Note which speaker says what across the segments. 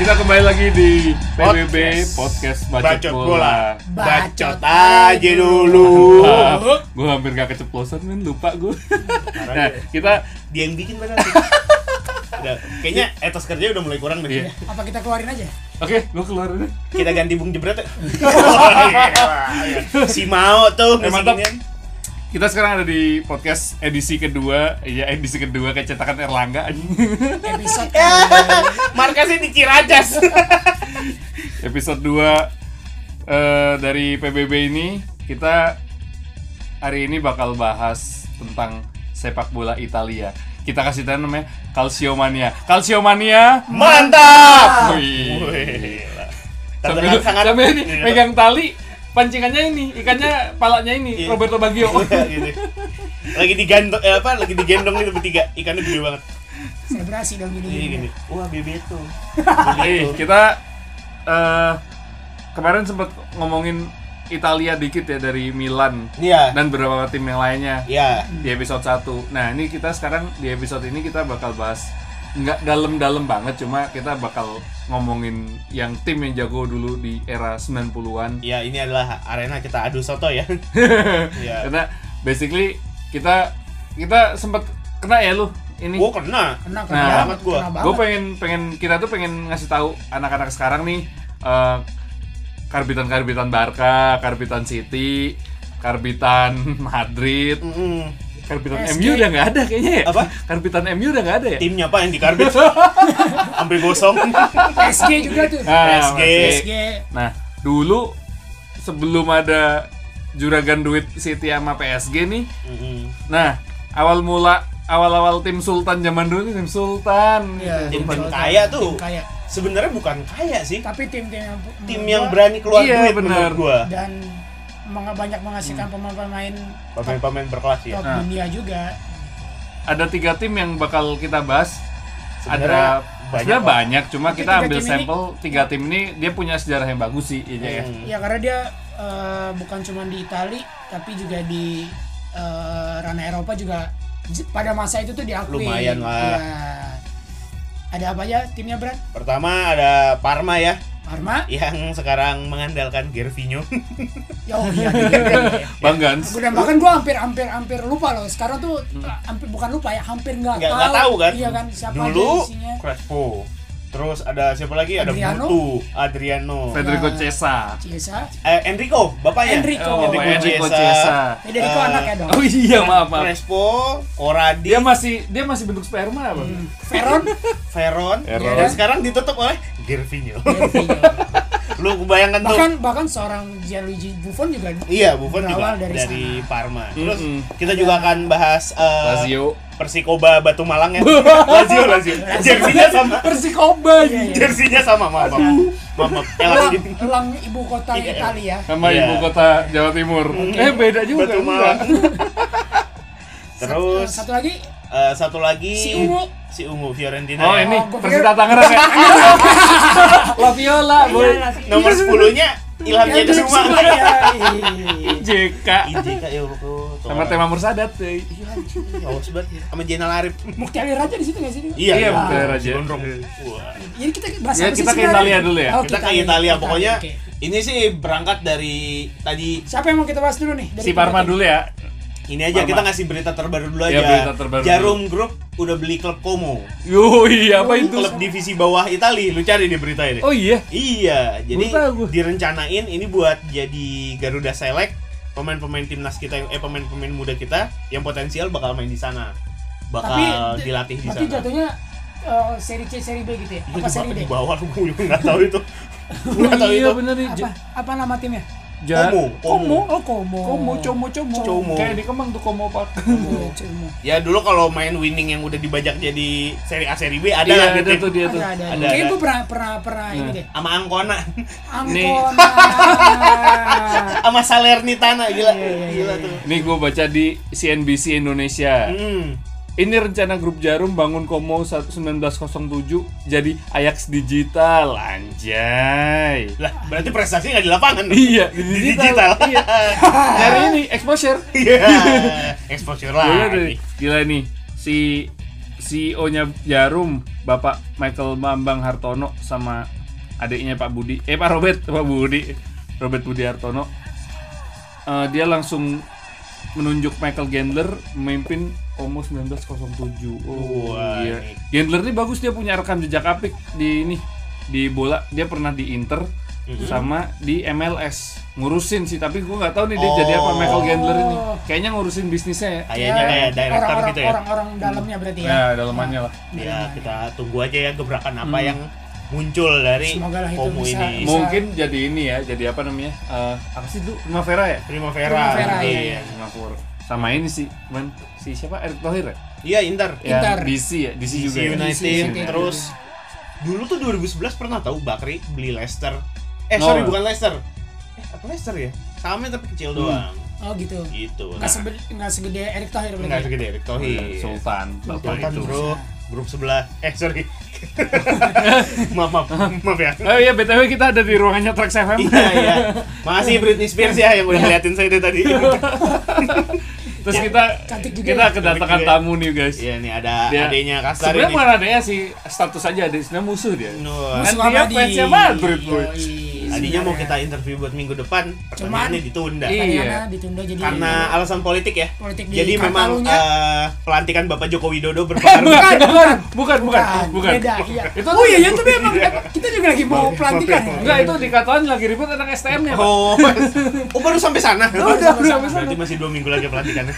Speaker 1: Kita kembali lagi di PBB Podcast Bacot,
Speaker 2: Bacot
Speaker 1: Bola.
Speaker 2: bola. Bacot aja dulu.
Speaker 1: gue hampir gak keceplosan men, lupa gue. nah,
Speaker 2: Uh. Parah dia.
Speaker 1: kita
Speaker 2: Dia yang bikin benar. Udah, kayaknya etos kerja udah mulai kurang deh.
Speaker 1: Iya.
Speaker 3: Apa kita keluarin aja?
Speaker 1: Oke, gue keluar dulu.
Speaker 2: Kita ganti Bung Jebret. ya. si Mao tuh
Speaker 1: Iya. Eh, mantap.
Speaker 2: ngasih ginian.
Speaker 1: Kita sekarang ada di podcast edisi kedua, iya edisi kedua kecetakan Erlangga anjing.
Speaker 3: Episode
Speaker 2: Markasnya di Ciracas.
Speaker 1: Episode 2 dari PBB ini kita hari ini bakal bahas tentang sepak bola Italia. Kita kasih tanda namanya Calciomania. Calciomania
Speaker 2: Mantap.
Speaker 1: Wih.
Speaker 2: Wih, gila.
Speaker 1: Sampai,
Speaker 2: Terdengar sangat
Speaker 1: sampai ini
Speaker 2: Iya.
Speaker 1: megang tali pancingannya ini, ikannya palanya ini,
Speaker 2: Iya.
Speaker 1: Roberto Baggio.
Speaker 2: Iya, gitu. Lagi digandong eh, apa? Lagi digendong itu bertiga. Ikannya gede banget.
Speaker 3: selebrasi dong
Speaker 2: Iya
Speaker 3: ini.
Speaker 2: gini. Wah, Bebeto.
Speaker 1: Nih, kita eh, kemarin sempat ngomongin Italia dikit ya dari Milan
Speaker 2: Iya.
Speaker 1: dan beberapa tim yang lainnya.
Speaker 2: Iya.
Speaker 1: di episode 1 Nah ini kita sekarang di episode ini kita bakal bahas nggak dalam-dalam banget cuma kita bakal ngomongin yang tim yang jago dulu di era 90-an
Speaker 2: Ya, ini adalah arena kita adu soto ya. Iya.
Speaker 1: karena basically kita kita sempat kena ya lu ini
Speaker 2: Gua kena.
Speaker 3: Kena kena
Speaker 1: Nah,
Speaker 3: banget,
Speaker 2: gua.
Speaker 3: kena
Speaker 1: gue
Speaker 3: banget.
Speaker 1: pengen pengen kita tuh pengen ngasih tahu anak-anak sekarang nih eh, karbitan-karbitan Barca, karbitan City, karbitan Madrid,
Speaker 2: Mm-mm.
Speaker 1: karbitan
Speaker 3: PSG.
Speaker 1: MU udah nggak ada kayaknya ya.
Speaker 2: Apa?
Speaker 1: Karbitan MU udah nggak ada ya.
Speaker 2: Timnya apa yang dikarbit? Sampai gosong.
Speaker 3: PSG juga tuh.
Speaker 2: Nah,
Speaker 1: Ah,
Speaker 2: PSG.
Speaker 1: masih.
Speaker 3: PSG.
Speaker 1: Nah, dulu sebelum ada juragan duit City sama PSG nih.
Speaker 2: Mm-mm.
Speaker 1: Nah, awal mula awal-awal tim Sultan zaman dulu nih, tim Sultan.
Speaker 3: Iya,
Speaker 1: gitu.
Speaker 2: Jadi
Speaker 3: Tim
Speaker 2: tim
Speaker 3: kaya.
Speaker 2: kaya tuh.
Speaker 3: Tim kaya.
Speaker 2: Sebenarnya bukan kaya sih.
Speaker 3: Tapi tim-tim yang
Speaker 2: Tim yang berani keluar
Speaker 1: Iya,
Speaker 2: duit
Speaker 1: bener.
Speaker 2: menurut gua.
Speaker 3: dan meng- banyak menghasilkan
Speaker 2: Hmm.
Speaker 3: pemain-pemain top,
Speaker 2: Pemain-pemain berkelas ya.
Speaker 3: top
Speaker 1: Nah.
Speaker 3: dunia juga.
Speaker 1: Ada tiga tim yang bakal kita bahas.
Speaker 2: Sebenarnya
Speaker 1: ada
Speaker 2: banyak,
Speaker 1: sebenarnya
Speaker 2: Pak.
Speaker 1: banyak, cuma
Speaker 3: Tapi
Speaker 1: kita
Speaker 3: tiga
Speaker 1: ambil
Speaker 3: tim ini-
Speaker 1: sampel tiga tim ini dia punya sejarah yang bagus sih ini ya.
Speaker 2: Hmm.
Speaker 3: Ya karena dia eh, bukan cuma di Itali tapi juga di eh, ranah Eropa juga j- pada masa itu tuh diakui.
Speaker 2: Lumayan
Speaker 3: Ya.
Speaker 2: lah.
Speaker 3: Ada apa aja timnya Brad?
Speaker 2: Pertama ada Parma ya,
Speaker 3: Parma?
Speaker 2: yang sekarang mengandalkan Gervinho.
Speaker 3: Ya, oh iya. iya.
Speaker 1: Bang Gans.
Speaker 3: Gue dan bahkan gue hampir hampir hampir lupa loh. Sekarang tuh hampir bukan lupa ya, hampir nggak
Speaker 2: Nggak
Speaker 3: tahu.
Speaker 2: nggak tahu kan?
Speaker 3: Iya kan siapa aja
Speaker 2: Dulu
Speaker 3: isinya.
Speaker 2: Crespo. Terus ada siapa lagi? Ada
Speaker 3: Adriano.
Speaker 2: Mutu, Adriano.
Speaker 1: Federico
Speaker 3: Ya.
Speaker 1: Cesa.
Speaker 3: Ciesa.
Speaker 2: Eh, Enrico, bapaknya.
Speaker 3: Enrico.
Speaker 1: Oh,
Speaker 2: Enrico
Speaker 1: Federico
Speaker 2: Chiesa.
Speaker 1: Chiesa.
Speaker 3: Federico
Speaker 2: Eh,
Speaker 3: anak ya dong.
Speaker 1: Oh iya, maaf, maaf.
Speaker 2: Crespo, Corradi,
Speaker 1: Dia masih dia masih bentuk sperma, Bang.
Speaker 2: iya.
Speaker 3: Hmm. Veron.
Speaker 2: Veron, Iya,
Speaker 1: Veron.
Speaker 2: dan sekarang ditutup oleh Gervinho.
Speaker 3: Gervinho.
Speaker 2: Lu kebayangkan tuh.
Speaker 3: bahkan bahkan seorang Gianluigi Buffon juga
Speaker 2: Iya, Buffon
Speaker 3: Berawal
Speaker 2: juga dari,
Speaker 3: dari
Speaker 2: Parma. Terus
Speaker 1: Mm-mm.
Speaker 2: kita juga akan bahas eh,
Speaker 1: Lazio.
Speaker 2: Persikoba Batu Malang ya. Lazio, Lazio. Jersinya sama.
Speaker 3: Iya,
Speaker 1: Persikoba. anjing.
Speaker 2: Jersinya sama, maaf. Maaf, maaf. maaf. Ya,
Speaker 3: elang,
Speaker 2: lanjut.
Speaker 3: elang ibu kota
Speaker 2: Iya.
Speaker 3: Italia.
Speaker 1: sama
Speaker 2: Iya.
Speaker 1: ibu kota Jawa Timur.
Speaker 3: Hmm.
Speaker 1: Eh beda juga.
Speaker 2: Batu
Speaker 1: enggak.
Speaker 2: Malang.
Speaker 3: eh,
Speaker 2: Terus
Speaker 3: Satu, satu lagi
Speaker 2: eh, satu lagi
Speaker 3: Si Ungu.
Speaker 2: si Ungu Fiorentina.
Speaker 1: Oh
Speaker 2: ya.
Speaker 1: ini
Speaker 3: Oh, gua
Speaker 1: Persita
Speaker 3: pikir-
Speaker 1: Tangerang ya. Laviola,
Speaker 3: Iya,
Speaker 1: boy.
Speaker 2: Nomor
Speaker 1: Iya.
Speaker 2: 10-nya Ilham
Speaker 3: Ya,
Speaker 2: Jadi Semua.
Speaker 3: Bisma, ya. Iya.
Speaker 1: JK.
Speaker 2: IJK ya Allah.
Speaker 1: Sama tema Mursadat. eh. cuy.
Speaker 2: Iya, anjing. Awas banget. Sama Jenal Arif.
Speaker 3: Mukhtari Raja di situ nggak sih?
Speaker 2: Iya,
Speaker 1: Iya,
Speaker 2: iya.
Speaker 1: bener aja.
Speaker 2: Gondrong. Wah.
Speaker 3: Jadi kita bahas
Speaker 1: Ya,
Speaker 3: apa sih
Speaker 1: kita ke
Speaker 3: sebenarnya?
Speaker 1: Italia dulu ya.
Speaker 3: Oh,
Speaker 2: Kita ke Italia pokoknya.
Speaker 3: oke.
Speaker 2: Ini sih berangkat dari tadi
Speaker 3: Siapa yang mau kita bahas dulu nih? Dari
Speaker 2: Iya.
Speaker 1: Si Parma
Speaker 3: tim?
Speaker 1: dulu ya.
Speaker 2: ini aja
Speaker 1: Parma.
Speaker 2: kita ngasih berita terbaru dulu aja.
Speaker 1: Iya, berita terbaru
Speaker 2: Jarum Group udah beli klub Como.
Speaker 1: Yoi, iya, apa
Speaker 3: Yoi.
Speaker 1: itu?
Speaker 2: Klub divisi bawah Itali. Lu cari di berita ini.
Speaker 1: Oh iya.
Speaker 2: Iya, jadi
Speaker 1: Baru tahu gua.
Speaker 2: direncanain ini buat jadi Garuda Select pemain-pemain timnas kita yang eh pemain-pemain muda kita yang potensial bakal main di sana.
Speaker 3: Tapi
Speaker 2: Bakal dilatih di
Speaker 3: berarti
Speaker 2: sana.
Speaker 3: jatuhnya eh, seri C, seri B gitu ya?
Speaker 2: Itu
Speaker 3: Apa
Speaker 2: Iya, di,
Speaker 3: seri D?
Speaker 2: di bawah lu gua juga nggak tahu itu. Gua nggak tahu
Speaker 1: iya
Speaker 2: itu.
Speaker 1: bener nih.
Speaker 3: Apa? Apa nama timnya?
Speaker 1: Ja-
Speaker 2: Como, Como.
Speaker 3: Komo. Oh, Komo. Iya,
Speaker 1: Komo, Como, Como.
Speaker 2: Como.
Speaker 1: Kayak di Kemang tuh Como Park.
Speaker 3: Komo, Komo.
Speaker 2: Ya dulu kalau main winning yang udah dibajak jadi seri A seri B ada lah
Speaker 1: Iya, itu
Speaker 2: gitu.
Speaker 1: tuh dia tuh.
Speaker 3: Ada, ada.
Speaker 2: Ada,
Speaker 3: ada. Kayaknya
Speaker 2: ada.
Speaker 3: gue pernah, pernah, pernah ini
Speaker 1: Nah.
Speaker 3: deh.
Speaker 2: Sama Angkona,
Speaker 3: Angkona.
Speaker 2: sama Salernitana gila.
Speaker 3: Iya, iya, iya,
Speaker 2: Gila
Speaker 3: iya.
Speaker 2: tuh.
Speaker 1: Ini gue baca di CNBC Indonesia.
Speaker 2: Hmm.
Speaker 1: Ini rencana grup Jarum bangun Komo 1907 jadi Ajax Digital, anjay.
Speaker 2: Lah, berarti prestasi nggak di lapangan. dong.
Speaker 1: Iya, di
Speaker 2: Di
Speaker 1: digital.
Speaker 2: digital.
Speaker 1: Iya. Hari ini exposure.
Speaker 2: Iya. Exposure
Speaker 3: Iya,
Speaker 1: Gila
Speaker 2: lah.
Speaker 1: nih, gila nih. Si CEO-nya E Jarum Bapak Michael Bambang Hartono sama adiknya Pak Budi. Eh Pak Robert, Pak Budi. Robert Budi Hartono. Eh, dia langsung menunjuk Michael Gendler memimpin Komo 1907. Oh,
Speaker 2: Wah,
Speaker 1: iya.
Speaker 2: ini.
Speaker 1: Gendler ini bagus dia punya rekam jejak apik di ini di bola. Dia pernah di Inter
Speaker 2: Mhm.
Speaker 1: sama di MLS ngurusin sih tapi gue nggak tahu nih dia jadi apa
Speaker 2: Oh.
Speaker 1: Michael Gendler ini kayaknya ngurusin bisnisnya ya
Speaker 2: Kayaknya
Speaker 3: Ya,
Speaker 2: Iya, kayak director
Speaker 3: orang-orang-
Speaker 2: gitu ya. Nah,
Speaker 3: Orang-orang dalamnya berarti ya.
Speaker 1: ya dalamannya lah
Speaker 3: Iya.
Speaker 2: Ya kita tunggu aja ya gebrakan apa yang muncul dari
Speaker 3: Hmm. Semoga lah itu
Speaker 2: komu
Speaker 3: bisa-
Speaker 2: ini.
Speaker 3: bisa-
Speaker 1: mungkin jadi ini ya jadi apa namanya eh apa sih dulu Primavera ya
Speaker 2: Primavera.
Speaker 3: Primavera,
Speaker 2: iya.
Speaker 3: iya.
Speaker 1: Singapura sama ini sih cuman si siapa Erick Thohir ya?
Speaker 2: Iya, Inter.
Speaker 1: ya
Speaker 3: Inter.
Speaker 1: DC ya DC,
Speaker 2: DC
Speaker 1: juga ya?
Speaker 2: United,
Speaker 3: DC United.
Speaker 2: terus dulu tuh 2011 pernah tahu Bakri beli Leicester. Eh,
Speaker 1: Oh.
Speaker 2: sorry bukan Leicester. Eh, apa Leicester ya? Sahamnya tapi kecil doang.
Speaker 3: Oh gitu.
Speaker 2: Gitu.
Speaker 3: Nggak, sebe- nggak segede Erick Thohir
Speaker 2: enggak
Speaker 3: berarti.
Speaker 2: segede Erick Thohir.
Speaker 1: Sultan bapak
Speaker 2: iya. Sultan,
Speaker 1: itu
Speaker 2: Bro. Grup sebelah. Eh, sorry. maaf, maaf, maaf ya.
Speaker 1: oh iya btw kita ada di ruangannya Trax FM
Speaker 2: iya, iya. Makasih Britney Spears ya yang udah ngeliatin saya dari tadi.
Speaker 1: terus kita
Speaker 3: Cantik juga
Speaker 1: kita
Speaker 3: ya.
Speaker 1: kedatangan
Speaker 2: Cantik juga.
Speaker 1: tamu nih guys
Speaker 2: Iya nih ada
Speaker 1: Dia-
Speaker 2: adenya Kasar
Speaker 1: sebenarnya
Speaker 2: ini.
Speaker 1: bukan adanya sih status aja ada sebenarnya musuh dia Kan
Speaker 2: Nuh,
Speaker 3: Musuh
Speaker 1: dia
Speaker 3: abadi.
Speaker 1: fansnya Madrid, boy.
Speaker 3: Yoi,
Speaker 2: Tadinya mau kita
Speaker 3: sebenarnya.
Speaker 2: interview buat minggu depan,
Speaker 3: Cuman-
Speaker 2: pertanyaannya ditunda.
Speaker 1: Iya.
Speaker 3: Tadinya ditunda jadi
Speaker 2: Karena alasan politik ya.
Speaker 3: politik di
Speaker 2: Jadi memang
Speaker 3: Katalunya.
Speaker 2: eh, pelantikan Bapak Joko Widodo berpengaruh.
Speaker 1: bukan, bukan, bukan, bukan, bukan.
Speaker 3: Beda, iya.
Speaker 1: Itu
Speaker 3: oh iya, ya, tapi emang emang kita juga lagi mau pelantikan.
Speaker 1: Enggak, itu dikatakan lagi ribut tentang STM-nya, Pak.
Speaker 2: Iya. oh, oh, baru sampai sana.
Speaker 1: Udah, udah, udah.
Speaker 2: Berarti masih dua minggu lagi pelantikannya.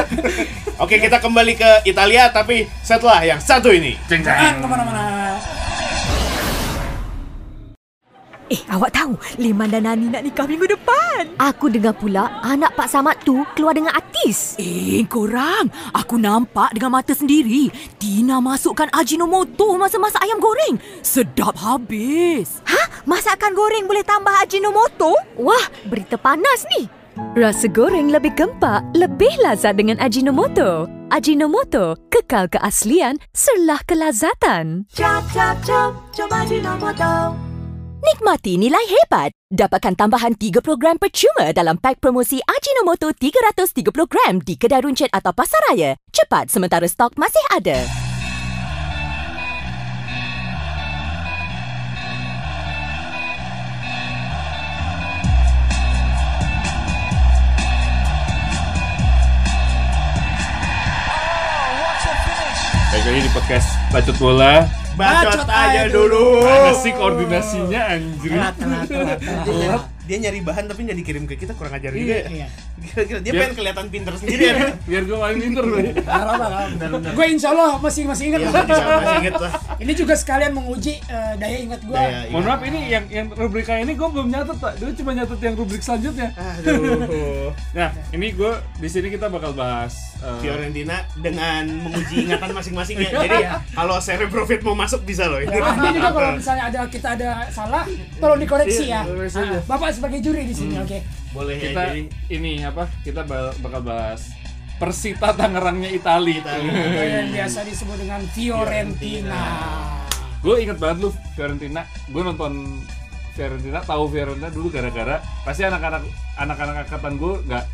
Speaker 2: Oke, kita kembali ke Italia tapi setelah yang satu ini.
Speaker 1: Ceng, ceng.
Speaker 3: Jangan kemana-mana.
Speaker 4: Eh, awak tahu Leman dan Nani nak nikah minggu depan.
Speaker 5: Aku dengar pula anak Pak Samad tu keluar dengan artis.
Speaker 4: Eh, korang. Aku nampak dengan mata sendiri. Tina masukkan Ajinomoto masa-masa ayam goreng. Sedap habis.
Speaker 5: Ha? Masakan goreng boleh tambah Ajinomoto? Wah, berita panas ni. Rasa goreng lebih gempak, lebih lazat dengan Ajinomoto. Ajinomoto, kekal keaslian, serlah kelazatan.
Speaker 4: Cap, cap, cap. Coba Ajinomoto.
Speaker 5: Nikmati nilai hebat. Dapatkan tambahan 30 gram percuma dalam pak promosi Ajinomoto 330 gram di kedai runcit atau pasaraya. Cepat sementara stok masih ada.
Speaker 1: Baik lagi di podcast Bacot Bola.
Speaker 2: Bacot aja dulu.
Speaker 1: Mana sih koordinasinya anjir?
Speaker 3: Telat, telat, telat, telat.
Speaker 2: Dia nyari- Dia nyari bahan tapi nggak dikirim ke kita kurang ajar juga. ya.
Speaker 3: Iya.
Speaker 2: Gila-gila dia
Speaker 1: Biar-
Speaker 2: pengen kelihatan pinter sendiri ya.
Speaker 1: Biar gue main pinter, Boy.
Speaker 3: Gak apa-apa, gak apa-apa. Gue insya Allah masih masih ingat.
Speaker 2: Iya,
Speaker 3: lah.
Speaker 2: bisa masih inget lah.
Speaker 3: Ini juga sekalian menguji eh, daya ingat gue.
Speaker 2: Daya ingat.
Speaker 1: Mohon maaf ini yang yang rubriknya ini gue belum nyatet, Pak. Dulu cuma nyatet yang rubrik selanjutnya.
Speaker 2: Aduh.
Speaker 1: Nah, ini gue di sini kita bakal bahas eh,
Speaker 2: Fiorentina dengan menguji ingatan masing-masingnya. Jadi kalau Profit mau masuk bisa loh. Nah, Ini
Speaker 3: Artinya Iya, juga kalau misalnya ada kita ada salah, tolong dikoreksi ya.
Speaker 2: Iya,
Speaker 1: koreksi aja.
Speaker 3: Ah, Bapak sebagai juri di sini, oke.
Speaker 2: boleh ya
Speaker 1: kita
Speaker 2: jadi
Speaker 1: ini apa? Kita ba- bakal bahas Persita Tangerangnya Itali.
Speaker 2: Itali.
Speaker 3: Atau Yang biasa disebut dengan Fiorentina.
Speaker 1: gue inget banget lu Fiorentina gue nonton Fiorentina tahu Fiorentina dulu gara-gara pasti anak-anak anak-anak angkatan gue nggak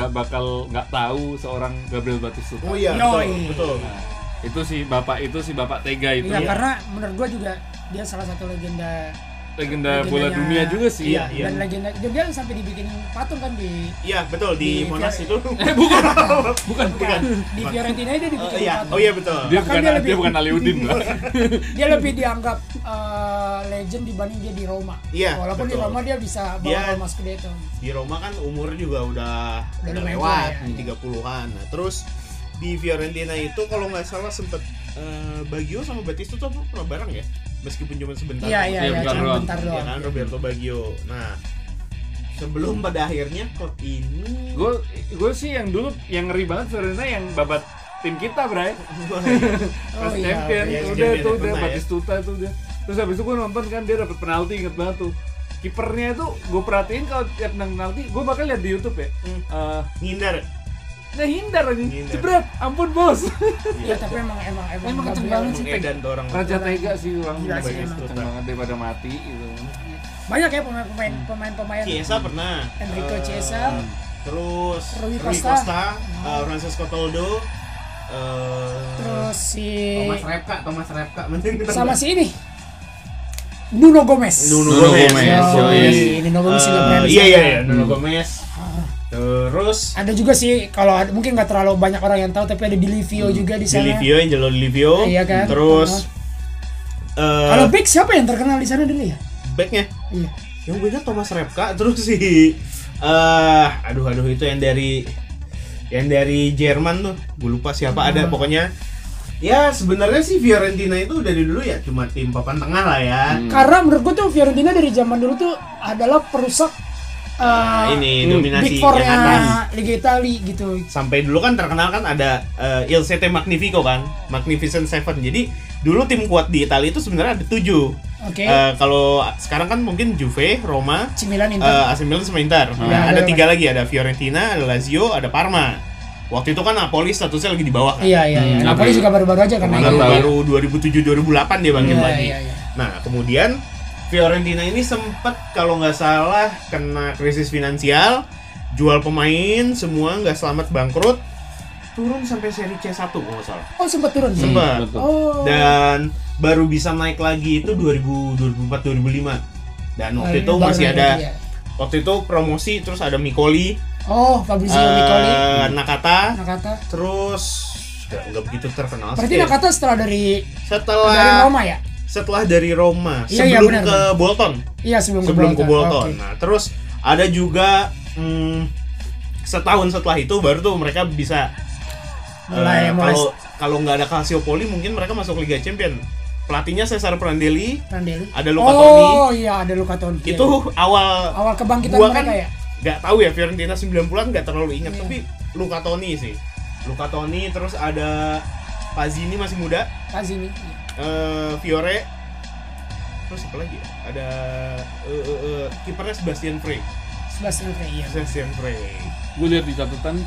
Speaker 1: nggak bakal nggak tahu seorang Gabriel Batistuta
Speaker 2: Oh iya,
Speaker 3: Yoi.
Speaker 2: betul, betul.
Speaker 1: Nah, itu si bapak itu si bapak Tega itu
Speaker 2: Gitu
Speaker 3: Iya,
Speaker 2: ya.
Speaker 3: karena menurut gue juga dia salah satu legenda
Speaker 1: legenda bola
Speaker 3: legendanya-
Speaker 1: dunia juga sih
Speaker 2: Iya, iya.
Speaker 3: dan legenda dia, dia sampai dibikin patung kan di
Speaker 2: Iya, betul di
Speaker 3: Di
Speaker 2: Monas
Speaker 3: Fiore-
Speaker 2: itu.
Speaker 1: eh bukan bukan bukan
Speaker 3: di Fiorentina dia
Speaker 2: Oh
Speaker 3: dibikin
Speaker 2: iya,
Speaker 3: patung.
Speaker 2: oh iya betul.
Speaker 1: dia
Speaker 3: Bahkan
Speaker 1: bukan
Speaker 3: dia
Speaker 1: dia,
Speaker 3: lebih-
Speaker 1: bukan Aliudin lah
Speaker 3: Dia lebih dianggap eh, legend dibanding dia di Roma.
Speaker 2: Iya,
Speaker 3: Walaupun di
Speaker 2: betul.
Speaker 3: Roma dia bisa bawa
Speaker 2: Dia-
Speaker 3: Roma Scudetto.
Speaker 2: Di Roma kan umur juga udah
Speaker 3: Udah
Speaker 2: udah
Speaker 3: lumayan
Speaker 2: lewat
Speaker 3: tua, ya.
Speaker 2: di 30-an. Nah, terus di Fiorentina itu kalau nggak salah sempet eh, Baggio sama Batista tuh pernah bareng ya? Meskipun cuma sebentar.
Speaker 3: Iya iya
Speaker 1: Iya,
Speaker 3: iya,
Speaker 1: bentar
Speaker 3: cuma
Speaker 1: doang.
Speaker 3: bentar
Speaker 2: Ya
Speaker 3: doang.
Speaker 2: kan Roberto Baggio. Nah, sebelum pada akhirnya klub ini
Speaker 1: gue gue sih yang dulu yang ngeri banget Fiorentina yang babat tim kita bray
Speaker 3: Oh
Speaker 1: pas
Speaker 3: iya,
Speaker 1: champion
Speaker 2: iya,
Speaker 1: udah
Speaker 2: champion
Speaker 1: tuh
Speaker 2: yang
Speaker 1: udah
Speaker 2: pernah ya.
Speaker 1: Batistuta tuh udah terus habis itu gue nonton kan dia dapat penalti inget banget tuh kipernya tuh gue perhatiin kalau tiap nang penalti gue bakal lihat di YouTube ya
Speaker 2: Hmm.
Speaker 1: Eh,
Speaker 2: ngindar.
Speaker 1: nah hindar aja
Speaker 2: Hindar.
Speaker 1: jebret ampun bos
Speaker 3: Iya, tapi emang emang emang
Speaker 1: Emang
Speaker 3: Gabriel-
Speaker 1: kenceng banget sih.
Speaker 2: Mengedan tuh orang.
Speaker 1: raja tega sih orang
Speaker 3: Gila sih, emang.
Speaker 1: Batistuta. Kenceng banget daripada mati gitu
Speaker 3: Banyak ya pemain-pemain pemain-pemain
Speaker 2: Chiesa pernah.
Speaker 3: Enrico
Speaker 2: Eh,
Speaker 3: Chiesa.
Speaker 2: Terus
Speaker 3: Rui
Speaker 2: Rui
Speaker 3: Costa.
Speaker 2: Costa, eh, Francisco Toldo, eh
Speaker 3: Terus si
Speaker 2: Thomas Repka, Thomas Repka mending kita
Speaker 3: sama si ini. Nuno Gomez.
Speaker 2: Nuno
Speaker 1: Nuno Gomez,
Speaker 2: Gomez. Nuno
Speaker 1: yoi.
Speaker 2: Gomez.
Speaker 3: Yoi, Nuno Gomez juga
Speaker 2: Eh,
Speaker 3: pernah di
Speaker 2: Iya
Speaker 3: sana.
Speaker 2: iya iya, Nuno Gomez. Terus
Speaker 3: Ada juga sih kalau ada, mungkin nggak terlalu banyak orang yang tahu tapi ada Di Livio juga di
Speaker 2: Hmm. Di
Speaker 3: sana.
Speaker 2: Livio, Angelo Di Livio.
Speaker 3: Iya kan?
Speaker 2: Terus eh
Speaker 3: Kalau Big siapa yang terkenal di sana dulu ya?
Speaker 2: backnya
Speaker 3: Iya.
Speaker 2: yang gue Ya, ingat Thomas Repka terus si eh aduh aduh itu yang dari yang dari Jerman tuh gue lupa siapa ada pokoknya ya sebenarnya sih Fiorentina itu dari dulu ya cuma tim papan tengah lah ya
Speaker 3: Karena menurut gue tuh Fiorentina dari zaman dulu tuh adalah perusak
Speaker 2: Nah,
Speaker 3: eh
Speaker 2: ini
Speaker 1: Hmm.
Speaker 3: Big
Speaker 2: dominasi yang atas
Speaker 3: Four-nya Liga Italia gitu.
Speaker 2: sampai dulu kan terkenal kan ada eh, Il Sette Magnifico kan Magnificent Seven jadi dulu tim kuat di Italia itu sebenarnya ada tujuh
Speaker 3: Oke.
Speaker 2: Eh, kalau sekarang kan mungkin Juve Roma
Speaker 3: AC Milan Inter. Iya,
Speaker 2: Eh, AC Milan sama Inter. Nah, ada
Speaker 3: Bener-bener.
Speaker 2: tiga lagi, ada Fiorentina, ada Lazio, ada Parma. Waktu itu kan Napoli statusnya lagi di bawah kan.
Speaker 3: iya
Speaker 2: Nah,
Speaker 3: iya iya.
Speaker 1: Hmm,
Speaker 3: Napoli
Speaker 1: tapi-
Speaker 3: juga baru-baru aja kan.
Speaker 1: Mana
Speaker 2: Baru,
Speaker 1: tahu.
Speaker 2: baru 2007-2008 dia bangkit
Speaker 3: Iya,
Speaker 2: lagi.
Speaker 3: iya, iya.
Speaker 2: Nah, kemudian Fiorentina ini sempat kalau nggak salah kena krisis finansial, jual pemain, semua nggak selamat bangkrut, turun sampai seri C1 kalau nggak salah.
Speaker 3: Oh sempat turun.
Speaker 2: Sempat.
Speaker 1: betul.
Speaker 3: Oh.
Speaker 2: Dan baru bisa naik lagi itu 2000 2004-2005. Dan waktu itu
Speaker 3: Baru
Speaker 2: masih
Speaker 3: naik
Speaker 2: ada
Speaker 3: lagi ya.
Speaker 2: waktu itu promosi terus ada Mikoli
Speaker 3: Oh, Fabrizio
Speaker 2: Eh,
Speaker 3: Nicoli,
Speaker 2: Nakata
Speaker 3: Nakata.
Speaker 2: terus nggak nggak begitu terkenal
Speaker 3: Berarti
Speaker 2: sih.
Speaker 3: Nakata setelah dari
Speaker 2: setelah
Speaker 3: dari Roma ya?
Speaker 2: setelah dari Roma
Speaker 3: Iya, iya,
Speaker 2: sebelum
Speaker 3: benar,
Speaker 2: ke Bolton
Speaker 3: Iya sebelum,
Speaker 2: sebelum ke Bolton
Speaker 3: Oke.
Speaker 2: nah terus ada juga hmm, setahun setelah itu baru tuh mereka bisa eh,
Speaker 3: Mulai mulai
Speaker 2: kalau kalau nggak ada Calciopoli mungkin mereka masuk Liga Champion pelatihnya Cesar Prandelli
Speaker 3: Prandelli.
Speaker 2: ada Luca
Speaker 3: Oh iya ada Luca Toni. Iya,
Speaker 2: itu
Speaker 3: iya.
Speaker 2: awal
Speaker 3: awal kebangkitan
Speaker 2: gua
Speaker 3: mereka
Speaker 2: kan-
Speaker 3: ya.
Speaker 2: nggak tahu ya Fiorentina 90-an nggak terlalu ingat
Speaker 3: Iya.
Speaker 2: tapi Luca Toni sih Luca Toni terus ada Pazini masih muda
Speaker 3: Kazini. iya.
Speaker 2: eh, Fiore terus apa lagi ya? ada eh, eh, eh, kipernya Sebastian Frey
Speaker 3: Sebelas Silvre iya.
Speaker 2: Sebastian Frey
Speaker 1: Gue lihat di catatan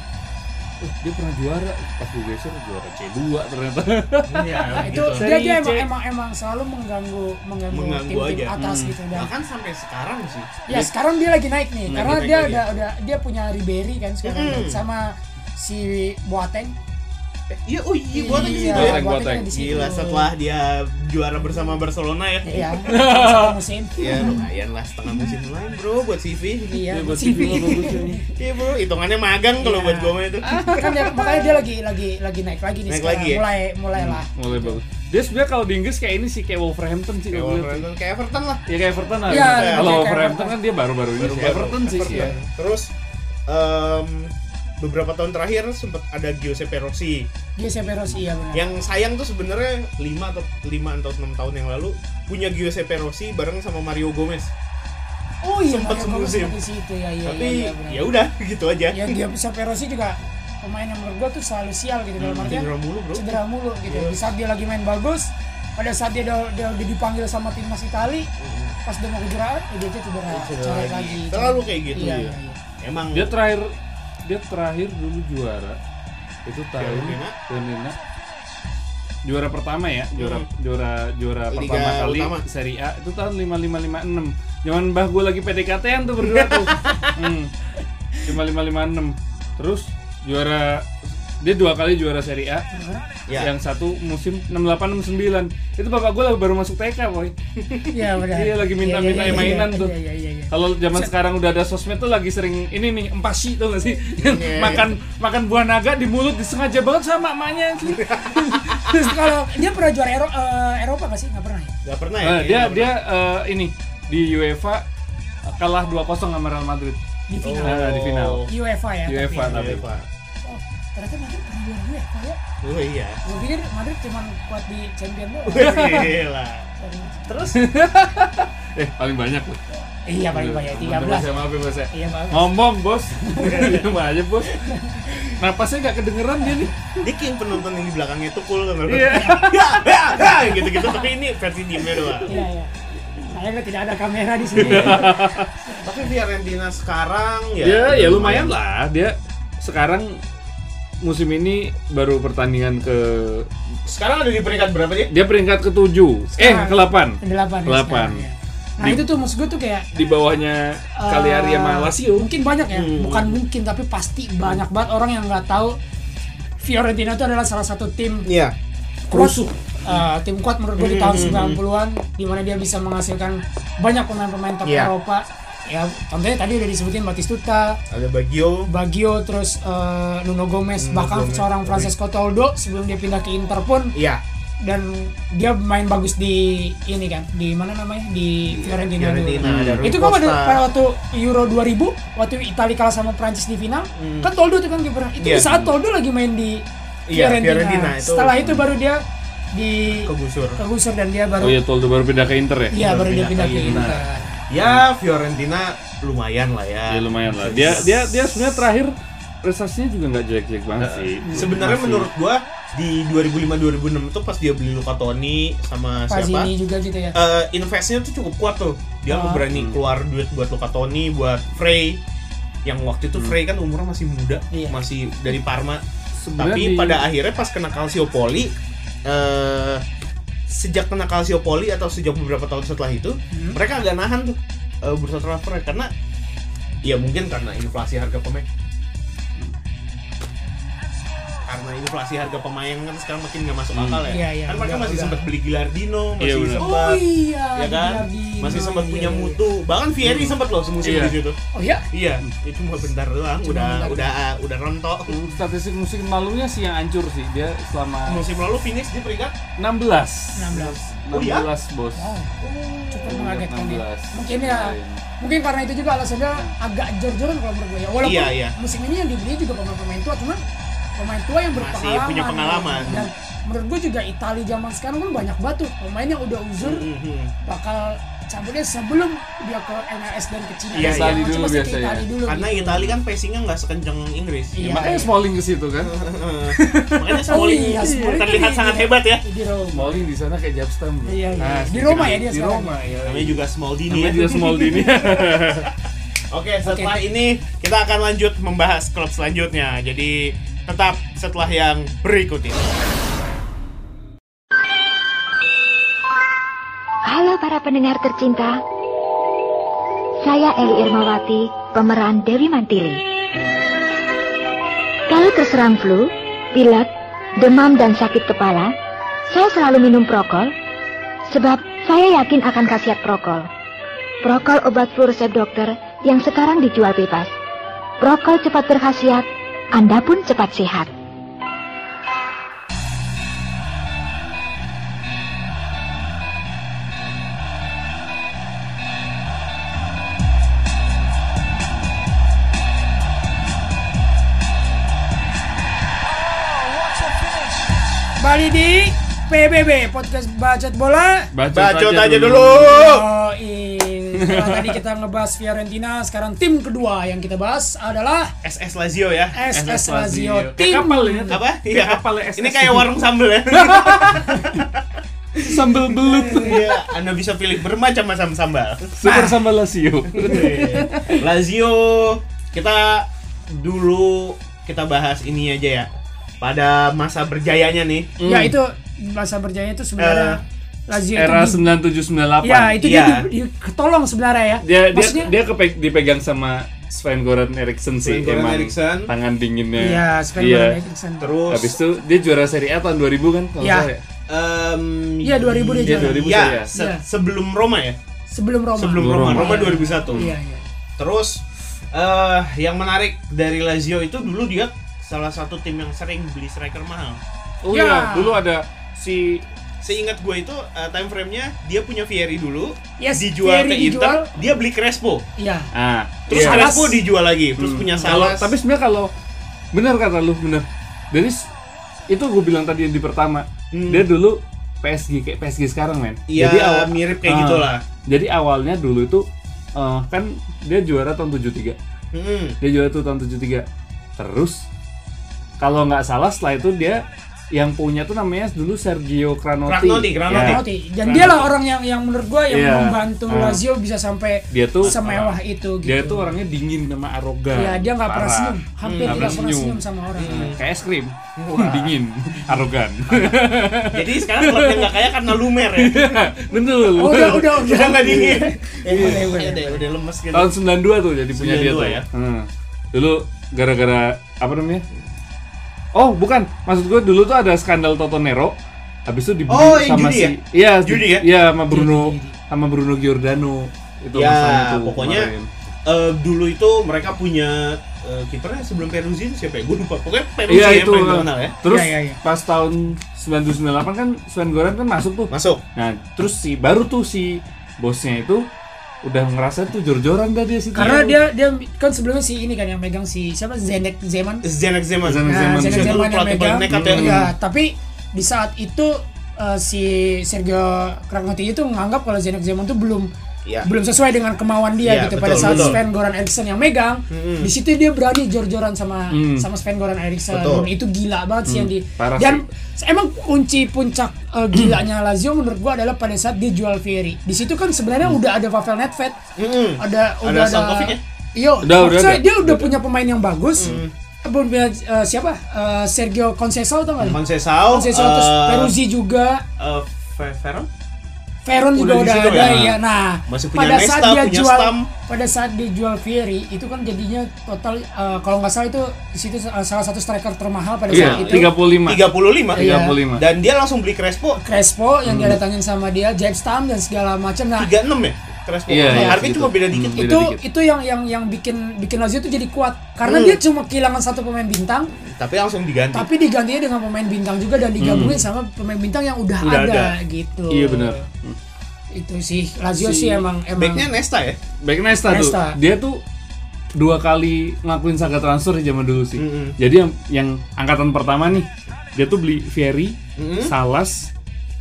Speaker 1: eh, dia pernah juara pas gue geser juara C2 ternyata.
Speaker 3: Nah,
Speaker 2: Iya,
Speaker 3: itu
Speaker 2: gitu.
Speaker 3: dia, dia
Speaker 1: Seri C.
Speaker 3: emang, emang emang selalu mengganggu mengganggu,
Speaker 2: Mengganggu
Speaker 3: tim-tim
Speaker 2: aja.
Speaker 3: atas
Speaker 1: Hmm.
Speaker 3: gitu dan
Speaker 2: bahkan sampai sekarang sih
Speaker 3: ya sekarang dia lagi naik nih
Speaker 2: Lagi
Speaker 3: karena
Speaker 2: naik
Speaker 3: dia
Speaker 2: lagi.
Speaker 3: udah udah dia punya Ribery kan sekarang
Speaker 2: Mm-mm.
Speaker 3: dan sama si Boateng.
Speaker 2: Eh, iya oh iya buat aja sih
Speaker 3: Iya,
Speaker 2: itu ya
Speaker 1: Boateng, Boateng.
Speaker 3: ada di situ.
Speaker 2: gila setelah dia juara bersama Barcelona ya
Speaker 3: Iya, satu musim.
Speaker 2: ya lumayan lah setengah musim lain bro buat CV
Speaker 3: Iya,
Speaker 1: Dia buat
Speaker 3: CV.
Speaker 1: CV gua bagus ya.
Speaker 2: iya bro hitungannya magang kalau
Speaker 3: Iya.
Speaker 2: buat gue itu
Speaker 3: kan dia, makanya dia lagi lagi lagi naik lagi nih
Speaker 2: Naik
Speaker 3: sekarang.
Speaker 2: lagi ya?
Speaker 3: mulai mulai lah
Speaker 1: Mulai bagus. Dia sebenarnya kalau di Inggris kayak ini sih kayak Wolverhampton sih
Speaker 2: Kayak
Speaker 1: kalau gue lihat.
Speaker 2: Wolverhampton, kayak Iya, Everton lah
Speaker 1: Ya kayak Everton lah.
Speaker 3: Iya,
Speaker 2: iya,
Speaker 1: kalau
Speaker 3: kayak
Speaker 1: Wolverhampton
Speaker 3: Everton.
Speaker 1: kan dia baru-baru ini sih.
Speaker 2: Baru-baru.
Speaker 1: Everton sih sih
Speaker 2: iya.
Speaker 1: ya.
Speaker 2: Terus em, beberapa tahun terakhir sempat ada Giuseppe Rossi.
Speaker 3: dia sampai Rossi ya benar
Speaker 2: Yang sayang tuh sebenarnya 5 atau 5 atau 6 tahun yang lalu punya Giuseppe Rossi bareng sama Mario Gomez.
Speaker 3: oh iya
Speaker 2: Sempat
Speaker 3: Mario Gomez
Speaker 2: semusim.
Speaker 3: di situ ya iya
Speaker 2: Tapi
Speaker 3: iya,
Speaker 2: ya
Speaker 3: iya,
Speaker 2: udah gitu aja.
Speaker 3: benar. yang dia sampai Rossi juga pemain yang menurut gua tuh selalu sial gitu dalam artian
Speaker 2: Cedera Hmm, mulu, Bro.
Speaker 3: cedera mulu gitu
Speaker 2: Iya.
Speaker 3: di saat dia lagi main bagus pada saat dia udah, dia udah dipanggil sama timnas Itali pas dia mau kejuaraan ya dia tuh cedera
Speaker 2: Cedera
Speaker 3: coret
Speaker 2: lagi.
Speaker 3: lagi
Speaker 2: Selalu kayak gitu,
Speaker 3: iya,
Speaker 2: iya.
Speaker 3: iya, iya.
Speaker 2: Emang
Speaker 1: Dia terakhir dia terakhir dulu juara itu tahun
Speaker 2: Fiorentina.
Speaker 1: Fiorentina. Juara pertama ya, juara juara juara
Speaker 2: Liga
Speaker 1: pertama kali
Speaker 2: utama.
Speaker 1: Serie A itu tahun 5556. Zaman mbah gue lagi PDKT-an tuh berdua tuh. hmm. 5556. Terus juara dia dua kali juara Serie A.
Speaker 2: Ya.
Speaker 1: Yang satu musim 68 69. Itu bapak gue baru masuk TK, boy.
Speaker 3: Iya, benar.
Speaker 1: Iya, lagi minta-minta
Speaker 3: Iya, iya, iya,
Speaker 1: mainan
Speaker 3: iya,
Speaker 1: tuh.
Speaker 3: iya, iya, iya.
Speaker 1: Kalau zaman sekarang udah ada sosmed tuh lagi sering ini nih empasi tuh gak sih?
Speaker 3: Iya,
Speaker 1: makan makan buah naga di mulut disengaja banget sama emaknya.
Speaker 3: Iya, Terus kalau dia pernah juara Ero- eh, Eropa gak sih? Gak pernah ya?
Speaker 2: nggak pernah ya.
Speaker 1: Eh,
Speaker 2: kayaknya
Speaker 1: dia
Speaker 2: nggak
Speaker 1: dia eh, ini di UEFA eh, kalah 2-0 sama Real Madrid.
Speaker 2: Oh.
Speaker 3: Di final.
Speaker 1: Nah, di final.
Speaker 3: UEFA ya tapi
Speaker 1: UEFA,
Speaker 3: ya.
Speaker 2: pernah.
Speaker 1: tapi.
Speaker 2: Oh. Iya, Pak.
Speaker 3: Oh, ternyata Madrid pernah juara UEFA ya
Speaker 2: Oh iya.
Speaker 3: gue pikir Madrid cuma kuat di champion doang
Speaker 2: Gila.
Speaker 3: Sorry.
Speaker 2: Iya. Terus
Speaker 1: Eh, paling banyak loh.
Speaker 3: iya paling banyak 13
Speaker 1: ya, maaf ya, Bos. ya.
Speaker 3: iya maaf
Speaker 1: Ngomong, Bos. Diam aja, Bos. Napasnya nggak kedengeran dia nih.
Speaker 2: dia kayak penonton yang di belakangnya tuh cool kan. ya,
Speaker 1: Iya.
Speaker 2: Gitu-gitu tapi ini versi diemnya doang.
Speaker 3: iya iya saya nggak tidak ada kamera di sini
Speaker 2: Tapi Fiorentina sekarang ya
Speaker 3: Iya,
Speaker 1: Dia ya lumayan lah. Dia sekarang musim ini baru pertandingan ke
Speaker 2: Sekarang ada di peringkat berapa dia?
Speaker 1: dia peringkat ke-7. Eh,
Speaker 3: Sekarang.
Speaker 1: ke-8.
Speaker 3: delapan ya
Speaker 1: Delapan.
Speaker 3: sekarang ya. nah
Speaker 1: Di-
Speaker 3: itu tuh maksud gue tuh kayak
Speaker 1: Di bawahnya
Speaker 3: eh,
Speaker 1: Cagliari sama Lazio.
Speaker 2: Hmm.
Speaker 3: mungkin banyak ya bukan mungkin tapi pasti banyak banget orang yang nggak tahu Fiorentina itu adalah salah satu tim
Speaker 2: Iya. Hmm.
Speaker 3: kuat, eh, tim kuat menurut gue di tahun 90-an di mana dia bisa menghasilkan banyak pemain-pemain top
Speaker 2: Iya.
Speaker 3: Eropa. Ya, contohnya tadi udah disebutin Batistuta,
Speaker 2: Ada Bagio.
Speaker 3: Baggio, terus eh, Nuno Gomez,
Speaker 2: Nuno
Speaker 3: bahkan
Speaker 2: Gomez,
Speaker 3: seorang
Speaker 2: sorry.
Speaker 3: Francesco Toldo sebelum dia pindah ke Inter pun
Speaker 2: Iya.
Speaker 3: dan dia main bagus di ini kan, di mana namanya? di Fiorentina. dulu.
Speaker 2: Iya, Fiorentina, ada Rui
Speaker 3: Itu kan pada,
Speaker 2: Costa.
Speaker 3: pada waktu Euro 2000 waktu Italia kalah sama Prancis di final, kan Toldo tuh kan kiper. Itu
Speaker 2: Hmm. Iya.
Speaker 3: di saat Toldo lagi main di
Speaker 2: Iya,
Speaker 3: Fiorentina.
Speaker 2: Fiorentina, itu-
Speaker 3: Setelah itu baru dia di
Speaker 2: Kegusur.
Speaker 3: kegusur dan dia baru
Speaker 1: Oh iya, Toldo baru pindah ke Inter ya?
Speaker 3: Iya, baru dia pindah ke Inter.
Speaker 2: Ya Fiorentina lumayan lah ya.
Speaker 1: Ya lumayan lah. Dia dia dia sebenarnya terakhir prestasinya juga nggak jelek-jelek banget sih.
Speaker 2: Eh, Iya. Sebenarnya
Speaker 1: Masih-
Speaker 2: menurut gua di 2005-2006 tuh pas dia beli Luca Toni sama siapa?
Speaker 3: Pazini juga gitu ya.
Speaker 2: eh, investnya tuh cukup kuat tuh. Dia
Speaker 3: Ah.
Speaker 2: berani
Speaker 1: hmm.
Speaker 2: keluar duit buat Luca Toni, buat Frey. Yang waktu itu
Speaker 1: Hmm.
Speaker 2: Frey kan umurnya masih muda,
Speaker 3: Iya.
Speaker 2: masih dari Parma.
Speaker 1: Sebenarnya
Speaker 2: Tapi
Speaker 1: di-
Speaker 2: pada akhirnya pas kena Calciopoli eh sejak kena Calciopoli atau sejak beberapa tahun setelah itu,
Speaker 3: Hmm?
Speaker 2: mereka agak nahan tuh eh, bursa transfer karena ya mungkin karena inflasi harga pemain. Karena inflasi harga pemain kan sekarang makin nggak masuk akal ya.
Speaker 3: Iya, iya,
Speaker 2: kan mereka
Speaker 3: udah,
Speaker 2: masih
Speaker 3: udah.
Speaker 2: sempat beli Gilardino, masih
Speaker 1: Iya, benar.
Speaker 2: sempat
Speaker 3: Oh iya,
Speaker 2: ya kan
Speaker 3: Gilardino,
Speaker 2: masih sempat
Speaker 3: iya,
Speaker 2: punya
Speaker 3: iya. Hmm.
Speaker 2: mutu bahkan Vieri sempat loh semusim
Speaker 1: Iya.
Speaker 2: di situ
Speaker 3: Oh iya,
Speaker 2: iya itu cuma bentar doang
Speaker 3: Cuma
Speaker 2: udah
Speaker 3: bentar. Hmm.
Speaker 2: udah udah rontok
Speaker 1: statistik musim lalunya sih yang hancur sih. Dia
Speaker 3: Iya.
Speaker 1: selama
Speaker 2: musim lalu finish di peringkat
Speaker 1: 16.
Speaker 3: 16.
Speaker 1: 16
Speaker 2: Oh, iya?
Speaker 1: bos.
Speaker 3: Wow, cukup mengagetkan ya.
Speaker 1: 16.
Speaker 3: Mungkin
Speaker 1: Iya,
Speaker 3: ya, mungkin karena itu juga alasannya agak jor-joran kalau menurut gue ya. Walaupun
Speaker 2: Iya, iya.
Speaker 3: musim ini yang dibeli juga pemain-pemain tua, cuman pemain tua yang
Speaker 2: Masih
Speaker 3: berpengalaman.
Speaker 2: punya pengalaman.
Speaker 3: Dan menurut gue juga Italia zaman sekarang kan banyak batu pemain yang udah uzur
Speaker 2: Mhm.
Speaker 3: Mm-hmm. bakal cabutnya sebelum dia ke MLS dan ke Cina.
Speaker 2: Iya,
Speaker 3: Segala
Speaker 1: Itali
Speaker 3: macam
Speaker 1: dulu
Speaker 3: pasti ke
Speaker 1: biasanya.
Speaker 3: Itali dulu.
Speaker 2: karena
Speaker 3: gitu.
Speaker 2: Italia kan pacingnya nggak sekencang Inggris
Speaker 3: Iya.
Speaker 1: Ya, Makanya Smalling ke situ kan.
Speaker 2: makanya
Speaker 3: Oh
Speaker 2: Smalling
Speaker 3: iya, Smalling
Speaker 2: terlihat
Speaker 3: kan
Speaker 2: sangat
Speaker 3: di-
Speaker 2: hebat ya
Speaker 3: Di Roma.
Speaker 1: Smalling di sana kayak Jabstam. bro.
Speaker 3: Iya, iya. Di
Speaker 1: sedikit
Speaker 3: Roma ya
Speaker 1: aja.
Speaker 3: dia
Speaker 1: Di
Speaker 3: sekarang?
Speaker 1: Roma ya.
Speaker 2: namanya juga Smaldini
Speaker 1: Namanya
Speaker 2: ya.
Speaker 1: juga Smalling ini.
Speaker 2: Oke, setelah ini kita akan lanjut membahas klub selanjutnya. Jadi tetap setelah yang berikut ini.
Speaker 6: Halo para pendengar tercinta. Saya Eli Irmawati, pemeran Dewi Mantili. Kalau terserang flu, pilek, demam dan sakit kepala, saya selalu minum Prokol sebab saya yakin akan khasiat Prokol. Prokol obat flu resep dokter yang sekarang dijual bebas. Prokol cepat berkhasiat, Anda pun cepat sehat.
Speaker 3: Bali di PBB Podcast Bacot Bola
Speaker 2: Bacot aja dulu.
Speaker 3: Oh, setelah tadi kita ngebahas Fiorentina, sekarang tim kedua yang kita bahas adalah
Speaker 2: SS Lazio ya.
Speaker 3: SS
Speaker 1: SS Lazio.
Speaker 3: Lazio.
Speaker 1: Kayak
Speaker 3: Tim
Speaker 1: kapal ya, tuh.
Speaker 2: Apa?
Speaker 1: Kayak
Speaker 2: Iya.
Speaker 1: kapal SS.
Speaker 2: Ini kayak warung sambel ya.
Speaker 1: Sambal belut.
Speaker 2: Iya, Anda bisa pilih bermacam-macam sambal.
Speaker 1: Super sambal Lazio.
Speaker 2: Lazio, kita dulu kita bahas ini aja ya. Pada masa berjayanya nih.
Speaker 1: Hmm.
Speaker 3: ya itu masa berjaya itu sebenarnya Lazio Iya, itu
Speaker 1: Eh, Era
Speaker 3: di-
Speaker 1: 97 98.
Speaker 3: ya itu
Speaker 2: Iya.
Speaker 3: dia di- di- ketolong sebenarnya ya.
Speaker 1: dia dia
Speaker 3: Maksudnya
Speaker 1: dia kepe- dipegang sama Sven Goran Eriksson sih
Speaker 2: Sven-Goran
Speaker 1: emang
Speaker 2: Eriksson.
Speaker 1: tangan dinginnya
Speaker 3: Iya, Sven
Speaker 1: Iya.
Speaker 3: Goran Eriksson.
Speaker 2: Terus
Speaker 1: habis itu dia juara Serie A tahun 2000 kan kalau
Speaker 3: Iya.
Speaker 1: nggak salah ya?
Speaker 2: em,
Speaker 3: Iya, 2000 dia
Speaker 2: iya,
Speaker 1: juara. 2000
Speaker 2: iya,
Speaker 1: saya.
Speaker 2: se-
Speaker 3: Iya.
Speaker 2: sebelum Roma ya.
Speaker 3: sebelum Roma.
Speaker 2: Sebelum
Speaker 1: Sebelum
Speaker 2: Roma,
Speaker 1: Roma.
Speaker 2: Roma 2001.
Speaker 3: Iya, iya.
Speaker 2: Terus eh yang menarik dari Lazio itu dulu dia salah satu tim yang sering beli striker mahal.
Speaker 1: oh
Speaker 3: Iya.
Speaker 1: iya dulu ada si
Speaker 2: Seingat gue itu eh, time frame-nya dia punya Vieri dulu,
Speaker 3: Yes,
Speaker 2: dijual
Speaker 3: Vieri
Speaker 2: ke Inter,
Speaker 3: dijual.
Speaker 2: dia beli Crespo.
Speaker 3: Iya.
Speaker 1: ah
Speaker 2: Terus
Speaker 1: iya.
Speaker 2: Crespo dijual lagi, terus punya
Speaker 1: Hmm. kalau
Speaker 2: Salas.
Speaker 1: tapi sebenarnya kalau benar kata lu benar dari s- itu gue bilang tadi di pertama
Speaker 2: Hmm.
Speaker 1: dia dulu PSG kayak PSG sekarang men
Speaker 2: Iya,
Speaker 1: awal-
Speaker 2: mirip kayak
Speaker 1: Ah.
Speaker 2: gitulah.
Speaker 1: jadi awalnya dulu itu eh, kan dia juara tahun 73
Speaker 2: Mm-mm.
Speaker 1: dia juara tuh tahun 73 terus kalau nggak salah setelah itu dia yang punya tuh namanya dulu Sergio Cranotti
Speaker 2: Cranotti, Cranotti.
Speaker 1: Ya,
Speaker 3: Totti. Dan dia lah orang yang yang menurut gua yang
Speaker 1: Iya.
Speaker 3: membantu
Speaker 1: Ah.
Speaker 3: Lazio bisa sampai
Speaker 1: dia tuh
Speaker 3: semewah
Speaker 1: uh,
Speaker 3: itu gitu.
Speaker 1: dia tuh orangnya dingin sama arogan
Speaker 3: Iya, dia nggak pernah
Speaker 1: Parah.
Speaker 3: senyum, hampir tidak
Speaker 1: nggak pernah
Speaker 3: pernah
Speaker 1: senyum.
Speaker 3: senyum
Speaker 1: Hmm.
Speaker 3: sama orang.
Speaker 1: kayak es krim dingin arogan
Speaker 2: Jadi sekarang klubnya nggak kaya karena lumer ya.
Speaker 1: bener
Speaker 3: Oh, udah, udah, udah.
Speaker 2: Udah nggak dingin.
Speaker 3: Iya, iya,
Speaker 2: Udah,
Speaker 3: iya.
Speaker 2: udah, udah lemes gitu.
Speaker 1: tahun 92 tuh ya. jadi punya dia
Speaker 2: 92
Speaker 1: tuh
Speaker 2: ya.
Speaker 1: Hmm. dulu gara-gara apa namanya Oh, bukan. Maksud gue dulu tuh ada skandal Toto Nero. Habis itu dibeli
Speaker 2: Oh, yang
Speaker 1: sama
Speaker 2: judi
Speaker 1: si
Speaker 2: ya?
Speaker 1: Iya,
Speaker 2: Judi ya?
Speaker 1: Iya, sama Bruno
Speaker 3: Judi, judi.
Speaker 1: sama Bruno Giordano. Itu
Speaker 2: Ya,
Speaker 1: urusannya tuh
Speaker 2: pokoknya
Speaker 1: kemarin.
Speaker 2: eh, dulu itu mereka punya eh, kipernya sebelum Peruzzi itu siapa ya? Gue lupa. Pokoknya Peruzzi
Speaker 1: Iya
Speaker 2: yang
Speaker 1: itu.
Speaker 2: paling terkenal ya.
Speaker 1: Terus
Speaker 3: Iya, iya, iya.
Speaker 1: pas tahun 1998 kan Sven Goran kan masuk tuh.
Speaker 2: Masuk.
Speaker 1: Nah, terus si baru tuh si bosnya itu udah ngerasa tuh jor-joran dah dia situ.
Speaker 3: Karena dia dia kan sebelumnya si ini kan yang megang si siapa Zenek Zeman.
Speaker 2: Zenek Zeman.
Speaker 1: Zeman.
Speaker 3: Nah, Zenek
Speaker 2: Zeman
Speaker 3: Zeman
Speaker 2: dulu
Speaker 3: yang
Speaker 2: pelatih paling
Speaker 3: megang.
Speaker 2: nekat ya.
Speaker 3: Iya, tapi di saat itu eh, si Sergio Kranjoti itu menganggap kalau Zenek Zeman itu belum
Speaker 2: Iya.
Speaker 3: belum sesuai dengan kemauan dia
Speaker 2: Iya,
Speaker 3: gitu.
Speaker 2: betul,
Speaker 3: Pada saat
Speaker 2: betul.
Speaker 3: Sven Goran Eriksson yang megang, di
Speaker 2: Mm-mm.
Speaker 3: situ dia berani jor-joran sama
Speaker 1: Mm.
Speaker 3: sama Sven Goran Eriksson. Dan
Speaker 2: Betul.
Speaker 3: itu gila banget sih yang di
Speaker 1: parah
Speaker 3: dan emang kunci puncak eh, gilanya Lazio menurut gua adalah pada saat dia jual Fieri. Di situ kan sebenarnya
Speaker 1: Mm.
Speaker 3: udah ada Pavel Nedved,
Speaker 2: Mm-mm.
Speaker 3: ada udah ada
Speaker 2: Stankovic ya?
Speaker 3: Iya,
Speaker 1: Udah, udah
Speaker 3: maksudnya
Speaker 1: ada.
Speaker 3: dia udah punya pemain yang bagus. Belum punya eh, siapa? Eh, Sergio Conceição tau nggak?
Speaker 2: Conceição,
Speaker 3: Conceição
Speaker 2: eh,
Speaker 3: terus Peruzzi juga,
Speaker 2: Eh, Fe- Ferro?
Speaker 3: Veron juga
Speaker 2: udah di
Speaker 3: udah
Speaker 2: situ
Speaker 3: ada
Speaker 2: ya?
Speaker 3: ya. Nah,
Speaker 2: Masih punya
Speaker 3: pada
Speaker 2: Nesta,
Speaker 3: saat dia
Speaker 2: punya
Speaker 3: jual
Speaker 2: Stam.
Speaker 3: pada saat dia jual Fieri itu kan jadinya total eh, kalau nggak salah itu di situ eh, salah satu striker termahal pada saat
Speaker 1: Iya,
Speaker 3: itu.
Speaker 1: 35.
Speaker 2: 35.
Speaker 3: Iya.
Speaker 1: 35.
Speaker 2: Dan dia langsung beli Crespo
Speaker 3: Crespo yang
Speaker 2: Hmm.
Speaker 3: didatangin sama dia, Jack Stam dan segala macam. Nah,
Speaker 2: 36 ya? Crespo.
Speaker 1: Iya, iya,
Speaker 2: Artinya
Speaker 1: segitu.
Speaker 2: cuma beda dikit.
Speaker 1: Hmm.
Speaker 3: itu
Speaker 1: Beda dikit.
Speaker 3: itu yang yang yang bikin bikin Lazio itu jadi kuat karena
Speaker 2: Hmm.
Speaker 3: dia cuma kehilangan satu pemain bintang
Speaker 2: Tapi langsung diganti.
Speaker 3: tapi digantinya dengan pemain bintang juga dan digabungin sama pemain bintang yang udah,
Speaker 2: Udah
Speaker 3: ada,
Speaker 2: ada.
Speaker 3: gitu
Speaker 1: Hmm. Iya benar.
Speaker 3: itu sih Lazio
Speaker 1: Si
Speaker 3: sih emang emang
Speaker 2: Backnya Nesta ya?
Speaker 1: Baik Nesta, tuh.
Speaker 3: Nesta.
Speaker 1: Dia tuh dua kali ngelakuin saga transfer di zaman dulu sih.
Speaker 2: Mm-mm.
Speaker 1: Jadi yang yang angkatan pertama nih, dia tuh beli Fieri,
Speaker 2: Mm-mm.
Speaker 1: Salas,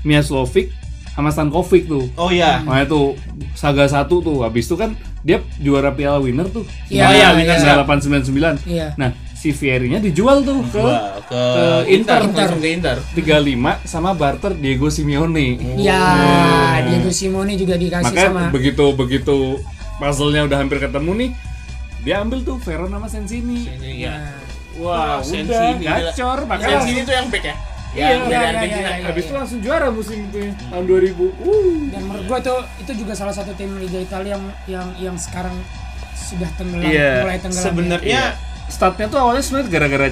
Speaker 1: Miaslovic, sama Stankovic tuh.
Speaker 2: Oh iya.
Speaker 1: Nah itu saga satu tuh. Habis itu kan dia juara Piala Winner tuh.
Speaker 3: Iya,
Speaker 1: Nah,
Speaker 3: iya,
Speaker 1: Winner
Speaker 3: iya.
Speaker 1: 9899.
Speaker 3: Iya.
Speaker 1: Nah, si Fierinya dijual tuh ke
Speaker 2: Wah, ke,
Speaker 1: ke Inter.
Speaker 2: langsung ke Inter.
Speaker 1: 35 sama barter Diego Simeone.
Speaker 3: ya Diego Simone juga dikasih
Speaker 1: Hmm. Makanya
Speaker 3: sama
Speaker 1: begitu begitu puzzle-nya udah hampir ketemu nih, dia ambil tuh Veron sama Sensini.
Speaker 2: Iya.
Speaker 1: Wah,
Speaker 2: Sensini,
Speaker 1: udah
Speaker 2: gila.
Speaker 1: gacor makanya
Speaker 2: Yang
Speaker 1: langsung-
Speaker 2: sini tuh yang back ya?
Speaker 1: Iya,
Speaker 2: Yang dari
Speaker 3: iya, iya,
Speaker 2: Argentina.
Speaker 3: iya, iya.
Speaker 1: habis itu langsung juara musim itu ya, tahun 2000. Uh.
Speaker 3: dan menurut gua tuh itu juga salah satu tim Liga Italia yang yang yang sekarang sudah tenggelam
Speaker 1: Iya,
Speaker 3: mulai tenggelam ya.
Speaker 2: Sebenarnya
Speaker 1: Statnya tuh awalnya sebenarnya gara-gara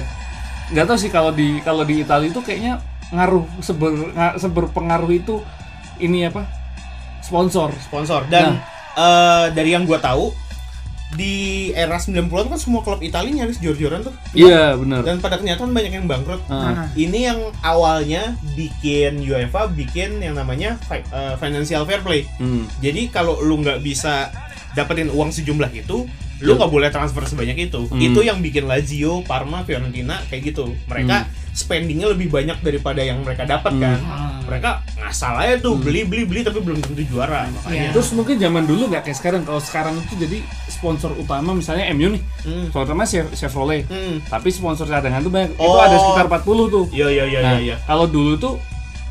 Speaker 1: nggak tahu sih kalau di kalau di Italia itu kayaknya ngaruh seber nga- seberpengaruh itu ini apa? sponsor.
Speaker 2: sponsor
Speaker 1: Nah.
Speaker 2: dan eh, dari yang gua tahu di era 90-an kan semua klub Italia nyaris jor-joran tuh.
Speaker 1: Iya, benar.
Speaker 2: Dan pada kenyataan banyak yang bangkrut.
Speaker 3: Nah,
Speaker 1: Ah.
Speaker 2: Ini yang awalnya bikin UEFA bikin yang namanya fi- eh, financial fair play.
Speaker 1: Hmm.
Speaker 2: Jadi kalau lu nggak bisa dapetin uang sejumlah itu, lu nggak boleh transfer sebanyak itu.
Speaker 1: Hmm.
Speaker 2: Itu yang bikin Lazio, Parma, Fiorentina kayak gitu.
Speaker 1: Hmm.
Speaker 2: Mereka spendingnya lebih banyak daripada yang mereka dapat kan.
Speaker 1: Ah.
Speaker 2: Mereka ngasal aja
Speaker 1: Hmm.
Speaker 2: tuh beli beli beli tapi belum tentu juara.
Speaker 3: Iya.
Speaker 2: Makanya.
Speaker 1: Terus mungkin zaman dulu nggak kayak sekarang. Kalau sekarang itu jadi sponsor utama misalnya MU nih,
Speaker 2: Hmm.
Speaker 1: sponsor utama Chev- Chevrolet.
Speaker 2: Hmm.
Speaker 1: Tapi sponsor cadangan tuh banyak. Itu
Speaker 2: Oh.
Speaker 1: ada sekitar 40 tuh.
Speaker 2: Iya iya iya
Speaker 1: Nah,
Speaker 2: iya. iya.
Speaker 1: kalau dulu tuh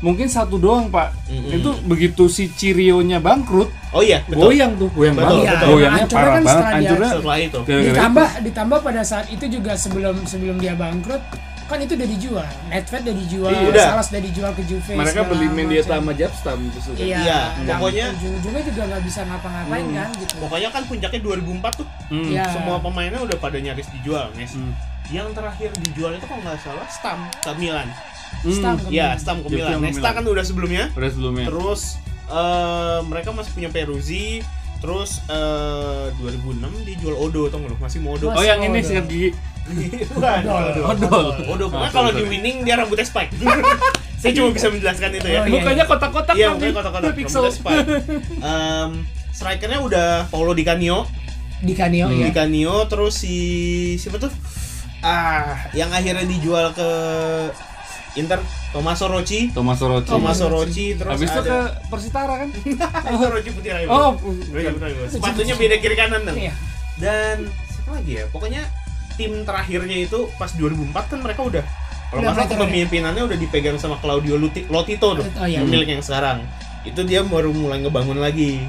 Speaker 1: mungkin satu doang pak.
Speaker 2: Mm-mm.
Speaker 1: Itu begitu si Cirionya bangkrut,
Speaker 2: Oh iya betul.
Speaker 1: goyang tuh, goyang
Speaker 2: Betul,
Speaker 1: banget,
Speaker 2: betul.
Speaker 1: goyangnya
Speaker 3: Hancurnya
Speaker 1: parah
Speaker 3: kan
Speaker 1: banget,
Speaker 3: setelah dia-
Speaker 1: hancurnya
Speaker 2: Setelah itu.
Speaker 1: gara-gara itu.
Speaker 3: ditambah ditambah pada saat itu juga sebelum sebelum dia bangkrut kan itu udah dijual Nedved udah dijual
Speaker 2: Iya, udah.
Speaker 3: Salas udah dijual ke Juve
Speaker 1: Mereka
Speaker 3: segala
Speaker 1: beli
Speaker 3: macam.
Speaker 1: Mendieta sama Jabstam justru kan.
Speaker 3: iya,
Speaker 2: Iya,
Speaker 3: dan
Speaker 2: pokoknya-
Speaker 3: ujung-ujungnya juga nggak bisa ngapa-ngapain kan gitu
Speaker 2: Pokoknya kan puncaknya 2004 tuh.
Speaker 1: Hmm.
Speaker 3: Iya.
Speaker 2: Semua pemainnya udah pada nyaris dijual, Nes.
Speaker 1: Hmm.
Speaker 2: Yang terakhir dijual itu kalau nggak salah Stam ke Milan.
Speaker 1: Hmm.
Speaker 3: Stam ke
Speaker 2: Iya,
Speaker 3: Milan.
Speaker 2: Stam ke
Speaker 1: Juve
Speaker 2: Milan.
Speaker 1: sama
Speaker 2: Nesta
Speaker 1: Milan.
Speaker 2: kan udah sebelumnya.
Speaker 1: Udah sebelumnya.
Speaker 2: Terus eh, mereka masih punya Peruzzi. Terus eh, 2006 dijual Odo atau belum? Masih mau Odo.
Speaker 1: oh yang
Speaker 3: Odol.
Speaker 1: ini sikat gigi.
Speaker 2: Bukan. Odo.
Speaker 1: Odol.
Speaker 2: Odo.
Speaker 1: Ah,
Speaker 2: Pokoknya kalau
Speaker 1: sorry,
Speaker 2: di
Speaker 1: sorry.
Speaker 2: winning dia rambutnya spike. Saya cuma bisa menjelaskan itu ya.
Speaker 3: Oh, iya.
Speaker 1: Mukanya kotak-kotak
Speaker 2: Iya,
Speaker 1: kan,
Speaker 2: mukanya
Speaker 1: nih.
Speaker 2: kotak-kotak.
Speaker 1: Pixel.
Speaker 2: Rambutnya spike. Em, strikernya udah Paulo Di Canio.
Speaker 3: di Kanio
Speaker 2: Hmm. Di
Speaker 1: Iya.
Speaker 3: ya
Speaker 2: Canio terus si siapa tuh? Ah, yang akhirnya dijual ke Inter Tommaso Rocci.
Speaker 1: Thomas Orochi.
Speaker 2: Tommaso Rocci terus
Speaker 1: Habis itu ke
Speaker 2: ada
Speaker 1: Persitara kan?
Speaker 2: Tommaso Rocci Putira ya,
Speaker 3: Hmm.
Speaker 1: Oh,
Speaker 2: Bu? Rocci Putira, Bu. Sepatunya beda kiri kanan dong.
Speaker 3: Iya.
Speaker 2: Dan siapa lagi ya? Pokoknya tim terakhirnya itu pas 2004 kan mereka udah kalau
Speaker 3: Udah
Speaker 2: nggak salah
Speaker 3: mereka-
Speaker 2: kepemimpinannya udah dipegang sama Claudio Luti- Lotito tuh,
Speaker 3: Oh, iya.
Speaker 2: pemilik yang sekarang. Itu dia baru mulai ngebangun lagi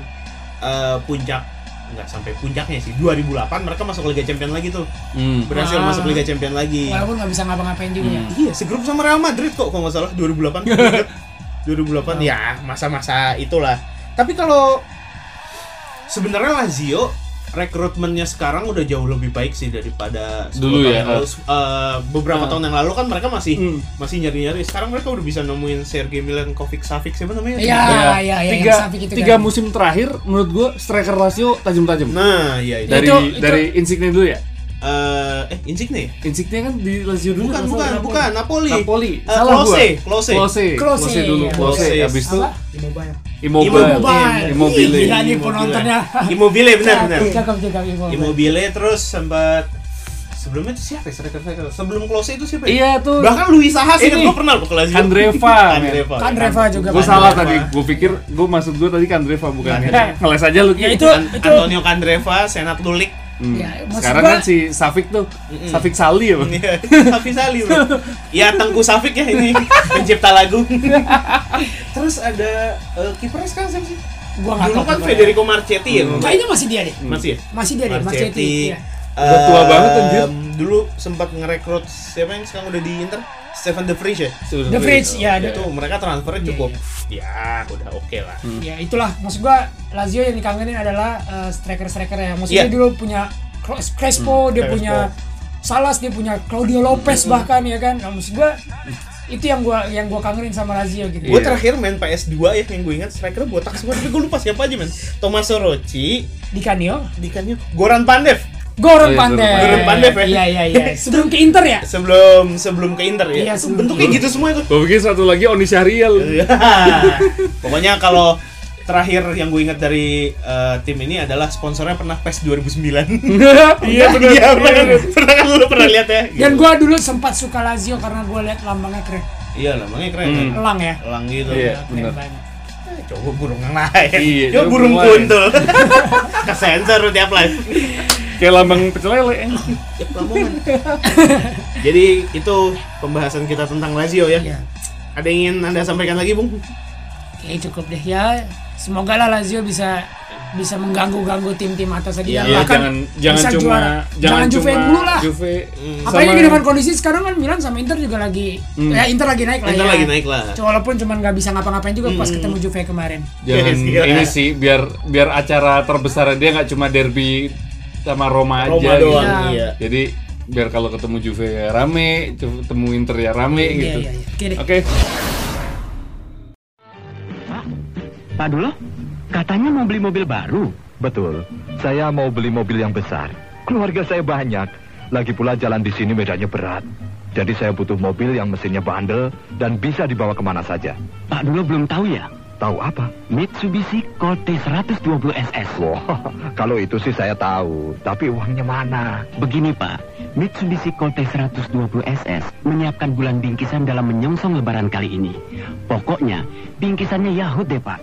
Speaker 2: eh, puncak nggak sampai puncaknya sih 2008 mereka masuk Liga Champions lagi tuh
Speaker 1: Hmm.
Speaker 2: berhasil
Speaker 3: Ah.
Speaker 2: masuk Liga Champions lagi
Speaker 3: walaupun nggak bisa ngapa-ngapain juga ya
Speaker 2: iya segrup sama Real Madrid kok kalau nggak salah 2008 gua ingat. 2008 ya
Speaker 1: Nah.
Speaker 2: masa-masa itulah tapi kalau sebenarnya Lazio rekrutmennya sekarang udah jauh lebih baik sih daripada 10
Speaker 1: Dulu ya,
Speaker 2: tahun
Speaker 1: Nah.
Speaker 2: yang lalu. Eh, beberapa tahun yang lalu kan mereka masih
Speaker 1: Hmm.
Speaker 2: masih nyari-nyari. Sekarang mereka udah bisa nemuin Sergei Milenkovic Savic siapa namanya?
Speaker 3: Iya,
Speaker 1: Ya,
Speaker 3: iya, iya.
Speaker 1: tiga
Speaker 3: yang Safi gitu
Speaker 1: tiga
Speaker 3: kan.
Speaker 1: musim terakhir menurut gue striker Lazio tajam-tajam.
Speaker 2: Nah, iya itu.
Speaker 1: dari
Speaker 3: itu-
Speaker 1: dari Insigne dulu ya.
Speaker 2: Eh, eh Insigne ya?
Speaker 1: Insigne kan di Lazio dulu.
Speaker 2: Bukan,
Speaker 1: kalau
Speaker 2: bukan,
Speaker 1: salah,
Speaker 2: bukan. Napoli.
Speaker 1: Napoli.
Speaker 2: Eh,
Speaker 1: Salah gua.
Speaker 2: Klose, Klose.
Speaker 1: Klose.
Speaker 3: Klose,
Speaker 1: Klose dulu.
Speaker 3: iya.
Speaker 1: Klose.
Speaker 2: Klose.
Speaker 1: Habis itu
Speaker 3: apa? Immobile.
Speaker 1: Immobile.
Speaker 3: Immobile. Iya,
Speaker 1: Immobile.
Speaker 3: Gila nih
Speaker 2: Immobile.
Speaker 3: penontonnya.
Speaker 2: Immobile
Speaker 3: Iya,
Speaker 2: benar benar.
Speaker 3: Cakep cakep Immobile.
Speaker 2: Immobile terus sempat sebelumnya itu siapa ya striker striker? Sebelum Klose itu siapa ya?
Speaker 1: Iya tuh.
Speaker 2: Bahkan Luis Saha sih
Speaker 1: Ini.
Speaker 2: gue pernah loh ke Lazio.
Speaker 1: Kandreva, men.
Speaker 2: Kandreva.
Speaker 3: Kandreva juga. kan.
Speaker 1: Gue
Speaker 2: Kandreva.
Speaker 1: salah tadi. Gue pikir gue maksud gue tadi Kandreva bukan.
Speaker 2: Kandreva.
Speaker 1: Ngeles aja lu. Ki.
Speaker 3: Ya, itu-
Speaker 2: An- Antonio Kandreva, Senat Lulik.
Speaker 1: Hmm.
Speaker 3: Ya, maksud
Speaker 1: Sekarang
Speaker 3: gua-
Speaker 1: kan si Safik tuh, Safik Sali ya. Bang?
Speaker 2: Iya, Safi Sali bro. Ya Tengku Safik ya ini pencipta lagu. Terus ada eh, kipernya sekarang siapa sih?
Speaker 3: Gua nggak
Speaker 2: Dulu
Speaker 3: tahu
Speaker 2: kan
Speaker 3: kipernya. Hmm.
Speaker 2: Federico Marchetti ya.
Speaker 3: Kayaknya masih dia deh.
Speaker 2: Masih ya?
Speaker 3: Masih dia deh, Marchetti. Iya.
Speaker 1: Udah tua banget, anjir.
Speaker 2: eh, Em, Dulu sempat ngerekrut siapa yang sekarang udah di Inter? Stefan De Vrij ya?
Speaker 3: The Fridge, ya,
Speaker 2: Itu
Speaker 3: the-
Speaker 2: mereka transfernya
Speaker 3: Iya,
Speaker 2: cukup ya udah oke lah.
Speaker 1: Hmm.
Speaker 3: ya itulah maksud gua Lazio yang dikangenin adalah eh, striker-striker ya. Maksudnya
Speaker 2: Iya. Hmm,
Speaker 3: dulu punya Cres- Crespo, dia
Speaker 2: Crespo. Hmm.
Speaker 3: punya Salas, dia punya Claudio Lopez bahkan ya kan. Nah, maksud gua itu yang gua yang gua kangenin sama Lazio gitu.
Speaker 2: Gue
Speaker 1: Iya.
Speaker 2: terakhir main PS2 ya yang gue ingat striker botak semua tapi gue lupa siapa aja men. Tommaso Rocci,
Speaker 3: Di Canio,
Speaker 2: dikannya Goran Pandev
Speaker 1: Oh,
Speaker 3: Goran
Speaker 1: iya,
Speaker 3: Pandev.
Speaker 2: Goran Pandev, ya.
Speaker 3: Iya iya iya. Sebelum ke Inter ya?
Speaker 2: sebelum sebelum ke Inter ya.
Speaker 3: Iya,
Speaker 2: Itu
Speaker 3: sebelum-
Speaker 2: bentuknya gitu semua itu.
Speaker 1: Gue pikir satu lagi Oni Syahrial.
Speaker 2: Iya. Pokoknya kalau terakhir yang gue ingat dari eh, tim ini adalah sponsornya pernah E PES 2009.
Speaker 1: Iya benar.
Speaker 2: Iya,
Speaker 1: benar.
Speaker 2: pernah, pernah kan lu pernah lihat ya?
Speaker 3: Dan gua dulu sempat suka Lazio karena gua lihat lambangnya keren.
Speaker 2: Iya, lambangnya keren.
Speaker 1: Hmm.
Speaker 2: kan?
Speaker 3: Elang ya.
Speaker 2: Elang gitu.
Speaker 1: Iya.
Speaker 3: Keren
Speaker 1: bener.
Speaker 3: banget.
Speaker 2: Eh, Coba burung yang lain.
Speaker 1: Iya,
Speaker 2: Coba
Speaker 1: coba
Speaker 2: burung
Speaker 1: burung lain.
Speaker 2: kuntul. Kesensor lu tiap live.
Speaker 1: Kayak lambang eh. pecel lele.
Speaker 2: Tiap lamongan. Jadi itu pembahasan kita tentang Lazio ya.
Speaker 3: Iya.
Speaker 2: Ada yang ingin Anda sampaikan lagi, Bung?
Speaker 3: Oke cukup deh ya. Semoga lah Lazio bisa bisa mengganggu-ganggu tim-tim atas lagi.
Speaker 1: Iya,
Speaker 3: Dan bahkan
Speaker 1: jangan jangan
Speaker 3: bisa
Speaker 1: cuma
Speaker 3: juara.
Speaker 1: jangan
Speaker 3: jangan Juve
Speaker 1: cuma
Speaker 3: dulu lah.
Speaker 1: Juve. Hmm.
Speaker 3: Apalagi
Speaker 1: sama-
Speaker 3: dengan kondisi sekarang kan Milan sama Inter juga lagi
Speaker 1: Hmm.
Speaker 3: ya Inter lagi naik lah.
Speaker 2: Kita
Speaker 3: ya.
Speaker 2: lagi naik lah.
Speaker 3: Cuma Walaupun cuman nggak bisa ngapa-ngapain juga pas
Speaker 1: Hmm.
Speaker 3: ketemu Juve kemarin.
Speaker 1: jangan
Speaker 2: Iya.
Speaker 1: ini sih biar biar acara terbesar dia nggak cuma derby sama Roma,
Speaker 2: Roma
Speaker 1: aja.
Speaker 2: doang,
Speaker 1: gitu.
Speaker 2: iya.
Speaker 1: Jadi biar kalau ketemu Juve ya rame, ketemu Inter ya rame
Speaker 3: Iya,
Speaker 1: gitu.
Speaker 3: iya, iya. Oke deh.
Speaker 1: Oke.
Speaker 7: Pak Dulo, katanya mau beli mobil baru.
Speaker 8: Betul, saya mau beli mobil yang besar. Keluarga saya banyak. Lagi pula jalan di sini medannya berat. Jadi saya butuh mobil yang mesinnya bandel dan bisa dibawa kemana saja.
Speaker 7: Pak Dulo belum tahu ya?
Speaker 8: Tahu apa?
Speaker 7: Mitsubishi Colt 120 SS.
Speaker 8: Wah, kalau itu sih saya tahu. Tapi uangnya mana?
Speaker 7: Nah, Begini Pak, Mitsubishi Colt 120 SS menyiapkan bulan bingkisan dalam menyongsong lebaran kali ini. Pokoknya, bingkisannya Yahut deh Pak.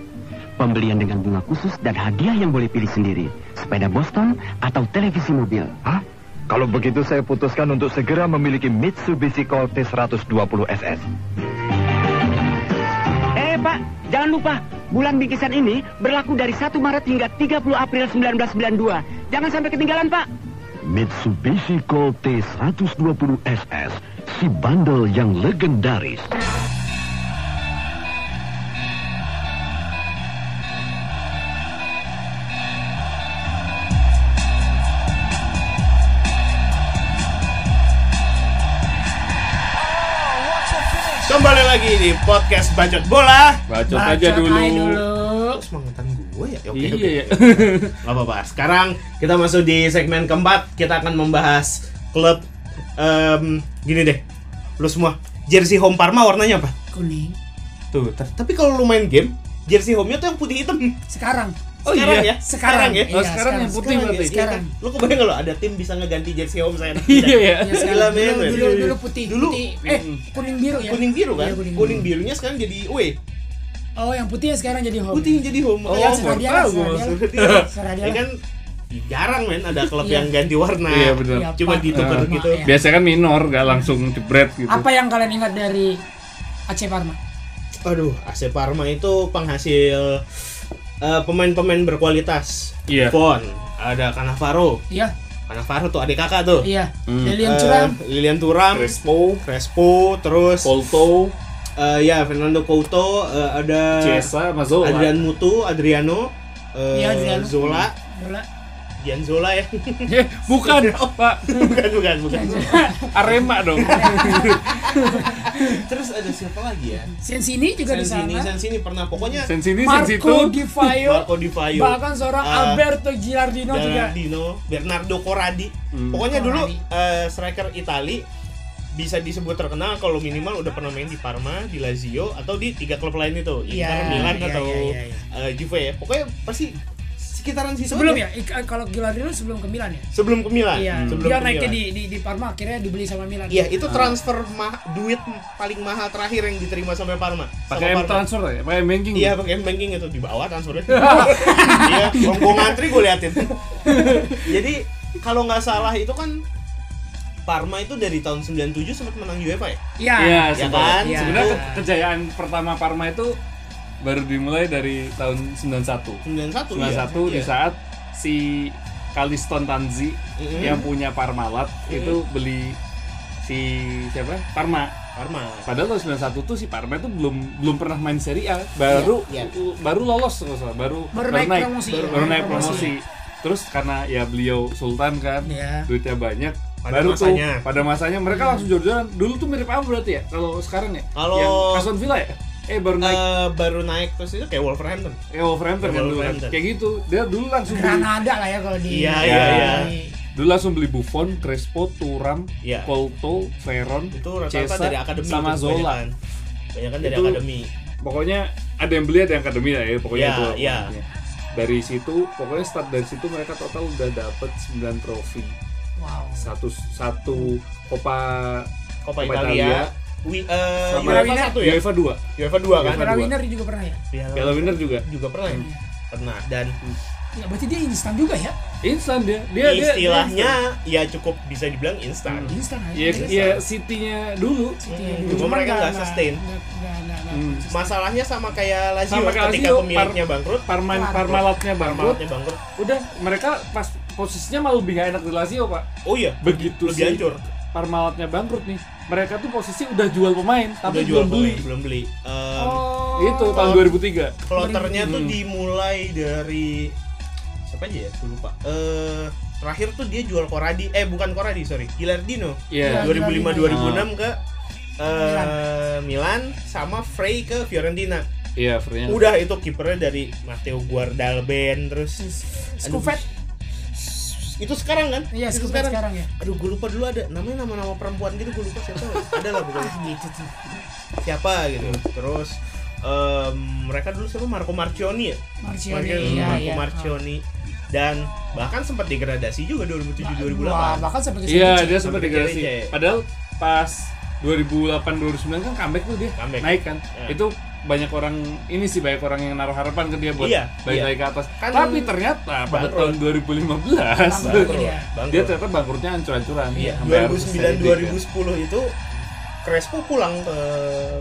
Speaker 7: Pembelian dengan bunga khusus dan hadiah yang boleh pilih sendiri. Sepeda Boston atau televisi mobil.
Speaker 8: Hah? Kalau begitu saya putuskan untuk segera memiliki Mitsubishi Colt 120 SS.
Speaker 7: Eh Pak, jangan lupa bulan bingkisan ini berlaku dari 1 Maret hingga 30 April 1992. Jangan sampai ketinggalan Pak.
Speaker 8: Mitsubishi Colt 120 SS, si bandel yang legendaris.
Speaker 2: Kembali lagi di podcast Bacot Bola.
Speaker 1: Bacot aja dulu.
Speaker 3: aja dulu.
Speaker 2: Terus mangetan gue ya? Oke,
Speaker 1: Iya
Speaker 2: oke.
Speaker 1: ya.
Speaker 2: Gak apa-apa. Sekarang kita masuk di segmen keempat. Kita akan membahas klub em, gini deh. Lu semua jersey home Parma warnanya apa?
Speaker 3: Kuning.
Speaker 2: Tuh. ta- Tapi kalau lu main game, jersey home-nya tuh yang putih hitam.
Speaker 3: Sekarang.
Speaker 1: Hmm. Oh iya.
Speaker 2: sekarang ya. Sekarang, ya.
Speaker 1: Oh, sekarang yang putih
Speaker 2: Sekarang
Speaker 1: berarti.
Speaker 2: ya,
Speaker 3: Sekarang.
Speaker 2: iya kan? Lu kebayang gak lo ada tim bisa ngeganti jersey home saya?
Speaker 1: Iya ya. Hmm.
Speaker 3: Ya, sekarang.
Speaker 2: Gila, men.
Speaker 3: dulu, dulu, dulu putih,
Speaker 2: Dulu-
Speaker 3: putih. Eh, kuning biru ya.
Speaker 2: Kuning biru kan?
Speaker 3: Iya, kuning,
Speaker 2: kuning,
Speaker 3: kuning.
Speaker 2: birunya sekarang jadi away.
Speaker 3: Oh, yang putihnya sekarang jadi home.
Speaker 2: Putih yang jadi home.
Speaker 1: Oh,
Speaker 2: Makanya
Speaker 1: baru
Speaker 3: serah dia lah,
Speaker 1: tahu
Speaker 3: serah
Speaker 1: gua.
Speaker 3: dia lah.
Speaker 2: Iya.
Speaker 3: Serah dia
Speaker 2: Ya
Speaker 3: lah.
Speaker 2: kan jarang men ada klub
Speaker 3: Iya.
Speaker 2: yang ganti warna.
Speaker 1: Iya, benar.
Speaker 3: Ya,
Speaker 2: Cuma
Speaker 3: Pak.
Speaker 2: ditukar
Speaker 3: Iya.
Speaker 2: gitu.
Speaker 3: Iya.
Speaker 1: Biasanya kan minor, gak langsung jebret gitu.
Speaker 3: Apa yang kalian ingat dari AC Parma?
Speaker 2: Aduh, AC Parma itu penghasil eh, pemain-pemain berkualitas.
Speaker 1: Iya.
Speaker 2: Fon, ada Cannavaro.
Speaker 3: Iya,
Speaker 2: Cannavaro tuh adik kakak tuh.
Speaker 3: iya.
Speaker 1: Hmm.
Speaker 3: Lilian
Speaker 2: Eh,
Speaker 3: Curam,
Speaker 2: Lilian Thuram,
Speaker 1: Crespo,
Speaker 2: Crespo, terus
Speaker 1: Colto,
Speaker 2: eh, ya Fernando Couto, eh, ada
Speaker 1: Chiesa, Mazzola.
Speaker 2: Adrian Mutu, Adriano, eh,
Speaker 3: Iya, Adriano.
Speaker 2: Zola,
Speaker 3: Bola.
Speaker 2: Gianzola ya
Speaker 1: Eh, bukan, Pak.
Speaker 2: bukan bukan bukan
Speaker 1: Arema dong.
Speaker 2: terus ada siapa lagi ya
Speaker 3: Sensini juga di
Speaker 2: Sensini
Speaker 3: sana.
Speaker 2: Sensini pernah pokoknya
Speaker 1: Sen sini, sen situ.
Speaker 3: Marco Di Fayo,
Speaker 2: Marco Di Fayo
Speaker 3: bahkan seorang
Speaker 2: Ah,
Speaker 3: Alberto Girardino juga.
Speaker 2: Gilardino, Bernardo Corradi.
Speaker 1: Hmm.
Speaker 2: Pokoknya dulu eh, striker Itali bisa disebut terkenal kalau minimal udah pernah main di Parma, di Lazio atau di tiga klub lain itu,
Speaker 3: Iya,
Speaker 2: Inter, Milan
Speaker 3: iya,
Speaker 2: atau
Speaker 3: iya, iya,
Speaker 2: eh, Juve ya. Pokoknya pasti sekitaran situ.
Speaker 3: Sebelum
Speaker 2: aja.
Speaker 3: ya, ik- kalau Girardino sebelum ke Milan ya.
Speaker 2: Sebelum ke Milan.
Speaker 3: Iya,
Speaker 2: Ah, Sebelum
Speaker 3: dia
Speaker 2: ke
Speaker 3: naiknya
Speaker 2: Milan.
Speaker 3: di, di di Parma akhirnya dibeli sama Milan.
Speaker 2: Iya, itu
Speaker 1: Ah.
Speaker 2: transfer ma- duit paling mahal terakhir yang diterima sampai Parma. Sama
Speaker 1: Pakai M
Speaker 2: Parma.
Speaker 1: transfer ya, pakai M banking.
Speaker 2: Iya pakai M banking itu di bawah transfernya. Iya, gua gua ngantri gue liatin. Jadi kalau nggak salah itu kan Parma itu dari tahun 97 sempat menang UEFA ya?
Speaker 3: Iya.
Speaker 1: Iya,
Speaker 2: Ya
Speaker 1: sebenarnya-
Speaker 2: kan?
Speaker 3: Iya.
Speaker 1: Sebenarnya
Speaker 2: Sebenarnya
Speaker 1: ke- kejayaan pertama Parma itu baru dimulai dari tahun 91.
Speaker 2: 91 ya.
Speaker 1: 91 di
Speaker 2: Iya.
Speaker 1: saat si Kaliston Tanzi
Speaker 2: Mm-mm.
Speaker 1: yang punya Parmalat
Speaker 2: Mm-hmm.
Speaker 1: itu beli si siapa? Parma.
Speaker 2: Parma.
Speaker 1: Padahal tahun 91 tuh si Parma itu belum belum pernah main Serie A, baru
Speaker 2: Iya,
Speaker 1: baru lolos kalau nggak salah, baru
Speaker 3: Baru naik promosi.
Speaker 1: baru,
Speaker 3: Baru
Speaker 1: baru
Speaker 3: naik
Speaker 1: naik promosi. Terus karena ya beliau sultan kan,
Speaker 3: Iya. Hmm.
Speaker 1: duitnya banyak,
Speaker 2: Pada
Speaker 1: baru
Speaker 2: masanya.
Speaker 1: tuh pada masanya mereka langsung jor-joran. Dulu tuh mirip apa berarti ya? Kalau sekarang ya?
Speaker 2: Kalau-
Speaker 1: yang Aston Villa ya? Eh baru naik
Speaker 2: Eh, baru naik terus itu kayak Wolverhampton.
Speaker 1: eh Wolverhampton kan dulu kan.
Speaker 2: Wolverhampton.
Speaker 1: Kayak gitu. Dia dulu langsung beli
Speaker 3: Granada lah ya kalau di.
Speaker 2: Iya,
Speaker 3: di-
Speaker 1: iya,
Speaker 2: iya.
Speaker 1: Dulu langsung beli Buffon, Crespo, Turam,
Speaker 2: Iya.
Speaker 1: Colto, Veron,
Speaker 2: Itu rata-rata
Speaker 1: Cesa,
Speaker 2: dari akademi
Speaker 1: sama
Speaker 2: itu
Speaker 1: Zola.
Speaker 2: kebanyakan. Kebanyakan kan dari
Speaker 1: Itu-
Speaker 2: akademi.
Speaker 1: Pokoknya ada yang beli, ada yang akademi lah ya. Pokoknya
Speaker 2: Iya,
Speaker 1: itu. lah
Speaker 2: iya.
Speaker 1: pokoknya. Dari situ, pokoknya start dari situ mereka total udah dapet 9 trofi.
Speaker 3: Wow.
Speaker 1: Satu satu Copa
Speaker 2: Copa
Speaker 1: Copa
Speaker 2: Italia. Wi- eh,
Speaker 1: sama
Speaker 2: UEFA satu ya?
Speaker 1: UEFA 2.
Speaker 2: UEFA 2
Speaker 1: Piala
Speaker 2: kan? Iya,
Speaker 3: Piala
Speaker 1: dua.
Speaker 3: Winner juga pernah ya?
Speaker 1: Piala Winner juga.
Speaker 2: juga pernah ya? Pernah dan
Speaker 3: Ya berarti dia instan juga ya?
Speaker 1: Instan dia. Dia dia-
Speaker 2: istilahnya ya cukup bisa dibilang instan.
Speaker 3: Instan aja.
Speaker 1: dia, ya, ya City-nya dulu.
Speaker 2: Cuma mereka nggak sustain.
Speaker 1: Hmm.
Speaker 2: Masalahnya sama kayak Lazio
Speaker 1: Sama kayak
Speaker 2: ketika
Speaker 1: Lazio,
Speaker 2: pemiliknya
Speaker 1: Par-
Speaker 2: bangkrut,
Speaker 1: Parman Parmalatnya bangkrut.
Speaker 2: pemiliknya bangkrut.
Speaker 1: Udah mereka pas posisinya malah lebih gak enak di Lazio, Pak.
Speaker 2: Oh iya,
Speaker 1: begitu
Speaker 2: lebih
Speaker 1: sih
Speaker 2: hancur.
Speaker 1: Parmalatnya bangkrut nih mereka tuh posisi udah jual pemain tapi
Speaker 2: Udah jual
Speaker 1: belum beli Oh,
Speaker 2: pemain, belum beli. Em,
Speaker 1: itu tahun 2003
Speaker 2: Kloternya
Speaker 1: hmm.
Speaker 2: tuh dimulai dari siapa aja ya? Gue lupa. Eh terakhir tuh dia jual Koradi, eh bukan Koradi, sorry, Gilardino.
Speaker 1: Iya.
Speaker 2: 2005
Speaker 1: Gilardino.
Speaker 2: 2006 ke eh, Milan sama Frey ke Fiorentina.
Speaker 1: iya Frenya
Speaker 2: Udah itu kipernya dari Matteo Guardalben terus
Speaker 1: Hmm.
Speaker 3: Scovet.
Speaker 2: itu sekarang kan?
Speaker 3: Iya,
Speaker 2: Itu
Speaker 3: Scovet sekarang ya.
Speaker 2: Aduh, gue lupa dulu ada namanya nama-nama perempuan gitu, gue lupa siapa. ada lah pokoknya.
Speaker 3: Gitu tuh.
Speaker 2: Siapa gitu. Terus em, mereka dulu siapa Marco Marcioni ya?
Speaker 3: Marcioni.
Speaker 2: Marco,
Speaker 3: Iya,
Speaker 2: Marco
Speaker 3: iya.
Speaker 2: Marcioni dan bahkan sempat degradasi juga 2007
Speaker 3: Wah,
Speaker 2: 2008.
Speaker 3: bahkan sampai ke
Speaker 1: iya
Speaker 3: sini.
Speaker 1: dia sempat
Speaker 2: Sampai ya?
Speaker 1: degradasi
Speaker 2: kece.
Speaker 1: padahal pas 2008 2009 kan comeback tuh dia
Speaker 2: Comeback.
Speaker 1: naik kan
Speaker 2: Iya.
Speaker 1: itu banyak orang ini sih banyak orang yang naruh harapan ke dia buat
Speaker 2: Iya,
Speaker 1: balik
Speaker 2: iya.
Speaker 1: lagi ke atas
Speaker 2: Kan-
Speaker 1: tapi ternyata pada
Speaker 2: Bangkrut.
Speaker 1: tahun 2015
Speaker 3: Bangkrut. Iya.
Speaker 1: dia
Speaker 2: Bangkrut.
Speaker 1: ternyata bangkrutnya hancur-hancuran
Speaker 2: Iya,
Speaker 1: Sampai harus seri tiga.
Speaker 2: 2009 2010 itu Crespo pulang ke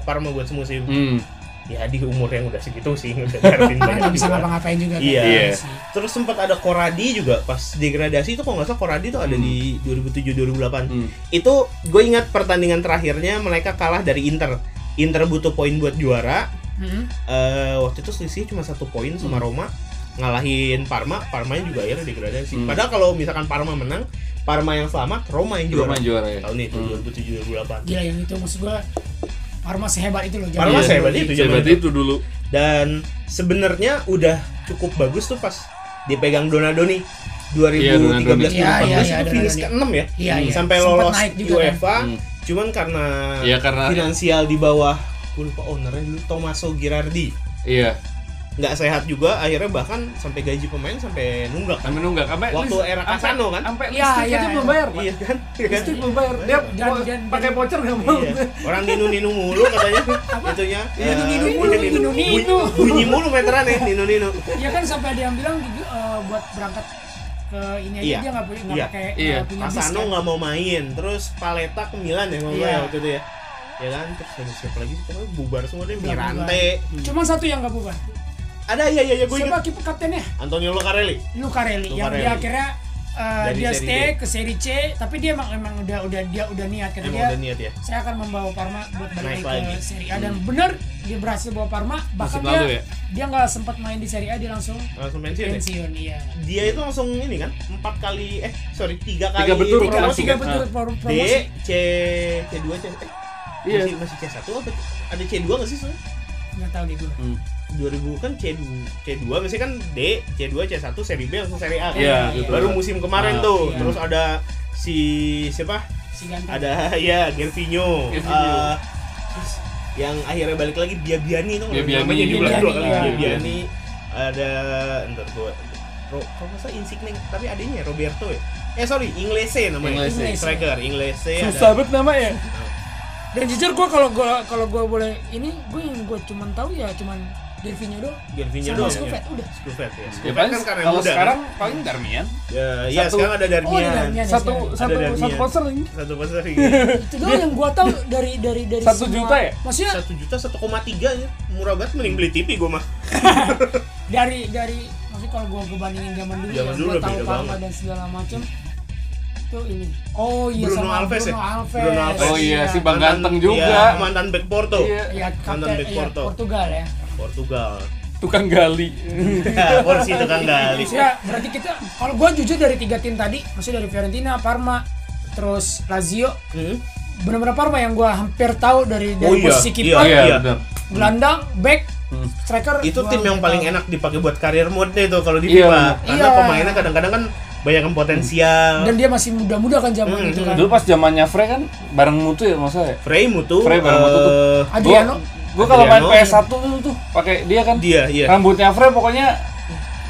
Speaker 2: Parma buat semusim.
Speaker 1: hmm.
Speaker 2: Ya di umur yang udah segitu sih udah Darwin
Speaker 3: Karena
Speaker 2: banyak
Speaker 3: nggak bisa
Speaker 2: juga.
Speaker 3: ngapa-ngapain juga. kan?
Speaker 2: Iya.
Speaker 1: Iya.
Speaker 3: sih.
Speaker 2: Terus sempat ada Koradi juga pas degradasi itu kalau nggak salah Koradi itu ada di 2007 2008.
Speaker 1: Hmm.
Speaker 2: Itu gue ingat pertandingan terakhirnya mereka kalah dari Inter. Inter butuh poin buat juara.
Speaker 3: Hmm.
Speaker 2: Eh, waktu itu selisih cuma satu poin sama
Speaker 1: Hmm.
Speaker 2: Roma ngalahin Parma, Parmanya juga akhirnya degradasi.
Speaker 1: Hmm.
Speaker 2: Padahal kalau misalkan Parma menang, Parma yang selamat, Roma yang juara.
Speaker 1: Roma juara ya
Speaker 2: Tahun itu 2007 2008.
Speaker 3: Gila yang itu maksud gua Parma sehebat itu loh. zaman
Speaker 2: Parma
Speaker 1: Iya.
Speaker 3: dulu.
Speaker 2: sehebat itu zaman
Speaker 1: Hebat
Speaker 2: itu.
Speaker 1: itu dulu
Speaker 2: Dan sebenarnya udah cukup bagus tuh pas dipegang Donadoni 2013
Speaker 1: Iya, Donadoni.
Speaker 3: Iya,
Speaker 2: 2014
Speaker 3: iya, iya,
Speaker 2: itu finish
Speaker 3: Donadoni.
Speaker 2: ke 6 ya.
Speaker 3: Iya, iya.
Speaker 2: Sampai
Speaker 3: Sempet
Speaker 2: lolos
Speaker 3: naik juga kan.
Speaker 2: UEFA.
Speaker 1: Hmm.
Speaker 2: Cuman karena,
Speaker 1: Iya, karena-
Speaker 2: finansial di bawah gue lupa ownernya dulu Tommaso Girardi
Speaker 1: iya
Speaker 2: nggak sehat juga akhirnya bahkan sampai gaji pemain sampai nunggak
Speaker 1: Sampai nunggak, sampai
Speaker 2: Waktu
Speaker 1: list-
Speaker 2: era
Speaker 1: sampai-
Speaker 2: Kasano, kan?
Speaker 1: Sampai
Speaker 3: Iya,
Speaker 1: listrik
Speaker 3: iya,
Speaker 1: aja
Speaker 3: iya.
Speaker 1: belum bayar, Pak.
Speaker 2: iya kan Iya kan?
Speaker 1: Listrik belum bayar. Dia
Speaker 3: Dan-
Speaker 1: mau
Speaker 3: dan-
Speaker 1: pakai
Speaker 3: dan-
Speaker 1: voucher nggak mau.
Speaker 2: Iya. Orang ninu-ninu mulu katanya itunya. eh,
Speaker 3: Iya, Ninu-ninu mulu,
Speaker 2: ninu-ninu.
Speaker 3: ninu-ninu.
Speaker 2: Bunyi- Bunyi mulu meteran ya ninu-ninu.
Speaker 3: Iya kan sampai ada yang bilang juga, eh, buat berangkat ke ini aja
Speaker 2: Iya.
Speaker 3: dia nggak punya nggak
Speaker 2: Iya.
Speaker 3: pakai
Speaker 1: Iya.
Speaker 3: nggak punya bis
Speaker 2: Kasano
Speaker 3: kan.
Speaker 2: nggak mau main, terus Paleta ke Milan ya ngomongnya
Speaker 3: Iya.
Speaker 2: waktu itu ya. Ya kan, terus ada siapa lagi sih? pokoknya bubar semua deh
Speaker 3: Bubar,
Speaker 2: Mirante.
Speaker 3: Cuma satu yang nggak bubar.
Speaker 2: Ada iya iya iya gue
Speaker 3: Siapa
Speaker 2: Hmm. ingat.
Speaker 3: kiper kaptennya?
Speaker 2: Antonio Locarelli.
Speaker 3: Iya. Lucarelli yang
Speaker 2: Lucarelli.
Speaker 3: dia akhirnya eh,
Speaker 2: Dari
Speaker 3: dia
Speaker 2: seri
Speaker 3: stay
Speaker 2: D.
Speaker 3: ke seri C tapi dia emang emang udah udah dia udah niat kan
Speaker 2: Emang
Speaker 3: dia
Speaker 2: udah niat ya?
Speaker 3: saya akan membawa Parma buat balik
Speaker 2: Naik
Speaker 3: lagi
Speaker 2: lagi. Hmm.
Speaker 3: ke seri A dan bener dia berhasil bawa Parma bahkan
Speaker 1: Musim lalu
Speaker 3: dia
Speaker 1: ya?
Speaker 3: dia nggak sempat main di seri A dia langsung
Speaker 2: langsung pensiun ya?
Speaker 3: pensiun iya
Speaker 2: dia itu langsung ini kan empat kali eh sorry tiga kali
Speaker 1: Tiga betul,
Speaker 3: tiga
Speaker 1: Promosi
Speaker 3: tiga
Speaker 1: kan?
Speaker 3: betul
Speaker 1: Ah.
Speaker 3: pro-
Speaker 2: D
Speaker 3: promosi
Speaker 2: C C dua C eh
Speaker 1: Iya.
Speaker 2: masih masih C satu apa ada C dua nggak sih sebenarnya
Speaker 3: nggak tahu deh gue
Speaker 1: Hmm.
Speaker 2: 2000 kan C2 C2 biasanya kan D C2 C1 seri B langsung seri A kan?
Speaker 1: Iya, gitu.
Speaker 2: baru musim
Speaker 1: Ah,
Speaker 2: kemarin tuh
Speaker 3: iya.
Speaker 2: terus ada si siapa
Speaker 3: si ganteng
Speaker 2: ada ya Gervinho
Speaker 1: Gervinho.
Speaker 2: Eh, terus yang akhirnya balik lagi Biabiani tuh
Speaker 1: Biabiani
Speaker 2: namanya
Speaker 1: juga.
Speaker 2: diulang dua kali
Speaker 1: Iya.
Speaker 2: Biabiani ada ntar gua Ro, kalau nggak salah Insigne tapi adanya Roberto ya eh sorry Inglese namanya
Speaker 1: Inglese.
Speaker 2: Inglese. striker Inglese
Speaker 1: susah
Speaker 2: ada
Speaker 1: banget nama ya
Speaker 3: dan jujur gue kalau gue kalau gue boleh ini gue yang gue cuman tahu ya cuman Gervinho doang
Speaker 2: Gervinho
Speaker 3: sama
Speaker 2: doang
Speaker 3: Skuvet, udah.
Speaker 2: Skuvet ya
Speaker 1: ya
Speaker 2: Skuvet
Speaker 1: paling
Speaker 2: kan karena
Speaker 1: kalau
Speaker 2: muda
Speaker 1: sekarang
Speaker 2: kan?
Speaker 1: paling Darmian
Speaker 2: ya, ya,
Speaker 1: satu-
Speaker 2: sekarang ada
Speaker 3: oh ada
Speaker 2: Darmian
Speaker 3: Darmian ya
Speaker 1: satu
Speaker 3: sekarang.
Speaker 1: satu
Speaker 2: Darmian.
Speaker 1: satu konser ini
Speaker 2: satu pasar
Speaker 3: itu doang yang gue tahu dari dari dari
Speaker 1: Satu
Speaker 3: semua-
Speaker 1: juta ya?
Speaker 3: maksudnya
Speaker 2: satu juta satu koma tiga ya murah banget mending beli TV gua mah
Speaker 3: dari dari maksudnya kalau gua kebandingin zaman dulu
Speaker 2: Zaman
Speaker 3: yang
Speaker 2: dulu
Speaker 3: gua
Speaker 2: udah
Speaker 3: tahu
Speaker 2: beda
Speaker 3: Parma
Speaker 2: banget.
Speaker 3: dan segala macam itu ini oh iya
Speaker 2: Bruno
Speaker 3: sama
Speaker 2: Alves
Speaker 3: Bruno
Speaker 2: ya?
Speaker 3: Alves
Speaker 2: Bruno Alves.
Speaker 1: oh iya si bang
Speaker 2: Mantan-
Speaker 1: ganteng
Speaker 2: iya,
Speaker 1: juga
Speaker 2: mantan back Porto
Speaker 1: Iya.
Speaker 3: iya
Speaker 2: Mantan
Speaker 3: kapten
Speaker 2: back
Speaker 3: iya,
Speaker 2: Porto.
Speaker 3: Portugal ya
Speaker 2: Portugal
Speaker 1: tukang gali
Speaker 2: porsi tukang gali
Speaker 3: Iya, maksudnya berarti kita kalau gua jujur dari tiga tim tadi maksudnya dari Fiorentina Parma terus Lazio
Speaker 2: Hmm?
Speaker 3: benar-benar Parma yang gua hampir tahu dari dari
Speaker 2: Oh iya,
Speaker 3: posisi kiper
Speaker 2: Iya,
Speaker 1: iya
Speaker 2: benar.
Speaker 1: benar
Speaker 3: gelandang back
Speaker 1: Hmm.
Speaker 3: striker
Speaker 2: itu
Speaker 3: gua
Speaker 2: tim yang
Speaker 3: nggak
Speaker 2: paling
Speaker 3: tahu.
Speaker 2: enak dipakai buat karir mode itu kalau di
Speaker 1: Iya,
Speaker 2: FIFA
Speaker 1: benar.
Speaker 2: karena
Speaker 3: Iya.
Speaker 2: pemainnya kadang-kadang kan banyak yang potensial
Speaker 3: dan dia masih muda-muda kan zaman
Speaker 2: Hmm,
Speaker 3: itu kan
Speaker 1: dulu pas zamannya Frey kan bareng mutu ya maksudnya
Speaker 2: Frey Mutu
Speaker 1: Frey bareng Mutu tuh.
Speaker 2: eh,
Speaker 3: Adriano
Speaker 1: gue kalau main
Speaker 2: Adriano.
Speaker 1: PS1 dulu tuh pakai dia kan
Speaker 2: dia iya
Speaker 1: rambutnya Frey pokoknya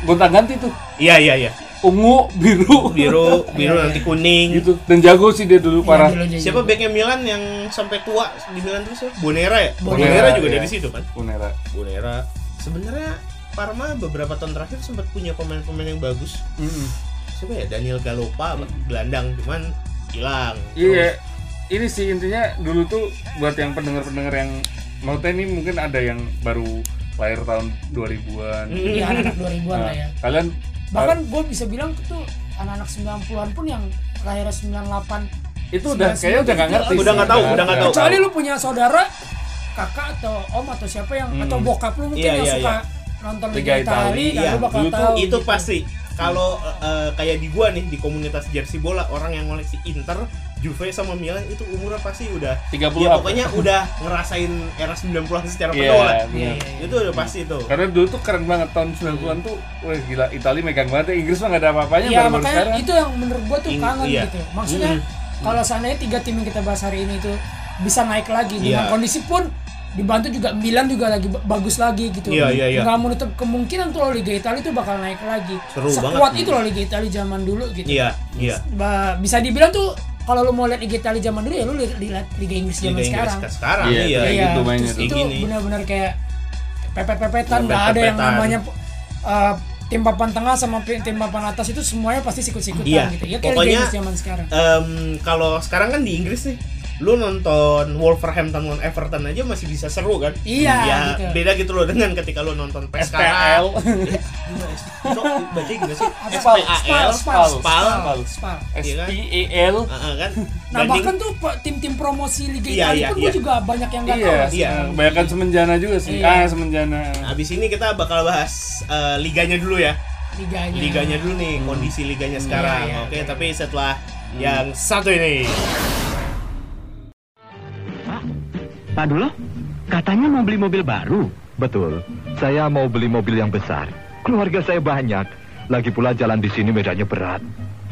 Speaker 1: gonta-ganti tuh
Speaker 2: iya iya iya
Speaker 1: ungu biru
Speaker 2: biru biru nanti kuning
Speaker 1: gitu dan jago sih dia dulu parah
Speaker 3: Iya, dulu aja.
Speaker 2: siapa backnya Milan yang sampai tua di Milan terus ya Bonera ya
Speaker 3: Bonera,
Speaker 2: Bonera juga
Speaker 1: iya.
Speaker 2: dari situ kan
Speaker 1: Punera
Speaker 2: Bonera sebenarnya Parma beberapa tahun terakhir sempat punya pemain-pemain yang bagus siapa ya Daniel Galopa
Speaker 3: Hmm.
Speaker 2: gelandang cuman hilang
Speaker 1: Iya, ini sih intinya dulu tuh buat yang pendengar-pendengar yang maksudnya ini mungkin ada yang baru lahir tahun 2000-an.
Speaker 3: Iya, anak 2000-an
Speaker 1: Nah,
Speaker 3: lah ya
Speaker 1: kalian
Speaker 3: bahkan gue bisa bilang tuh anak-anak 90-an pun yang lahirnya 98
Speaker 1: eh, itu udah kayaknya udah nggak ngerti.
Speaker 2: Udah
Speaker 1: sih, kan? Nah,
Speaker 2: nggak tahu, udah nggak tahu.
Speaker 3: kecuali lu punya saudara kakak atau om atau siapa yang atau bokap lu mungkin
Speaker 2: Iya,
Speaker 3: yang
Speaker 2: iya,
Speaker 3: suka nonton Liga
Speaker 1: Liga
Speaker 3: Itali
Speaker 1: Itali,
Speaker 3: dan
Speaker 2: iya.
Speaker 3: lu bakal
Speaker 1: Dulu tuh
Speaker 3: tahu
Speaker 2: itu
Speaker 3: gitu.
Speaker 2: pasti kalau eh, eh, kayak di gua nih di komunitas jersey bola orang yang koleksi Inter, Juve sama Milan itu umurnya pasti udah
Speaker 1: 30
Speaker 2: ya
Speaker 1: up.
Speaker 2: pokoknya udah ngerasain era 90-an secara
Speaker 1: Iya,
Speaker 2: penuh lah.
Speaker 1: benar.
Speaker 2: Itu udah pasti tuh.
Speaker 1: Karena dulu tuh keren banget tahun 90-an tuh, wah gila Itali megang banget. ya. Inggris mah nggak ada apa-apanya
Speaker 3: ya
Speaker 1: baru-baru
Speaker 3: makanya
Speaker 1: sekarang.
Speaker 3: itu yang menurut gue tuh
Speaker 2: Ing-
Speaker 3: kangen
Speaker 2: iya.
Speaker 3: gitu maksudnya kalau seandainya tiga tim yang kita bahas hari ini itu bisa naik lagi dengan
Speaker 2: Iya.
Speaker 3: kondisi pun dibantu juga Milan juga lagi ba- bagus lagi gitu
Speaker 2: Iya, iya, iya.
Speaker 3: nggak menutup kemungkinan tuh loh Liga Italia itu bakal naik lagi
Speaker 2: Seru
Speaker 3: sekuat
Speaker 2: banget.
Speaker 3: itu loh Liga Italia zaman dulu gitu
Speaker 2: Iya, iya.
Speaker 3: Ba- bisa dibilang tuh kalau lu mau lihat Liga Italia zaman dulu ya lu lihat lihat Liga Inggris zaman
Speaker 2: Liga Inggris
Speaker 3: sekarang.
Speaker 2: ke sekarang.
Speaker 1: Iya,
Speaker 2: Iya,
Speaker 1: kayak
Speaker 3: Iya,
Speaker 1: gitu mainnya
Speaker 3: terus
Speaker 1: tuh.
Speaker 3: itu
Speaker 2: Kayak gini.
Speaker 3: benar-benar kayak pepet-pepetan nggak ada yang
Speaker 2: Pepet-pepetan.
Speaker 3: namanya eh, tim papan tengah sama pi- tim papan atas itu semuanya pasti sikut-sikutan
Speaker 2: Iya.
Speaker 3: gitu. Ya kayak Liga
Speaker 2: Pokoknya-
Speaker 3: Inggris zaman sekarang.
Speaker 2: Em, kalau sekarang kan di Inggris nih, lu nonton Wolverhampton lawan Everton aja masih bisa seru kan?
Speaker 3: Iya,
Speaker 2: Ya,
Speaker 3: gitu.
Speaker 2: beda gitu loh dengan ketika lu nonton
Speaker 1: SPL.
Speaker 2: PSKL.
Speaker 3: Iya
Speaker 2: Itu baca gimana sih?
Speaker 1: Spal,
Speaker 2: Iya, SPAL,
Speaker 1: spal,
Speaker 2: SPAL.
Speaker 1: spal.
Speaker 3: Spal.
Speaker 2: Iya kan?
Speaker 1: SPAL.
Speaker 2: Heeh, kan?
Speaker 3: Nah,
Speaker 2: Banding-
Speaker 3: bahkan tuh pe- tim-tim promosi Liga
Speaker 2: Iya,
Speaker 3: Italia
Speaker 2: iya,
Speaker 3: pun gue
Speaker 2: iya.
Speaker 3: juga banyak yang nggak
Speaker 1: Iya,
Speaker 3: tahu.
Speaker 2: Iya.
Speaker 1: kebanyakan semenjana juga sih.
Speaker 3: Iya.
Speaker 1: Ah, semenjana.
Speaker 2: Nah, Abis ini kita bakal bahas eh, liganya dulu ya.
Speaker 3: Liganya.
Speaker 2: Liganya dulu nih, kondisi liganya sekarang.
Speaker 3: Iya, iya,
Speaker 2: Oke,
Speaker 3: iya.
Speaker 2: tapi setelah
Speaker 1: Hmm.
Speaker 2: yang satu ini.
Speaker 7: Pak, Pak Dulo, katanya mau beli mobil baru.
Speaker 8: Betul, saya mau beli mobil yang besar. Keluarga saya banyak. Lagi pula jalan di sini medannya berat.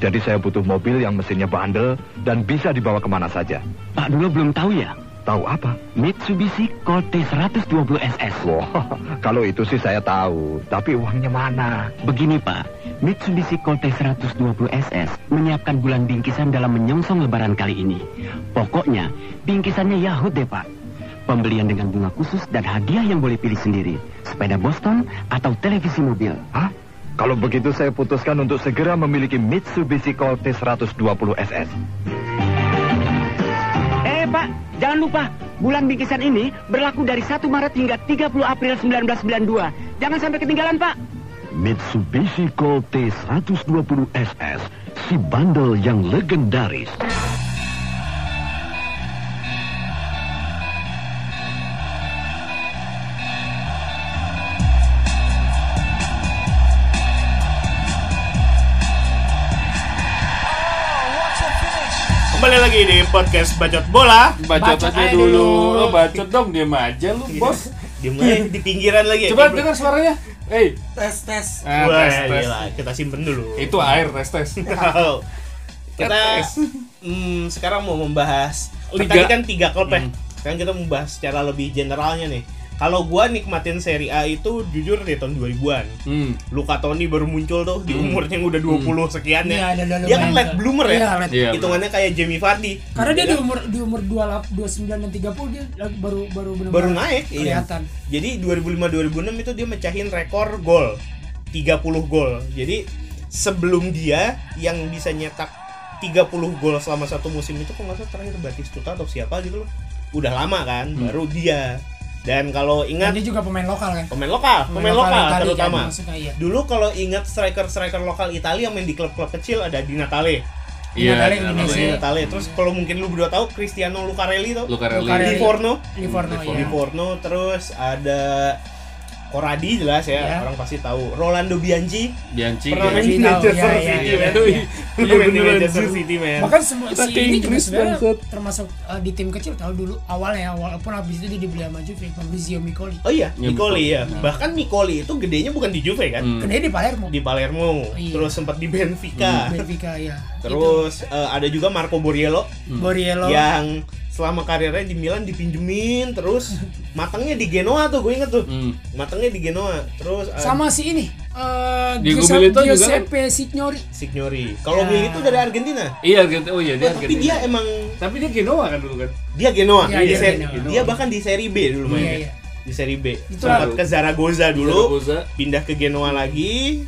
Speaker 8: Jadi saya butuh mobil yang mesinnya bandel dan bisa dibawa kemana saja.
Speaker 7: Pak Dulo belum tahu ya?
Speaker 8: Tahu apa?
Speaker 7: Mitsubishi Colte 120 SS.
Speaker 8: Wah, kalau itu sih saya tahu. Tapi uangnya mana?
Speaker 7: Begini Pak, Mitsubishi Colte 120 SS menyiapkan bulan bingkisan dalam menyongsong lebaran kali ini. Pokoknya, bingkisannya Yahut deh Pak. Pembelian dengan bunga khusus dan hadiah yang boleh pilih sendiri. Sepeda Boston atau televisi mobil.
Speaker 8: Hah? Kalau begitu saya putuskan untuk segera memiliki Mitsubishi Colte 120 SS.
Speaker 7: Eh Pak, jangan lupa. Bulan bingkisan ini berlaku dari 1 Maret hingga 30 April 1992. Jangan sampai ketinggalan Pak.
Speaker 9: Mitsubishi Colt T120 SS, si bandel yang legendaris.
Speaker 2: Kembali lagi di podcast Bacot Bola.
Speaker 1: Bacot,
Speaker 3: Bacot aja
Speaker 1: aja dulu.
Speaker 3: dulu. Iya.
Speaker 1: Oh, bacot dong, diam aja lu, bos.
Speaker 2: Dimulai di pinggiran lagi. ya?
Speaker 1: Coba dengar suaranya. Eh,
Speaker 3: tes tes
Speaker 1: nah,
Speaker 2: Wah,
Speaker 1: tes, tes.
Speaker 2: gila, kita simpen dulu.
Speaker 1: Itu air tes tes.
Speaker 2: Tahu. kita
Speaker 1: Tes.
Speaker 2: mm, sekarang mau membahas
Speaker 1: Liga.
Speaker 2: tadi kan tiga klub ya.
Speaker 1: Hmm.
Speaker 2: Sekarang kita membahas secara lebih generalnya nih. Kalau gua nikmatin Serie A itu jujur di tahun 2000-an.
Speaker 1: Hmm.
Speaker 2: Luka Toni baru muncul tuh di
Speaker 1: Hmm.
Speaker 2: umurnya yang udah 20 sekian
Speaker 3: Iya,
Speaker 2: ya.
Speaker 3: ada- ada
Speaker 2: dia
Speaker 3: lumayan
Speaker 2: kan late
Speaker 3: tuh.
Speaker 2: bloomer ya.
Speaker 3: Iya, late.
Speaker 1: Iya,
Speaker 2: Hitungannya kayak Jamie Vardy.
Speaker 3: karena dia
Speaker 2: Iya.
Speaker 3: di umur di umur 28 29 dan 30 dia lagi baru baru benar
Speaker 2: baru naik iya.
Speaker 3: kelihatan
Speaker 2: Jadi 2005-2006 itu dia mecahin rekor gol 30 gol. Jadi sebelum dia yang bisa nyetak 30 gol selama satu musim itu kok nggak salah terakhir Batistuta atau siapa gitu loh. Udah lama kan
Speaker 3: Hmm.
Speaker 2: baru dia. Dan kalau
Speaker 3: Dan
Speaker 2: ingat
Speaker 3: dia juga pemain lokal kan
Speaker 2: pemain lokal, pemain, lokal,
Speaker 3: Itali kan,
Speaker 2: terutama.
Speaker 3: maksudnya iya
Speaker 2: Dulu kalau ingat striker-striker lokal Italia yang main di klub-klub kecil ada Di Natale.
Speaker 1: Iya,
Speaker 3: Natale
Speaker 1: iya,
Speaker 3: Indonesia.
Speaker 2: Di
Speaker 1: iya.
Speaker 2: Natale. Terus kalau mungkin lu berdua tahu Cristiano Lucarelli tuh.
Speaker 1: Lucarelli.
Speaker 3: Lucarelli.
Speaker 2: Di Forno.
Speaker 3: Livorno
Speaker 1: Livorno.
Speaker 2: Di
Speaker 3: ya
Speaker 2: Porno terus ada Koradi jelas ya,
Speaker 3: Ya.
Speaker 2: orang pasti tahu. Rolando Bianchi
Speaker 1: Bianchi.
Speaker 2: pernah main
Speaker 1: Bianchi.
Speaker 2: di
Speaker 3: Bianchi tahu, ya,
Speaker 2: Manchester
Speaker 3: ya,
Speaker 2: City,
Speaker 1: Iya,
Speaker 2: men.
Speaker 1: iya.
Speaker 2: Pernah main di
Speaker 1: beneran,
Speaker 2: Manchester
Speaker 1: anjir.
Speaker 2: City, men.
Speaker 3: bahkan semua
Speaker 1: Kita
Speaker 3: si
Speaker 1: ke
Speaker 3: ini juga
Speaker 1: Inggris,
Speaker 3: sebenarnya
Speaker 1: bangsat.
Speaker 3: termasuk eh, di tim kecil tahu dulu awalnya walaupun habis itu dia dibeli sama Juve Fabrizio Micoli
Speaker 2: Oh iya,
Speaker 1: Ya,
Speaker 2: Nicoli ya.
Speaker 1: betul. Nah.
Speaker 2: Bahkan Nicoli itu gedenya bukan di Juve kan,
Speaker 1: Hmm.
Speaker 3: gede di Palermo
Speaker 2: di Palermo,
Speaker 3: Oh, iya.
Speaker 2: terus sempat di Benfica.
Speaker 3: Benfica ya
Speaker 2: Terus eh, ada juga Marco Borriello
Speaker 1: Hmm.
Speaker 3: Borriello
Speaker 1: Iya.
Speaker 2: yang selama karirnya di Milan dipinjemin terus matangnya di Genoa tuh gue inget tuh.
Speaker 1: Hmm.
Speaker 2: Matangnya di Genoa. Terus eh,
Speaker 3: sama si ini eh
Speaker 1: Diego
Speaker 3: Giuseppe,
Speaker 1: Milito juga kan?
Speaker 3: Giuseppe Signori
Speaker 2: Signori. Kalau
Speaker 3: Ya.
Speaker 2: Milito dari Argentina.
Speaker 1: Iya, Argentina. Oh iya, dia
Speaker 2: Wah, tapi
Speaker 1: Argentina.
Speaker 2: dia emang
Speaker 1: Tapi dia Genoa kan dulu kan.
Speaker 2: dia Genoa
Speaker 3: Iya,
Speaker 2: Di
Speaker 3: dia
Speaker 2: seri-
Speaker 3: Genoa.
Speaker 2: dia bahkan di seri B dulu
Speaker 3: Iya,
Speaker 2: mainnya
Speaker 3: iya.
Speaker 2: di seri B
Speaker 3: Itu
Speaker 2: sempat
Speaker 1: lah.
Speaker 2: ke Zaragoza dulu
Speaker 1: Zaragoza.
Speaker 2: pindah ke Genoa lagi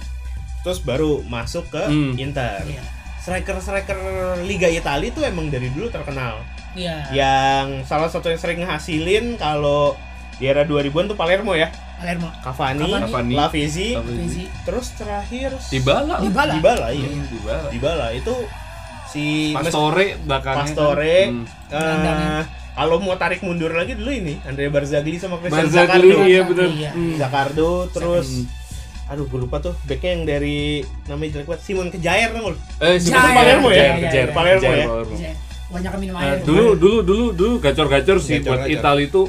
Speaker 2: terus baru masuk ke
Speaker 1: Hmm.
Speaker 2: Inter
Speaker 3: Iya.
Speaker 2: striker-striker Liga Italia itu emang dari dulu terkenal
Speaker 3: Iya.
Speaker 2: yang salah satu yang sering ngehasilin kalau di era 2000-an tuh Palermo ya
Speaker 3: Palermo
Speaker 2: Cavani,
Speaker 1: Cavani. Lavezzi.
Speaker 2: Lavezzi
Speaker 3: Crazy.
Speaker 2: terus terakhir
Speaker 1: Dybala. lah.
Speaker 3: Dybala.
Speaker 2: Dybala iya
Speaker 1: Hmm, Dybala.
Speaker 2: Dybala itu si
Speaker 1: Pastore belakangnya.
Speaker 2: Pastore.
Speaker 1: Hmm.
Speaker 2: Eh, kalau mau tarik mundur lagi dulu ini Andrea Barzagli sama Christian
Speaker 1: Barzagli
Speaker 2: Zaccardo.
Speaker 1: iya benar.
Speaker 3: Iya.
Speaker 1: Hmm.
Speaker 2: Zaccardo terus
Speaker 1: Hmm.
Speaker 2: aduh gue lupa tuh backnya yang dari namanya jelek banget Simon Kejair tau lu?
Speaker 1: Eh, si
Speaker 3: Jair.
Speaker 1: Palermo ya?
Speaker 3: Jair,
Speaker 1: Kejair,
Speaker 3: Jair.
Speaker 2: Palermo
Speaker 1: Kejair,
Speaker 2: ya?
Speaker 1: Palermo.
Speaker 3: Iya. banyak minum
Speaker 1: Nah,
Speaker 3: air
Speaker 1: dulu dulu dulu dulu gacor-gacor sih
Speaker 2: Gacor-gacor.
Speaker 1: buat Italia itu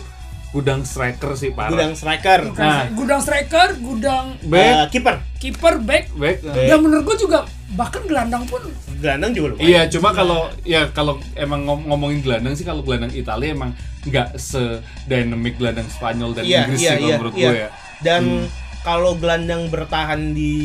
Speaker 1: gudang striker sih parah.
Speaker 2: gudang striker
Speaker 3: Bukan
Speaker 1: Nah.
Speaker 3: stri- gudang striker gudang
Speaker 1: Back,
Speaker 2: Eh, kiper
Speaker 3: kiper back
Speaker 1: back.
Speaker 2: Back.
Speaker 3: dan menurut gua juga bahkan gelandang pun
Speaker 2: gelandang juga lumayan
Speaker 1: Iya, cuma kalau ya kalau emang ngom- ngomongin gelandang sih kalau gelandang Italia emang nggak se-dynamic gelandang Spanyol
Speaker 2: Iya,
Speaker 1: dan Inggris sih kalau menurut gue ya.
Speaker 2: dan kalau gelandang bertahan di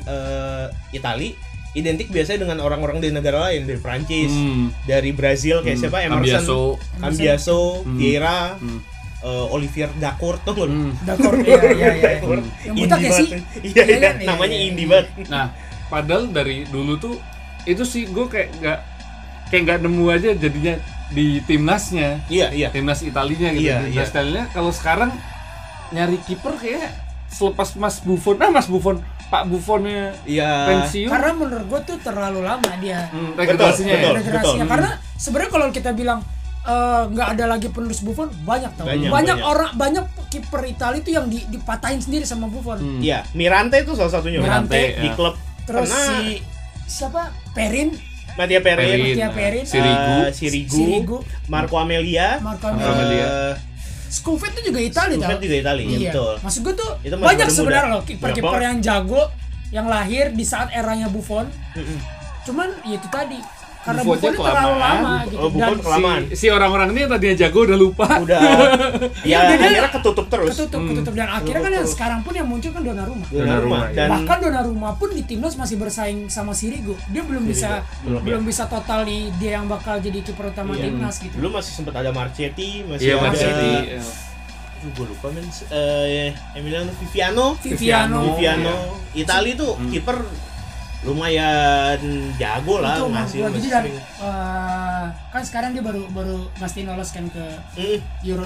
Speaker 2: eh, Itali identik biasanya dengan orang-orang dari negara lain dari Prancis
Speaker 1: Hmm.
Speaker 2: dari Brazil kayak
Speaker 1: Hmm.
Speaker 2: siapa Emerson
Speaker 1: Cambiaso.
Speaker 2: Cambiaso,
Speaker 1: Hmm.
Speaker 2: Vieira
Speaker 1: Hmm.
Speaker 2: eh, Olivier Dacourt tuh nggak lu?
Speaker 1: Hmm.
Speaker 3: dakor ya ya ya
Speaker 2: Dacourt.
Speaker 3: Yang
Speaker 2: Indie
Speaker 3: buta kayak
Speaker 2: banget.
Speaker 3: sih.
Speaker 2: Iya,
Speaker 3: Iya
Speaker 2: iya,
Speaker 3: kan? Iya,
Speaker 2: namanya
Speaker 3: iya,
Speaker 2: indie
Speaker 3: iya.
Speaker 2: banget.
Speaker 1: Nah, padahal dari dulu tuh itu sih gue kayak nggak kayak nggak nemu aja jadinya di timnasnya,
Speaker 2: Iya, iya.
Speaker 1: timnas Italinya gitu.
Speaker 2: Iya,
Speaker 1: timnas
Speaker 2: iya.
Speaker 1: Italinya kalau sekarang nyari kiper kayak selepas Mas Buffon, ah Mas Buffon, Pak Buffonnya
Speaker 2: Iya.
Speaker 1: pensiun,
Speaker 3: karena menurut gua tuh terlalu lama dia
Speaker 1: hmm, regenerasinya
Speaker 2: betul.
Speaker 1: ya.
Speaker 3: regenerasinya
Speaker 2: betul.
Speaker 3: karena sebenarnya kalau kita bilang eh, nggak ada lagi penerus Buffon banyak tau
Speaker 2: Banyak,
Speaker 3: banyak,
Speaker 2: banyak.
Speaker 3: orang banyak kiper Italia itu yang di- dipatahin sendiri sama Buffon
Speaker 2: Iya, Mirante itu salah satunya.
Speaker 1: Mirante,
Speaker 2: di
Speaker 1: ya.
Speaker 2: klub
Speaker 3: terus
Speaker 2: Karena
Speaker 3: si siapa Perin
Speaker 2: Matia Perin,
Speaker 1: Perin,
Speaker 3: Mattia Perin.
Speaker 1: eh, Sirigu,
Speaker 2: eh, Sirigu,
Speaker 3: Sirigu,
Speaker 2: Marco Amelia,
Speaker 3: Marco
Speaker 2: eh,
Speaker 3: Amelia. Scovet itu juga Italia
Speaker 2: Juventus
Speaker 3: tau
Speaker 2: juga Itali, ya,
Speaker 3: Iya.
Speaker 2: betul.
Speaker 3: Maksud gue tuh
Speaker 2: Itu
Speaker 3: banyak
Speaker 2: masih muda-muda. Iya,
Speaker 3: sebenarnya loh
Speaker 2: Banyak
Speaker 3: kiper-kiper
Speaker 2: banget.
Speaker 3: yang jago yang lahir di saat eranya Buffon. Cuman ya itu tadi karena Buffon
Speaker 1: Buffonnya
Speaker 3: itu terlalu
Speaker 1: kelamaan.
Speaker 3: lama
Speaker 2: Bu-
Speaker 3: gitu.
Speaker 2: oh, Buffon
Speaker 3: Dan
Speaker 2: kelamaan.
Speaker 1: Si, si orang-orang ini yang tadinya jago udah lupa.
Speaker 2: Eh, Udah ya
Speaker 3: Dia- dia-
Speaker 2: akhirnya ketutup terus.
Speaker 3: ketutup ketutup dan akhirnya kan yang sekarang pun yang muncul kan Donnarumma.
Speaker 2: Donnarumma.
Speaker 1: Donnarumma,
Speaker 2: dan
Speaker 3: Bahkan Donnarumma pun di timnas masih bersaing sama Sirigu. Dia belum bisa
Speaker 2: ya. Belum,
Speaker 3: belum bisa total di dia yang bakal jadi kiper utama
Speaker 2: Iya.
Speaker 3: timnas gitu.
Speaker 2: dulu masih sempat ada Marchetti, masih
Speaker 1: Iya,
Speaker 2: ada
Speaker 1: Marchetti.
Speaker 2: Aduh, gue lupa men eh, Emiliano Viviano,
Speaker 3: Viviano. Iya.
Speaker 2: Viviano. Itali tuh
Speaker 1: Hmm.
Speaker 2: kiper lumayan jago lah
Speaker 3: itu menurut
Speaker 2: ngasih.
Speaker 3: gua. jadi dari eh, kan sekarang dia baru baru pasti lolos kan ke
Speaker 2: Hmm,
Speaker 3: Euro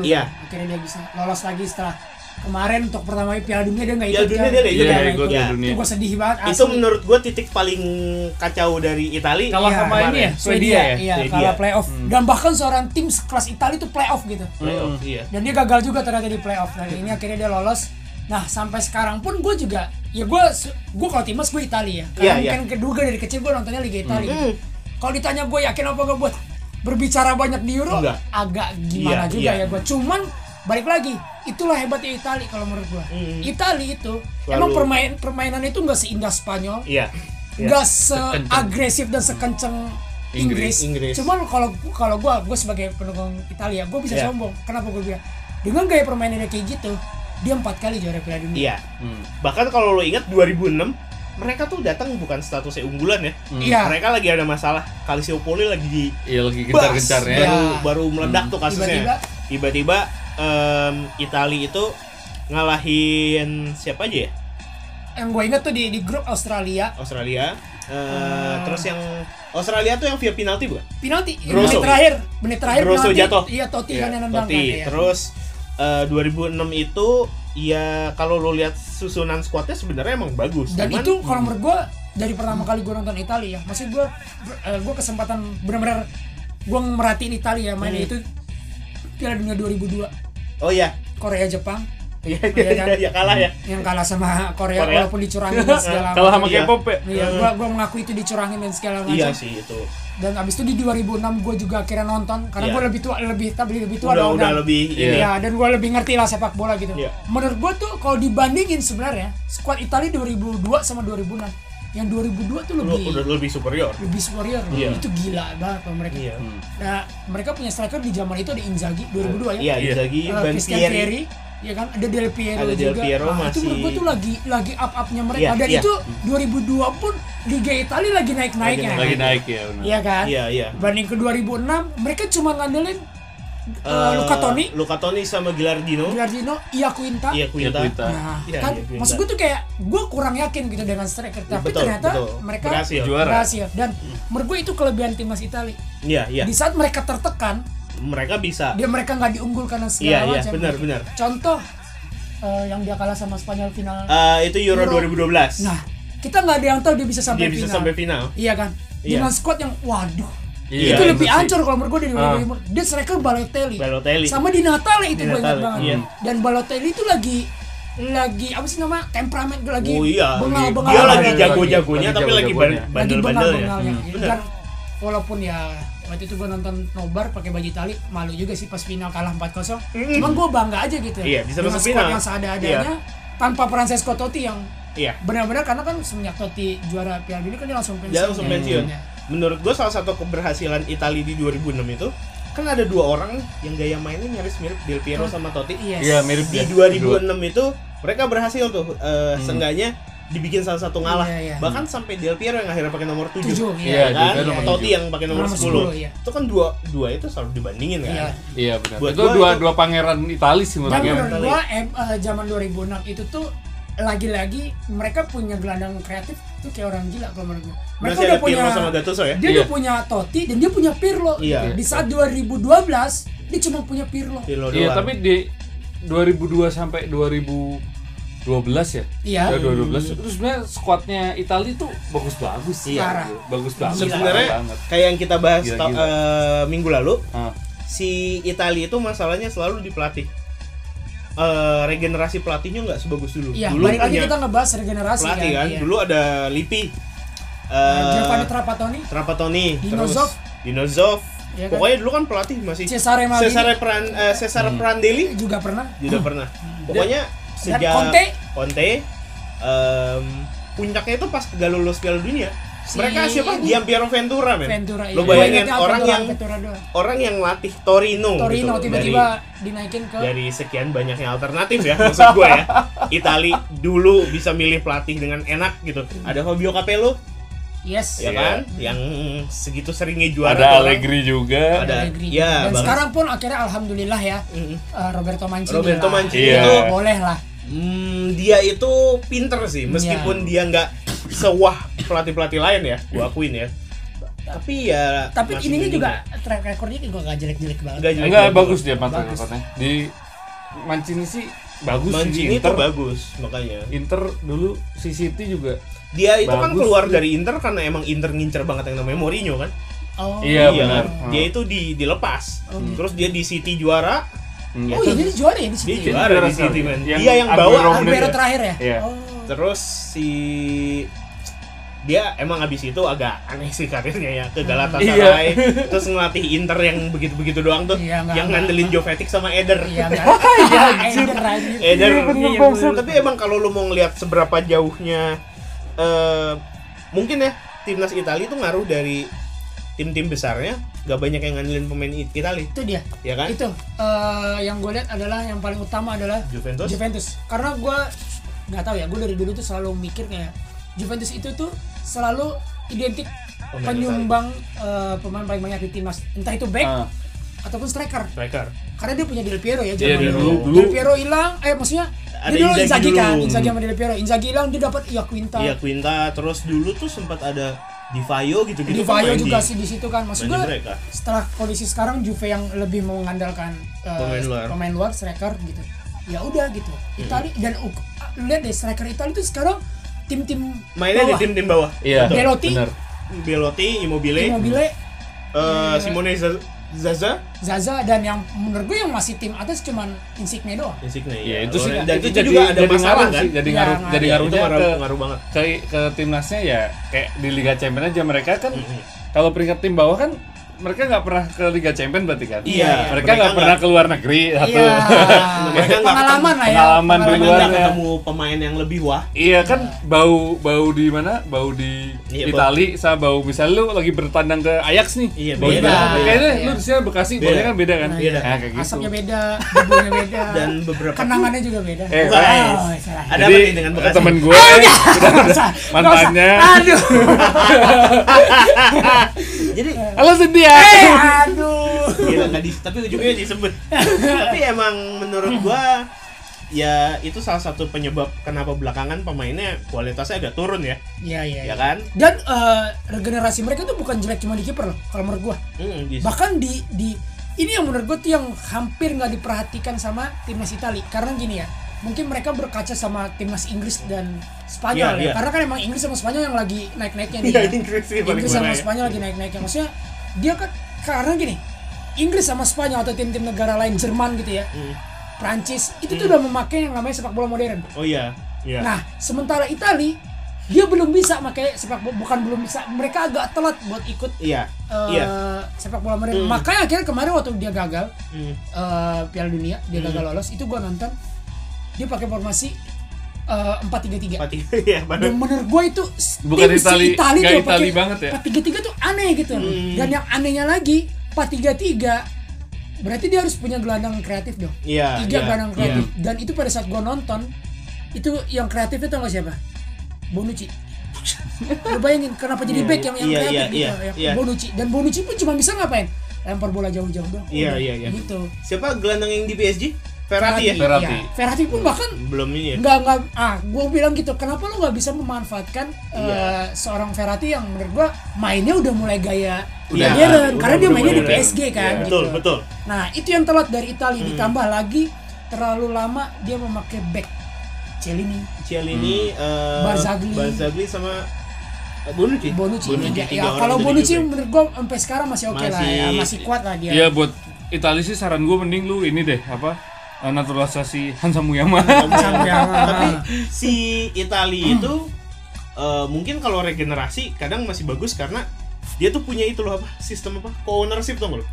Speaker 3: 2020
Speaker 2: Iya.
Speaker 3: akhirnya dia bisa lolos lagi setelah kemarin untuk pertama kali Piala Dunia dia nggak ikut
Speaker 2: Piala Dunia
Speaker 3: kan?
Speaker 2: dia nggak ikut.
Speaker 1: Iya,
Speaker 3: nggak
Speaker 1: ikut Piala
Speaker 2: Iya.
Speaker 1: Dunia.
Speaker 3: Itu gue sedih banget.
Speaker 2: itu
Speaker 3: asli.
Speaker 2: menurut gue titik paling kacau dari Itali Iya,
Speaker 1: Kalah sama
Speaker 2: kemarin.
Speaker 1: ini ya, Swedia ya.
Speaker 3: Iya,
Speaker 2: Swedia. Hmm.
Speaker 3: kalah playoff. Dan bahkan seorang tim sekelas Italia itu playoff gitu.
Speaker 2: Playoff,
Speaker 1: Hmm.
Speaker 2: iya.
Speaker 3: Dan dia gagal juga ternyata di playoff. Dan ini akhirnya dia lolos. Nah sampai sekarang pun gue juga ya gue gue kalau timnas gue Italia ya. Karena
Speaker 2: Iya, Hmm. iya.
Speaker 3: mungkin kedua gue dari kecil gue nontonnya Liga Italia. Kalau ditanya gue yakin apa gue buat berbicara banyak di Euro
Speaker 2: Enggak.
Speaker 3: agak gimana
Speaker 2: Iya,
Speaker 3: juga
Speaker 2: iya.
Speaker 3: ya gue. Cuman balik lagi itulah hebatnya Italia kalau menurut gue. Italia itu
Speaker 2: Hmm. Selalu-
Speaker 3: emang permain permainan itu nggak seindah Spanyol
Speaker 2: Iya.
Speaker 3: nggak seagresif dan sekenceng Inggris.
Speaker 2: Inggris.
Speaker 3: Cuman kalau kalau gue gue sebagai pendukung Italia gue bisa
Speaker 2: Iya.
Speaker 3: sombong. Kenapa gue bilang dengan gaya permainannya kayak gitu dia empat kali juara Piala Dunia.
Speaker 2: Iya.
Speaker 1: Hmm.
Speaker 2: Bahkan kalau lo ingat 2006 mereka tuh datang bukan statusnya unggulan ya.
Speaker 3: Iya.
Speaker 2: Mereka lagi ada masalah. Kalisiopoli lagi di
Speaker 1: Hmm. Iya lagi gencar-gencar
Speaker 2: Bas! Iya.
Speaker 1: ya.
Speaker 2: Baru
Speaker 3: Ya.
Speaker 2: baru meledak tuh
Speaker 3: Tiba-tiba.
Speaker 2: kasusnya. Tiba-tiba em, Itali itu ngalahin siapa aja ya?
Speaker 3: Yang gue inget tuh di di grup Australia
Speaker 2: Australia. Eh,
Speaker 3: Ah.
Speaker 2: terus yang Australia tuh yang via penalti bukan?
Speaker 3: penalti
Speaker 2: Grosso.
Speaker 3: menit terakhir menit terakhir
Speaker 2: Grosso
Speaker 3: penalti.
Speaker 2: jatuh.
Speaker 3: Iya Totti
Speaker 2: Iya,
Speaker 3: kan yang nendang
Speaker 2: Totti.
Speaker 3: kan, iya.
Speaker 2: Terus eh, 2006 itu ya kalau lo lihat susunan squadnya sebenarnya emang bagus.
Speaker 3: dan
Speaker 2: Cuman, Hmm.
Speaker 3: itu kalau menurut gue dari pertama kali gue nonton Italia ya maksud gue gue kesempatan benar-benar gue merhatiin Italia
Speaker 2: Hmm.
Speaker 3: mainnya itu Piala Dunia 2002
Speaker 2: oh ya.
Speaker 3: Korea Jepang
Speaker 2: Iya
Speaker 3: Iya kan?
Speaker 2: iya, iya, kalah ya.
Speaker 3: yang kalah sama Korea,
Speaker 2: Korea.
Speaker 3: walaupun dicurangin dan segala
Speaker 1: Kalah sama
Speaker 2: Iya.
Speaker 1: K-pop ya.
Speaker 3: Iya, gua gua mengakui itu dicurangin dan segala macam.
Speaker 2: Iya sih itu.
Speaker 3: Dan abis itu di 2006 gua juga akhirnya nonton karena
Speaker 2: Iya.
Speaker 3: gua lebih tua lebih tapi lebih tua
Speaker 2: Udah
Speaker 3: dong,
Speaker 2: udah
Speaker 3: dan-
Speaker 2: lebih
Speaker 1: Iya.
Speaker 2: ini.
Speaker 3: Iya, dan gua lebih ngerti lah sepak bola gitu.
Speaker 2: Iya.
Speaker 3: Menurut gua tuh kalau dibandingin sebenarnya skuad Italia 2002 sama 2006, yang 2002 tuh
Speaker 2: lu
Speaker 3: lebih
Speaker 2: udah lebih superior.
Speaker 3: lebih superior loh.
Speaker 2: Iya.
Speaker 3: Itu gila banget loh mereka.
Speaker 2: Iya.
Speaker 3: Nah, mereka punya striker di zaman itu ada Inzaghi 2002 ya.
Speaker 2: Iya, Inzaghi,
Speaker 3: Eh,
Speaker 2: Ben
Speaker 3: Christian
Speaker 2: Pieri.
Speaker 3: Pieri, ya kan ada Del Piero
Speaker 2: Ada
Speaker 3: juga.
Speaker 2: Del Piero
Speaker 3: Ah, itu
Speaker 2: masih-
Speaker 3: menurut gua tuh lagi lagi up-upnya mereka.
Speaker 2: Iya,
Speaker 3: Dan
Speaker 2: iya.
Speaker 3: itu 2002 pun Liga Italia lagi naik-naiknya.
Speaker 1: Lagi naik ya. benar.
Speaker 3: Iya kan?
Speaker 2: Iya, iya.
Speaker 3: Banding ke 2006 mereka cuma ngandelin eh,
Speaker 2: Eh,
Speaker 3: Luca Toni,
Speaker 2: Luca Toni sama Gilardino.
Speaker 3: Giardino, Ia Quinta.
Speaker 2: Iya,
Speaker 1: Iya,
Speaker 2: Quinta.
Speaker 1: Kuita.
Speaker 3: Nah,
Speaker 2: Iya,
Speaker 3: kan
Speaker 2: iya, Quinta.
Speaker 3: maksud gue tuh kayak gue kurang yakin gitu dengan striker tapi
Speaker 2: Betul,
Speaker 3: ternyata
Speaker 2: betul.
Speaker 3: mereka
Speaker 2: Berhasil.
Speaker 1: Juara.
Speaker 3: berhasil. dan menurut gue itu kelebihan timnas Italia.
Speaker 2: Iya, iya.
Speaker 3: Di saat mereka tertekan,
Speaker 2: Mereka bisa.
Speaker 3: dia mereka nggak diunggulkan dan segala
Speaker 2: Iya, iya,
Speaker 3: macam.
Speaker 2: benar, benar.
Speaker 3: Contoh eh, yang dia kalah sama Spanyol final.
Speaker 2: Eh, itu Euro,
Speaker 3: Euro.
Speaker 2: 2012.
Speaker 3: Nah, kita nggak ada yang tahu dia bisa
Speaker 2: dia
Speaker 3: sampai
Speaker 2: bisa
Speaker 3: final.
Speaker 2: sampai final.
Speaker 3: Iya kan?
Speaker 2: Iya.
Speaker 3: Dengan squad yang waduh.
Speaker 1: Iya,
Speaker 3: itu lebih
Speaker 1: bener sih.
Speaker 3: hancur kalau menurut gue dari
Speaker 1: Ah.
Speaker 3: Liverpool. Dia striker Balotelli.
Speaker 2: Balotelli.
Speaker 3: Sama di Natale itu
Speaker 2: Di
Speaker 3: banyak
Speaker 2: Natale,
Speaker 3: banget.
Speaker 2: iya.
Speaker 3: Dan Balotelli itu lagi lagi apa sih nama temperamen lagi
Speaker 2: Oh iya.
Speaker 3: bengal-bengal.
Speaker 2: Dia lagi
Speaker 1: Lagi-
Speaker 2: jago-jagonya
Speaker 1: lagi
Speaker 2: tapi lagi
Speaker 1: jago-jagonya.
Speaker 2: ban-
Speaker 3: iya. lagi
Speaker 2: bandel-bandelnya.
Speaker 3: bengal-bengalnya.
Speaker 2: Hmm,
Speaker 3: Dan walaupun ya waktu itu gue nonton nobar pakai baju Itali malu juga sih pas final kalah 4-0 cuman gue bangga aja gitu
Speaker 2: Hmm. Iya, bisa
Speaker 3: dengan
Speaker 2: masuk
Speaker 3: squad
Speaker 2: final.
Speaker 3: yang seada-adanya tanpa Francesco Totti yang
Speaker 2: Iya.
Speaker 3: benar-benar karena kan semenjak Totti juara Piala Dunia kan dia langsung pensiun
Speaker 2: Dia langsung
Speaker 3: ya.
Speaker 2: pensiun.
Speaker 3: Iya.
Speaker 2: Menurut gue salah satu keberhasilan Italia di 2006 itu kan ada dua orang yang gaya mainnya nyaris mirip Del Piero sama Totti.
Speaker 3: Yes.
Speaker 1: Iya, mirip ya.
Speaker 2: Di 2006 itu mereka berhasil tuh eh, seenggaknya dibikin salah satu ngalah.
Speaker 3: Hmm. Iya, iya.
Speaker 2: Bahkan sampai Del Piero yang akhirnya pakai nomor 7.
Speaker 3: Tujuh,
Speaker 1: Iya,
Speaker 3: iya.
Speaker 1: Del
Speaker 2: kan?
Speaker 1: Piero nomor
Speaker 2: Totti
Speaker 1: tujuh.
Speaker 2: yang pakai nomor,
Speaker 3: Nomor
Speaker 2: 10.
Speaker 3: 10, iya.
Speaker 2: Itu kan dua dua itu selalu dibandingin kan.
Speaker 3: Iya.
Speaker 1: Iya benar.
Speaker 2: Buat
Speaker 1: Itu
Speaker 2: gua
Speaker 1: dua
Speaker 2: itu-
Speaker 1: dua pangeran Itali sih menurut
Speaker 3: Dan
Speaker 1: gue.
Speaker 3: menurut gua em, eh, zaman 2006 itu tuh lagi-lagi mereka punya gelandang kreatif itu kayak orang gila kalau menurut gua. Mereka
Speaker 2: Masih
Speaker 3: udah
Speaker 2: ada
Speaker 3: punya
Speaker 2: Pirlo sama Gattuso ya?
Speaker 3: Dia
Speaker 1: Iya.
Speaker 3: udah punya Totti dan dia punya Pirlo.
Speaker 2: Iya.
Speaker 3: Di saat 2012 dia cuma punya Pirlo.
Speaker 2: Pirlo
Speaker 1: Iya,
Speaker 2: doang.
Speaker 1: tapi di 2002 sampai 2012 ya.
Speaker 3: Iya.
Speaker 1: Ya, 2012. Terus sebenarnya skuadnya Italia tuh bagus-bagus sih. Iya,
Speaker 3: Parah. Iya.
Speaker 1: Bagus banget.
Speaker 2: sebenarnya
Speaker 1: parah banget.
Speaker 2: kayak yang kita bahas
Speaker 1: Gila,
Speaker 2: ta-
Speaker 1: gila.
Speaker 2: eh, minggu lalu
Speaker 1: Ah,
Speaker 2: si Italia itu masalahnya selalu di pelatih Eh, regenerasi pelatihnya nggak sebagus dulu
Speaker 3: Iya,
Speaker 2: dulu
Speaker 3: balik lagi
Speaker 2: hanya
Speaker 3: kita ngebahas regenerasi
Speaker 2: pelatih kan
Speaker 3: Iya.
Speaker 2: dulu ada Lippi
Speaker 3: Eh, Giovanni
Speaker 2: eh
Speaker 3: Trapattoni,
Speaker 2: Trapattoni
Speaker 3: Dinozov.
Speaker 2: terus Dinozov
Speaker 3: Iya kan?
Speaker 2: pokoknya dulu kan pelatih masih
Speaker 3: Cesare Maldini.
Speaker 2: Cesare Pran eh, Cesare Prandelli
Speaker 3: juga pernah
Speaker 2: juga pernah pokoknya sejak
Speaker 3: Iya. Conte.
Speaker 2: Conte, em, puncaknya itu pas gak lulus Piala Dunia
Speaker 3: Si
Speaker 2: mereka siapa
Speaker 3: ini.
Speaker 2: Giampiero Ventura men
Speaker 3: Ventura.
Speaker 2: lo
Speaker 3: iya.
Speaker 2: bayangin
Speaker 3: Ingatnya
Speaker 2: orang
Speaker 3: Ventura,
Speaker 2: yang
Speaker 3: Ventura doang.
Speaker 2: orang yang latih Torino gitu
Speaker 3: Torino
Speaker 2: loh,
Speaker 3: tiba-tiba dinaikin ke
Speaker 2: dari, dari sekian banyaknya alternatif ya maksud gue ya Itali dulu bisa milih pelatih dengan enak gitu ada Fabio Capello
Speaker 3: yes.
Speaker 2: ya kan yang segitu seringnya
Speaker 1: Iya. ada
Speaker 2: juara tuh orang.
Speaker 1: Allegri juga.
Speaker 2: ada
Speaker 3: Allegri.
Speaker 2: ya
Speaker 3: Dan
Speaker 2: bahkan-
Speaker 3: sekarang pun akhirnya alhamdulillah ya
Speaker 2: Mm.
Speaker 3: eh, Roberto Mancini.
Speaker 2: Roberto
Speaker 3: lah.
Speaker 2: Mancini
Speaker 1: Iya.
Speaker 2: itu
Speaker 3: Oh, boleh lah.
Speaker 2: Hmm, dia itu pinter sih,
Speaker 3: Iya.
Speaker 2: meskipun dia nggak sewah pelatih-pelatih lain
Speaker 1: Iya.
Speaker 2: ya, gua akuin ya. Tapi ya.
Speaker 3: Tapi
Speaker 2: masih
Speaker 3: ininya
Speaker 2: mending
Speaker 3: juga
Speaker 2: ya.
Speaker 3: track recordnya juga gak jelek-jelek banget.
Speaker 2: Nggak jelek
Speaker 1: Enggak
Speaker 2: juga.
Speaker 1: bagus dia mantan mantannya. Di Mancini sih bagus sih
Speaker 2: Mancini itu
Speaker 1: Inter.
Speaker 2: bagus makanya.
Speaker 1: Inter dulu si City juga.
Speaker 2: Dia itu kan
Speaker 1: Bagus.
Speaker 2: keluar dari Inter karena emang Inter ngincer banget yang namanya Mourinho kan.
Speaker 3: Oh.
Speaker 1: Iya, benar.
Speaker 2: Dia itu di dilepas. Terus dia di City juara,
Speaker 1: Hmm.
Speaker 3: Oh iya dia juara ya di
Speaker 2: dia
Speaker 3: sini.
Speaker 1: Dia
Speaker 2: juara
Speaker 1: juara
Speaker 2: di City
Speaker 1: sekali.
Speaker 2: men.
Speaker 1: Yang
Speaker 2: Dia yang
Speaker 1: Aguero
Speaker 2: bawa.
Speaker 1: menit
Speaker 3: Aguero
Speaker 1: ya?
Speaker 3: terakhir ya.
Speaker 1: Iya.
Speaker 3: Oh.
Speaker 2: Terus si dia emang abis itu agak aneh sih karirnya ya ke Galatasaray terus ngelatih Inter yang begitu-begitu doang tuh
Speaker 3: Iya, nggak-
Speaker 2: yang
Speaker 3: nggak-
Speaker 2: ngandelin Jovetic sama Eder
Speaker 3: Iya enggak. Iya, Eder aja.
Speaker 2: Eh, dan-
Speaker 1: Iya, bener,
Speaker 2: iya,
Speaker 1: bangsa.
Speaker 2: bener. tapi emang kalau lu mau ngelihat seberapa jauhnya eh mungkin ya timnas Italia itu ngaruh dari tim-tim besarnya gak banyak yang ngandelin pemain I- Italia
Speaker 3: Itu dia.
Speaker 2: ya kan
Speaker 3: Itu eh, yang gue lihat adalah yang paling utama adalah
Speaker 2: Juventus
Speaker 3: Juventus. Karena gue nggak tahu ya, gue dari dulu tuh selalu mikir kayak Juventus itu tuh selalu identik
Speaker 2: Pemain
Speaker 3: penyumbang eh, pemain paling banyak di timnas. Entah itu back
Speaker 1: Ah,
Speaker 3: ataupun striker.
Speaker 2: striker
Speaker 3: Karena dia punya Del Piero ya
Speaker 1: Iya,
Speaker 3: zaman
Speaker 1: dia
Speaker 3: dulu.
Speaker 1: dulu- dulu.
Speaker 3: Del Piero hilang, eh maksudnya
Speaker 2: Ada
Speaker 3: dia dulu
Speaker 2: Inzaghi
Speaker 3: Inzaghi,
Speaker 2: dulu.
Speaker 3: kan, Inzaghi sama Del Piero. Inzaghi hilang dia dapat Iya Quinta.
Speaker 2: iya Quinta terus dulu tuh sempat ada Divayo
Speaker 3: Di
Speaker 2: gitu-gitu kan
Speaker 3: Vaio
Speaker 2: main
Speaker 3: juga
Speaker 2: di-
Speaker 3: sih di situ kan. Maksud
Speaker 2: main
Speaker 3: gue
Speaker 2: di mereka.
Speaker 3: setelah kondisi sekarang Juve yang lebih mengandalkan eh,
Speaker 2: Pemain luar. Hmm.
Speaker 3: pemain luar striker gitu. Ya udah gitu. Itali dan Uk- lu lihat deh striker Itali itu sekarang tim-tim
Speaker 2: mainnya di
Speaker 3: bawah.
Speaker 2: tim-tim bawah
Speaker 1: Iya.
Speaker 3: Belotti,
Speaker 1: Benar.
Speaker 2: Belotti, Immobile,
Speaker 3: Immobile,
Speaker 2: eh, Simone Z- Zaza,
Speaker 3: Zaza dan yang menurut gue yang masih tim atas cuman Insigne doang.
Speaker 2: Insigne.
Speaker 1: Iya, itu sih
Speaker 2: Dan itu
Speaker 1: jadi-
Speaker 2: juga ada
Speaker 1: jadi
Speaker 2: masalah
Speaker 1: ngaruh
Speaker 2: kan?
Speaker 1: sih, jadi
Speaker 3: Iya,
Speaker 1: ngaruh
Speaker 3: ngaruh.
Speaker 1: jadi
Speaker 2: Iya, itu
Speaker 1: ngaruhnya
Speaker 2: ngaruh,
Speaker 1: ke,
Speaker 2: ngaruh banget.
Speaker 1: ke ke timnasnya ya kayak di Liga Champions aja mereka kan kalau peringkat tim bawah kan mereka nggak pernah ke Liga Champions berarti kan?
Speaker 2: Iya,
Speaker 1: Mereka
Speaker 2: mereka
Speaker 1: nggak pernah
Speaker 2: nggak-
Speaker 1: ke luar negeri satu.
Speaker 3: Iya.
Speaker 2: Mereka nggak
Speaker 3: pengalaman lah ya.
Speaker 1: pengalaman di
Speaker 2: Karena
Speaker 1: luar
Speaker 2: nggak
Speaker 1: ya.
Speaker 2: ketemu pemain yang lebih wah.
Speaker 1: Iya kan bau bau di mana? Bau di
Speaker 2: Iya,
Speaker 1: Itali sama bau misalnya lu lagi bertandang ke Ajax nih.
Speaker 2: Iya,
Speaker 1: bau
Speaker 2: beda.
Speaker 1: Itali. Kayaknya
Speaker 3: Iya.
Speaker 1: lu di sini Bekasi
Speaker 2: Beda. iya.
Speaker 1: baunya kan beda kan?
Speaker 2: Beda.
Speaker 1: Nah, kayak gitu.
Speaker 3: Asapnya beda, bumbunya beda,
Speaker 2: Dan beberapa-
Speaker 3: kenangannya juga beda.
Speaker 1: Eh,
Speaker 3: Wow,
Speaker 2: guys.
Speaker 3: salah.
Speaker 2: Ada
Speaker 1: Jadi,
Speaker 2: apa nih dengan Bekasi?
Speaker 1: temen gue mantannya.
Speaker 3: Aduh.
Speaker 2: Jadi
Speaker 1: Halo sedih ya.
Speaker 3: Eh, Aduh.
Speaker 2: gila Iya, nggak dis- tapi ujungnya disebut. tapi emang menurut gua ya itu salah satu penyebab kenapa belakangan pemainnya kualitasnya agak turun ya,
Speaker 3: Iya, iya.
Speaker 2: ya
Speaker 3: iya.
Speaker 2: kan?
Speaker 3: Dan eh, regenerasi mereka tuh bukan jelek cuma di kiper loh, kalau menurut gua.
Speaker 2: Hmm, di-
Speaker 3: Bahkan di di ini yang menurut gua tuh yang hampir nggak diperhatikan sama timnas Itali karena gini ya. Mungkin mereka berkaca sama timnas Inggris dan Spanyol
Speaker 2: Iya, iya.
Speaker 3: ya. Karena kan emang Inggris sama Spanyol yang lagi naik-naiknya nih.
Speaker 2: Iya,
Speaker 3: ya.
Speaker 2: Inggris sih paling
Speaker 3: Inggris sama
Speaker 2: parah ya.
Speaker 3: Spanyol lagi naik-naiknya. Maksudnya dia kan karena gini, Inggris sama Spanyol atau tim-tim negara lain Jerman gitu ya.
Speaker 2: Hmm.
Speaker 3: Prancis itu tuh udah memakai yang namanya sepak bola modern.
Speaker 2: Oh iya. Iya.
Speaker 3: Nah, sementara Itali dia belum bisa pakai sepak bola bukan belum bisa, mereka agak telat buat ikut
Speaker 2: iya.
Speaker 3: eh,
Speaker 2: Iya.
Speaker 3: sepak bola modern. Makanya akhirnya kemarin waktu dia gagal
Speaker 2: Hmm.
Speaker 3: eh, Piala Dunia, dia gagal lolos, itu gua nonton dia pakai formasi eh, empat tiga tiga.
Speaker 2: Pati
Speaker 3: Dan
Speaker 2: ya, baru.
Speaker 3: menurut gue itu s-
Speaker 1: Bukan
Speaker 3: tim si
Speaker 1: Itali,
Speaker 3: Itali
Speaker 1: nggak
Speaker 3: tuh
Speaker 1: Itali
Speaker 3: pakai
Speaker 1: banget ya?
Speaker 3: 4-3-3 tuh aneh gitu. loh.
Speaker 2: Hmm.
Speaker 3: Dan yang anehnya lagi 4-3-3 berarti dia harus punya gelandang kreatif dong.
Speaker 2: Iya,
Speaker 3: Tiga
Speaker 2: iya,
Speaker 3: gelandang kreatif. Dan itu pada saat gue nonton itu yang kreatifnya tau gak siapa? Bonucci. Lu bayangin kenapa jadi back yang, yang
Speaker 2: iya,
Speaker 3: kreatif
Speaker 2: iya,
Speaker 3: gitu,
Speaker 2: iya,
Speaker 3: yang
Speaker 2: iya.
Speaker 3: Bonucci. Dan Bonucci pun cuma bisa ngapain? Lempar bola jauh-jauh dong.
Speaker 2: Iya, iya, iya.
Speaker 3: Gitu.
Speaker 2: Siapa gelandang yang di PSG? Ferrati ya?
Speaker 1: Ferrati.
Speaker 3: iya. Ferrati pun bahkan
Speaker 2: Belum ini ya.
Speaker 3: nggak nggak ah gue bilang gitu kenapa lo nggak bisa memanfaatkan eh,
Speaker 2: Iya.
Speaker 3: seorang Ferrati yang menurut gue mainnya udah mulai gaya
Speaker 2: Iya,
Speaker 3: modern
Speaker 2: udah-
Speaker 3: karena dia
Speaker 2: udah
Speaker 3: mainnya di
Speaker 2: modern. Iya,
Speaker 3: PSG kan gitu.
Speaker 2: Betul, betul. Hmm.
Speaker 3: nah itu yang telat dari Italia ditambah lagi terlalu lama dia memakai back Celini
Speaker 2: Cialini, eh,
Speaker 3: Hmm. Barzagli.
Speaker 2: Barzagli sama eh, Bonucci.
Speaker 3: Bonucci, tiga. ya
Speaker 2: tiga orang gitu.
Speaker 3: kalau
Speaker 2: itu
Speaker 3: Bonucci
Speaker 2: juga.
Speaker 3: menurut gue sampai sekarang masih oke lah ya
Speaker 2: Masih-
Speaker 3: masih kuat lah dia
Speaker 1: Iya buat Itali sih saran gue mending lu ini deh apa eh, naturalisasi Hansa Muyama.
Speaker 2: tapi si Itali
Speaker 3: Hmm.
Speaker 2: itu eh, mungkin kalau regenerasi kadang masih bagus karena dia tuh punya itu loh apa sistem apa co-ownership tuh lo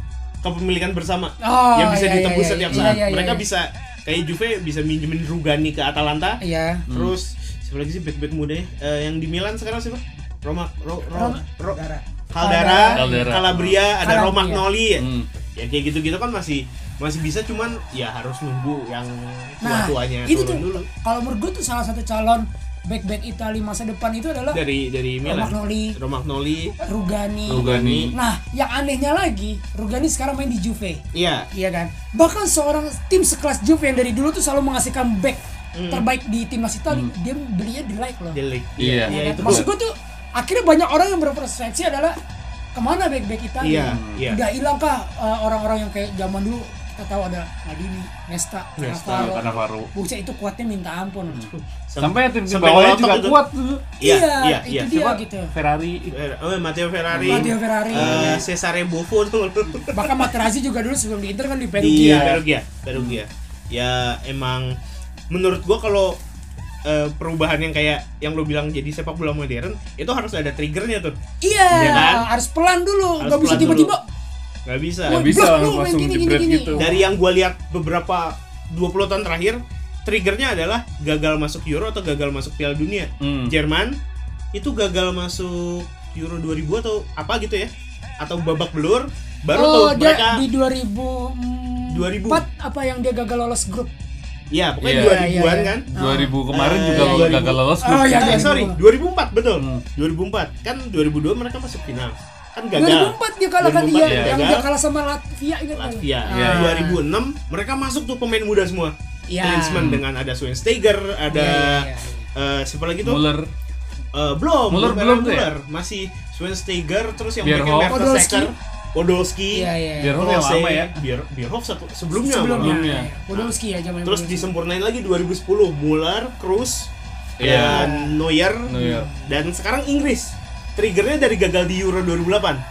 Speaker 2: kepemilikan bersama
Speaker 3: Oh,
Speaker 2: yang bisa
Speaker 3: iya,
Speaker 2: ditebus
Speaker 3: iya,
Speaker 2: setiap
Speaker 3: iya,
Speaker 2: saat
Speaker 3: iya, iya,
Speaker 2: mereka
Speaker 3: iya.
Speaker 2: bisa kayak Juve bisa minjemin Rugani ke Atalanta
Speaker 3: Iya.
Speaker 1: Hmm.
Speaker 2: terus siapa lagi sih bek-bek muda ya Eh, yang di Milan sekarang siapa Roma Ro, Ro,
Speaker 3: Roma.
Speaker 2: Ro,
Speaker 3: Caldara.
Speaker 2: Caldara,
Speaker 1: Caldara.
Speaker 2: Calabria, ada
Speaker 3: Calabria.
Speaker 2: Romagnoli ya.
Speaker 1: Hmm.
Speaker 2: Ya kayak gitu-gitu kan masih masih bisa cuman ya harus nunggu yang
Speaker 3: nah
Speaker 2: tua-tuanya
Speaker 3: itu
Speaker 2: turun dulu
Speaker 3: tuh kalau menurut gue tuh salah satu calon back back Italia masa depan itu adalah
Speaker 2: dari dari Milan.
Speaker 3: Romagnoli.
Speaker 2: Romagnoli.
Speaker 3: Rugani.
Speaker 1: Rugani.
Speaker 3: Nah, yang anehnya lagi, Rugani sekarang main di Juve.
Speaker 2: Iya.
Speaker 3: Iya kan? Bahkan seorang tim sekelas Juve yang dari dulu tuh selalu menghasilkan back terbaik di timnas Italia,
Speaker 2: Hmm.
Speaker 3: dia belinya di like loh.
Speaker 2: Delik.
Speaker 1: Iya.
Speaker 2: Iya itu.
Speaker 3: Maksud gue tuh akhirnya banyak orang yang berpersepsi adalah kemana back-back Italia?
Speaker 2: Iya, iya.
Speaker 3: Udah hilang kah uh, orang-orang yang eh, kayak zaman dulu kita tahu ada Madini, Nesta,
Speaker 1: Nesta,
Speaker 3: Cannavaro.
Speaker 1: Cannavaro.
Speaker 3: Buset itu kuatnya minta ampun.
Speaker 2: Hmm.
Speaker 1: Sampai tim tim
Speaker 2: sampai
Speaker 1: bawahnya
Speaker 2: ngelotok
Speaker 1: juga
Speaker 2: itu.
Speaker 1: kuat tuh.
Speaker 2: Iya, iya,
Speaker 3: Iya,
Speaker 2: iya.
Speaker 3: itu dia
Speaker 1: Siapa?
Speaker 3: gitu.
Speaker 1: Ferrari
Speaker 2: Fer- oh, Matteo Ferrari.
Speaker 3: Matteo Ferrari.
Speaker 2: Eh, Cesare Buffon tuh.
Speaker 3: Bahkan Materazzi juga dulu sebelum di Inter kan di
Speaker 2: di
Speaker 3: Perugia.
Speaker 2: Perugia. Perugia. Iya. Ya emang menurut gua kalau eh, perubahan yang kayak yang lo bilang jadi sepak bola modern itu harus ada triggernya tuh.
Speaker 3: Iya,
Speaker 2: Iya kan?
Speaker 3: harus pelan dulu,
Speaker 2: Harus
Speaker 3: nggak bisa
Speaker 2: pelan
Speaker 3: tiba-tiba.
Speaker 2: Gak bisa.
Speaker 1: nggak
Speaker 3: Wah,
Speaker 1: bisa
Speaker 3: blok lu,
Speaker 1: langsung
Speaker 3: main
Speaker 1: langsung
Speaker 3: gini,
Speaker 1: di
Speaker 3: gini,
Speaker 1: break
Speaker 3: gini.
Speaker 1: gitu.
Speaker 2: Dari yang gua lihat beberapa 20 tahun terakhir triggernya adalah gagal masuk Euro atau gagal masuk Piala Dunia.
Speaker 1: Hmm.
Speaker 2: Jerman itu gagal masuk Euro 2000 atau apa gitu ya? Atau babak belur baru
Speaker 3: oh,
Speaker 2: tuh
Speaker 3: dia
Speaker 2: mereka
Speaker 3: di 2000
Speaker 2: 2000.
Speaker 3: 2004 apa yang dia gagal lolos grup?
Speaker 2: ya pokoknya
Speaker 1: Iya,
Speaker 2: 2000-an
Speaker 3: iya, iya.
Speaker 2: kan.
Speaker 1: 2000 kemarin juga
Speaker 2: Eh,
Speaker 1: udah
Speaker 2: 2000.
Speaker 1: gagal lolos
Speaker 3: Oh, iya,
Speaker 2: Eh,
Speaker 3: iya.
Speaker 2: sorry, 2004 betul.
Speaker 1: Hmm.
Speaker 2: 2004 kan 2002 mereka masuk final. Kan gagal.
Speaker 3: 2004 dia kalahkan dia,
Speaker 2: 2004 dia
Speaker 3: yang
Speaker 2: iya, gagal.
Speaker 3: dia kalah sama Latvia ingat nggak?
Speaker 2: Latvia.
Speaker 1: Iya.
Speaker 3: Ah.
Speaker 2: 2006 mereka masuk tuh pemain muda semua.
Speaker 3: Iya.
Speaker 2: Klinsmann dengan ada Schweinsteiger, ada
Speaker 3: Iya, iya, iya.
Speaker 2: eh, siapa lagi tuh?
Speaker 1: Muller
Speaker 2: Eh, belum,
Speaker 1: Muller
Speaker 2: bukan
Speaker 1: belum tuh ya?
Speaker 2: Muller. masih Schweinsteiger terus yang
Speaker 1: Bierhoff.
Speaker 2: backnya Mertesacker, Podolski,
Speaker 3: Iya, iya.
Speaker 1: biar yang
Speaker 2: Klose,
Speaker 1: lama ya.
Speaker 2: Bier- Bierhoff satu sebelumnya.
Speaker 3: Sebelumnya.
Speaker 2: malah.
Speaker 1: Sebelumnya.
Speaker 3: Podolski ya zaman
Speaker 2: Terus
Speaker 3: dulu.
Speaker 2: disempurnain lagi 2010 Muller, Kroos,
Speaker 1: Iya.
Speaker 2: dan Neuer,
Speaker 1: Neuer.
Speaker 2: dan sekarang Inggris. Triggernya dari gagal di Euro 2008.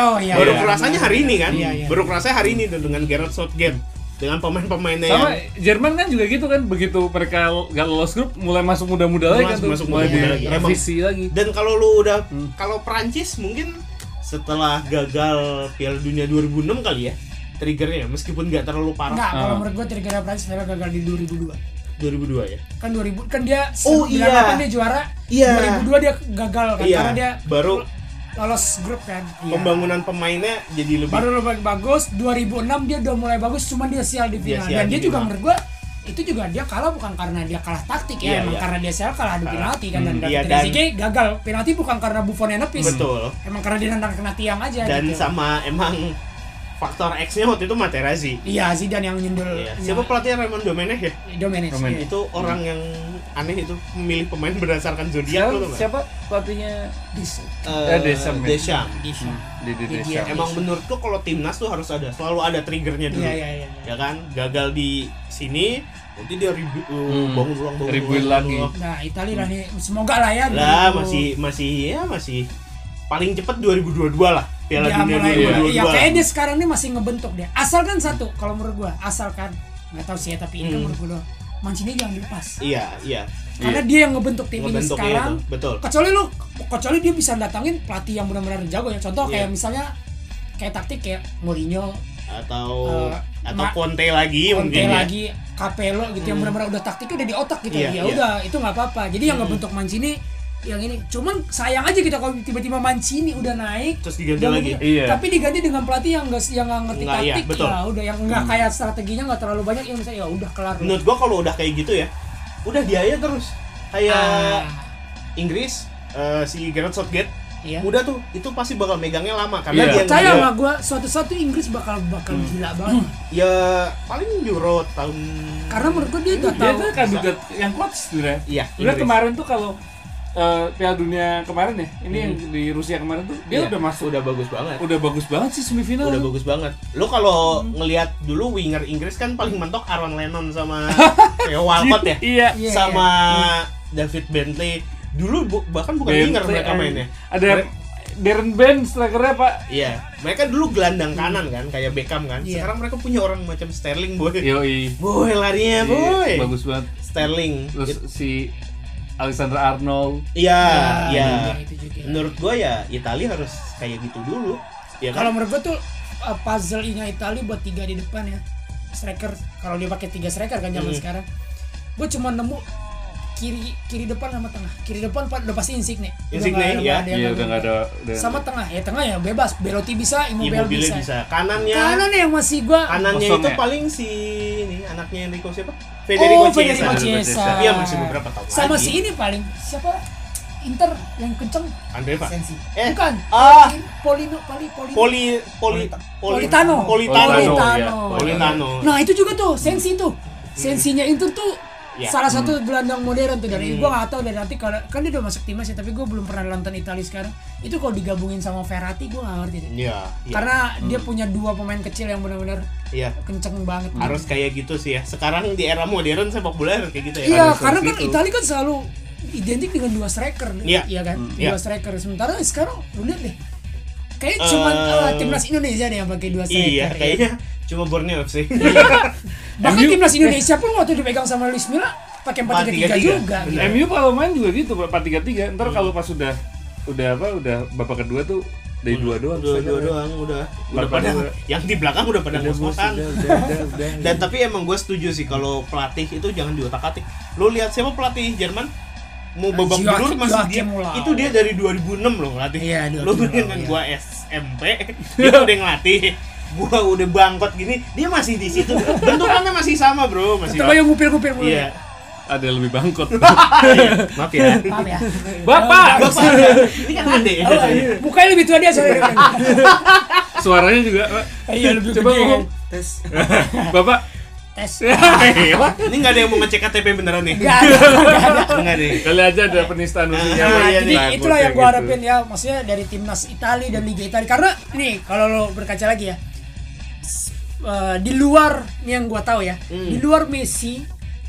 Speaker 3: Oh iya.
Speaker 2: baru
Speaker 1: Iya.
Speaker 2: kerasanya hari ini kan
Speaker 3: Iya, iya.
Speaker 2: baru kerasanya hari ini tuh dengan Gareth Southgate dengan pemain-pemainnya
Speaker 1: Sama
Speaker 2: yang
Speaker 1: Jerman kan juga gitu kan begitu mereka gak lolos grup mulai masuk muda-muda lagi kan
Speaker 2: Masuk-
Speaker 1: tuh.
Speaker 2: masuk
Speaker 1: mulai
Speaker 2: muda-muda lagi.
Speaker 1: direvisi lagi.
Speaker 2: dan kalau lu udah
Speaker 1: Hmm.
Speaker 2: kalau Prancis mungkin setelah gagal Piala Dunia 2006 kali ya triggernya meskipun nggak terlalu
Speaker 3: Enggak,
Speaker 2: parah
Speaker 3: kalau
Speaker 1: Ah.
Speaker 3: menurut gua trigger Prancis memang gagal di 2002.
Speaker 2: 2002 ya
Speaker 3: Kan 2000 kan dia
Speaker 2: Oh, iya.
Speaker 3: 98 dia juara.
Speaker 2: Iya.
Speaker 3: 2002 dia gagal kan
Speaker 2: Iya,
Speaker 3: karena dia
Speaker 2: baru-
Speaker 3: lolos grup kan. Iya.
Speaker 2: pembangunan pemainnya jadi lebih
Speaker 3: Baru lebih bagus 2006 dia udah mulai bagus cuman dia sial di
Speaker 2: Dia
Speaker 3: final.
Speaker 2: sial
Speaker 3: Dan
Speaker 2: di
Speaker 3: dia juga
Speaker 2: final.
Speaker 3: menurut gua itu juga dia kalah bukan karena dia kalah taktik ya,
Speaker 2: Iya,
Speaker 3: emang
Speaker 2: iya.
Speaker 3: karena dia sial kalah adu penalti kan dan dari
Speaker 2: iya, dan-
Speaker 3: Trezeguet gagal penalti bukan karena Buffonnya nepis.
Speaker 2: betul
Speaker 3: Emang karena dia nendang kena tiang aja
Speaker 2: dan
Speaker 3: gitu.
Speaker 2: sama emang faktor X-nya waktu itu Materazzi
Speaker 3: Iya, Zidane yang nyundul.
Speaker 2: Iya. siapa pelatih Raymond Domenech ya
Speaker 3: Domenech.
Speaker 1: Domenech.
Speaker 3: iya.
Speaker 2: itu orang yang aneh itu memilih pemain berdasarkan
Speaker 1: Siapa,
Speaker 2: zodiak lu tau nggak?
Speaker 1: siapa pelatihnya
Speaker 3: Dis-
Speaker 2: Eh,
Speaker 1: Eh, Desham ya?
Speaker 2: Desham.
Speaker 1: di Indonesia?
Speaker 3: Iya.
Speaker 2: Emang menurutku kalau timnas tuh harus ada, selalu ada triggernya dulu.
Speaker 3: Iya, iya, iya.
Speaker 2: Ya kan, gagal di sini, nanti dia ribu- uh,
Speaker 1: Hmm.
Speaker 2: bangun ulang, bangun
Speaker 1: Rebuild
Speaker 2: ulang,
Speaker 1: lagi.
Speaker 2: bangun ulang.
Speaker 3: Nah, Italia lah nih. Semoga lah ya.
Speaker 2: Lah,
Speaker 3: 2000.
Speaker 2: masih masih ya masih paling cepat 2022 lah. Piala
Speaker 3: ya,
Speaker 2: Dunia
Speaker 3: mulai,
Speaker 2: 2022.
Speaker 3: ya,
Speaker 2: lah.
Speaker 3: kayaknya dia sekarang nih masih ngebentuk dia. Asalkan satu, kalau menurut gua, asalkan nggak tahu sih ya, tapi ini kan
Speaker 2: Hmm.
Speaker 3: menurut gua Mancini jangan dilepas.
Speaker 2: Iya, iya.
Speaker 3: Karena dia yang ngebentuk tim ini
Speaker 2: Ngebentuk, iya,
Speaker 3: sekarang.
Speaker 2: tuh. Betul.
Speaker 3: Kecuali lu, kecuali dia bisa datangin pelatih yang benar-benar jago ya. Contoh
Speaker 2: Iya.
Speaker 3: kayak misalnya kayak taktik kayak Mourinho,
Speaker 2: Atau
Speaker 3: Eh,
Speaker 2: atau
Speaker 3: Ma-
Speaker 2: Conte lagi
Speaker 3: Conte
Speaker 2: mungkin ya.
Speaker 3: lagi Capello gitu yang benar-benar udah taktiknya udah di otak gitu
Speaker 2: Iya, Hmm.
Speaker 3: ya
Speaker 2: iya.
Speaker 3: udah itu nggak apa-apa jadi yang ngebentuk Mancini yang ini cuman sayang aja gitu kalau tiba-tiba Mancini udah naik
Speaker 2: Terus diganti
Speaker 3: udah
Speaker 2: lagi.
Speaker 3: begitu.
Speaker 1: Iya.
Speaker 3: tapi diganti dengan pelatih yang nggak yang nggak ngerti
Speaker 2: Nggak, iya,
Speaker 3: taktik
Speaker 2: betul. Hmm.
Speaker 3: ya udah yang nggak kayak strateginya nggak terlalu banyak yang misalnya ya udah kelar
Speaker 2: Menurut gua kalau udah kayak gitu ya, udah dia aja terus. Kayak
Speaker 3: Ah,
Speaker 2: Inggris eh, si Gareth Southgate
Speaker 3: iya.
Speaker 2: udah tuh itu pasti bakal megangnya lama
Speaker 1: Iya.
Speaker 2: karena dia
Speaker 3: percaya
Speaker 2: dia-
Speaker 3: sama gue suatu-suatu Inggris bakal bakal
Speaker 2: Hmm.
Speaker 3: gila banget
Speaker 2: ya paling Euro tahun
Speaker 3: karena menurut gue dia udah
Speaker 1: Dia
Speaker 3: tahu
Speaker 1: tuh kandidat yang kuat sebenarnya.
Speaker 2: Iya,
Speaker 1: Sebenarnya
Speaker 2: Inggris.
Speaker 1: kemarin tuh kalau eh, Piala Dunia kemarin ya, ini yang di Rusia kemarin tuh dia
Speaker 2: Hmm. Iya,
Speaker 1: udah masuk udah
Speaker 2: udah bagus banget
Speaker 1: udah bagus banget sih semifinal.
Speaker 2: udah bagus banget lo kalau
Speaker 3: Hmm.
Speaker 2: ngelihat dulu winger Inggris kan paling mentok Aaron Lennon sama Theo Walcott ya
Speaker 1: Iya.
Speaker 3: Iya,
Speaker 2: sama David Bentley dulu bu- bahkan bukan winger
Speaker 1: Bentley,
Speaker 2: mereka
Speaker 1: eh,
Speaker 2: mainnya
Speaker 1: Ada
Speaker 2: Mere-
Speaker 1: Darren Ben strikernya Pak.
Speaker 2: iya mereka dulu gelandang kanan kan kayak Beckham kan
Speaker 3: Iya.
Speaker 2: sekarang mereka punya orang macam Sterling boy
Speaker 1: Yoi.
Speaker 2: boy larinya Ya, boy
Speaker 1: Iya, Bagus banget.
Speaker 2: Sterling
Speaker 1: Terus
Speaker 2: It-
Speaker 1: si Alexander Arnold
Speaker 2: iya iya
Speaker 3: iya, itu juga.
Speaker 2: menurut gua ya Italia harus kayak gitu dulu ya
Speaker 3: Kalau
Speaker 2: kan
Speaker 3: menurut gue tuh uh, puzzle nya Itali buat tiga di depan ya. Striker kalau dia pakai tiga striker kan zaman
Speaker 2: Hmm.
Speaker 3: sekarang. Gue cuma nemu kiri kiri depan sama tengah. Kiri depan pa- udah pasti Insigne. Udah
Speaker 2: Insigne,
Speaker 3: nggak- nggak
Speaker 2: ya.
Speaker 3: ada yang
Speaker 1: Iya
Speaker 3: ngambil.
Speaker 1: udah nggak ada udah-
Speaker 3: Sama tengah ya tengah ya bebas. Belotti bisa, Immobile
Speaker 2: Immobile
Speaker 3: bisa.
Speaker 2: Iya, bisa kanannya
Speaker 3: Kanan ya, yang masih gue.
Speaker 2: kanannya
Speaker 1: Kosong
Speaker 2: itu
Speaker 1: ya?
Speaker 2: paling si ini anaknya Enrico siapa?
Speaker 3: Oh,
Speaker 2: Federico
Speaker 3: Federico
Speaker 2: Chiesa.
Speaker 1: Chiesa.
Speaker 3: Chiesa.
Speaker 2: Iya, masih beberapa tahun
Speaker 3: Sama
Speaker 2: lagi.
Speaker 3: si ini paling siapa? Inter yang kenceng.
Speaker 2: Andre Pak.
Speaker 3: Sensi.
Speaker 2: Eh,
Speaker 3: Bukan.
Speaker 2: ah.
Speaker 3: Polino, Poli, Polino.
Speaker 2: Poli poli poli-
Speaker 3: Politano.
Speaker 2: Politano.
Speaker 1: iya. Politano.
Speaker 2: Politano.
Speaker 3: Nah itu juga tuh sensi tuh sensinya itu tuh
Speaker 2: Hmm. Ya. Hmm.
Speaker 3: salah satu gelandang modern tuh dari gua nggak tahu dari nanti kalau kan dia udah masuk timnas ya tapi gua belum pernah nonton Italia sekarang itu kalau digabungin sama Ferrati gua nggak ngerti deh.
Speaker 2: Iya. iya.
Speaker 3: karena dia punya dua pemain kecil yang benar-benar
Speaker 2: Iya.
Speaker 3: kenceng banget
Speaker 1: Hmm.
Speaker 2: harus kayak gitu sih ya. Sekarang di era modern sepak bola harus kayak gitu ya.
Speaker 3: Iya,
Speaker 2: Harus
Speaker 3: karena kan
Speaker 2: seperti itu.
Speaker 3: Italia kan selalu identik dengan dua striker,
Speaker 2: Iya.
Speaker 3: iya kan?
Speaker 2: iya.
Speaker 3: Dua striker. Sementara sekarang lu lihat deh, kayak cuma eh, timnas Indonesia deh yang pakai dua striker.
Speaker 2: Iya,
Speaker 3: ya.
Speaker 2: kayaknya cuma Borneo sih.
Speaker 1: Iya.
Speaker 3: Bahkan
Speaker 1: MU
Speaker 3: timnas Indonesia pun waktu dipegang sama Luis Milla pakai 4-3-3
Speaker 2: 4-3-3.
Speaker 3: juga. gitu.
Speaker 2: Benar.
Speaker 1: MU kalau main juga gitu 4-3-3 ntar kalau pas udah udah apa udah babak kedua tuh dari dua doang
Speaker 2: Dua,
Speaker 1: misalnya.
Speaker 2: dua doang udah. Udah
Speaker 1: Bapak
Speaker 2: pada
Speaker 1: dua.
Speaker 2: yang di belakang udah pada
Speaker 1: Udah, bos,
Speaker 2: ngos-ngosan.
Speaker 1: udah, udah, udah, udah.
Speaker 2: Dan tapi emang gue setuju sih kalau pelatih itu jangan diotak-atik. Lo lihat siapa pelatih Jerman? Mau babak
Speaker 3: Joachim-
Speaker 2: belur masih dia.
Speaker 3: Joachim Löw.
Speaker 2: Itu dia dari 2006 loh ngelatih.
Speaker 3: Iya, 2006,
Speaker 2: Lo bayangin kan
Speaker 3: iya.
Speaker 2: gue SMP, dia udah ngelatih. Gua udah bangkot gini, dia masih di situ. Bentukannya masih sama, Bro, masih.
Speaker 3: Coba yang ngupil-ngupil mulu.
Speaker 2: Iya.
Speaker 1: ada yang lebih bangkot
Speaker 3: Iya.
Speaker 2: Maaf ya.
Speaker 3: Paham ya?
Speaker 1: bapak
Speaker 2: Bapak, ya. ini kan adek.
Speaker 3: Oh, iya. Mukanya lebih tua dia soalnya.
Speaker 1: suaranya juga Pak.
Speaker 3: Iya, lebih
Speaker 1: coba
Speaker 3: gede.
Speaker 1: ngomong
Speaker 3: Tes.
Speaker 1: bapak
Speaker 3: Tes.
Speaker 2: Ini nggak ada yang mau ngecek KTP beneran nih.
Speaker 3: Gak ada.
Speaker 2: Enggak deh.
Speaker 1: kali aja ada penistaan musiknya
Speaker 2: Ah,
Speaker 1: Pak.
Speaker 2: iya,
Speaker 3: Jadi
Speaker 2: nih.
Speaker 1: Takut
Speaker 3: itulah yang
Speaker 1: ya
Speaker 3: gue
Speaker 1: gitu.
Speaker 3: harapin ya, maksudnya dari timnas Italia dan Liga Italia. Karena nih kalau lo berkaca lagi ya, s- eh, di luar nih yang gue tahu ya, di luar Messi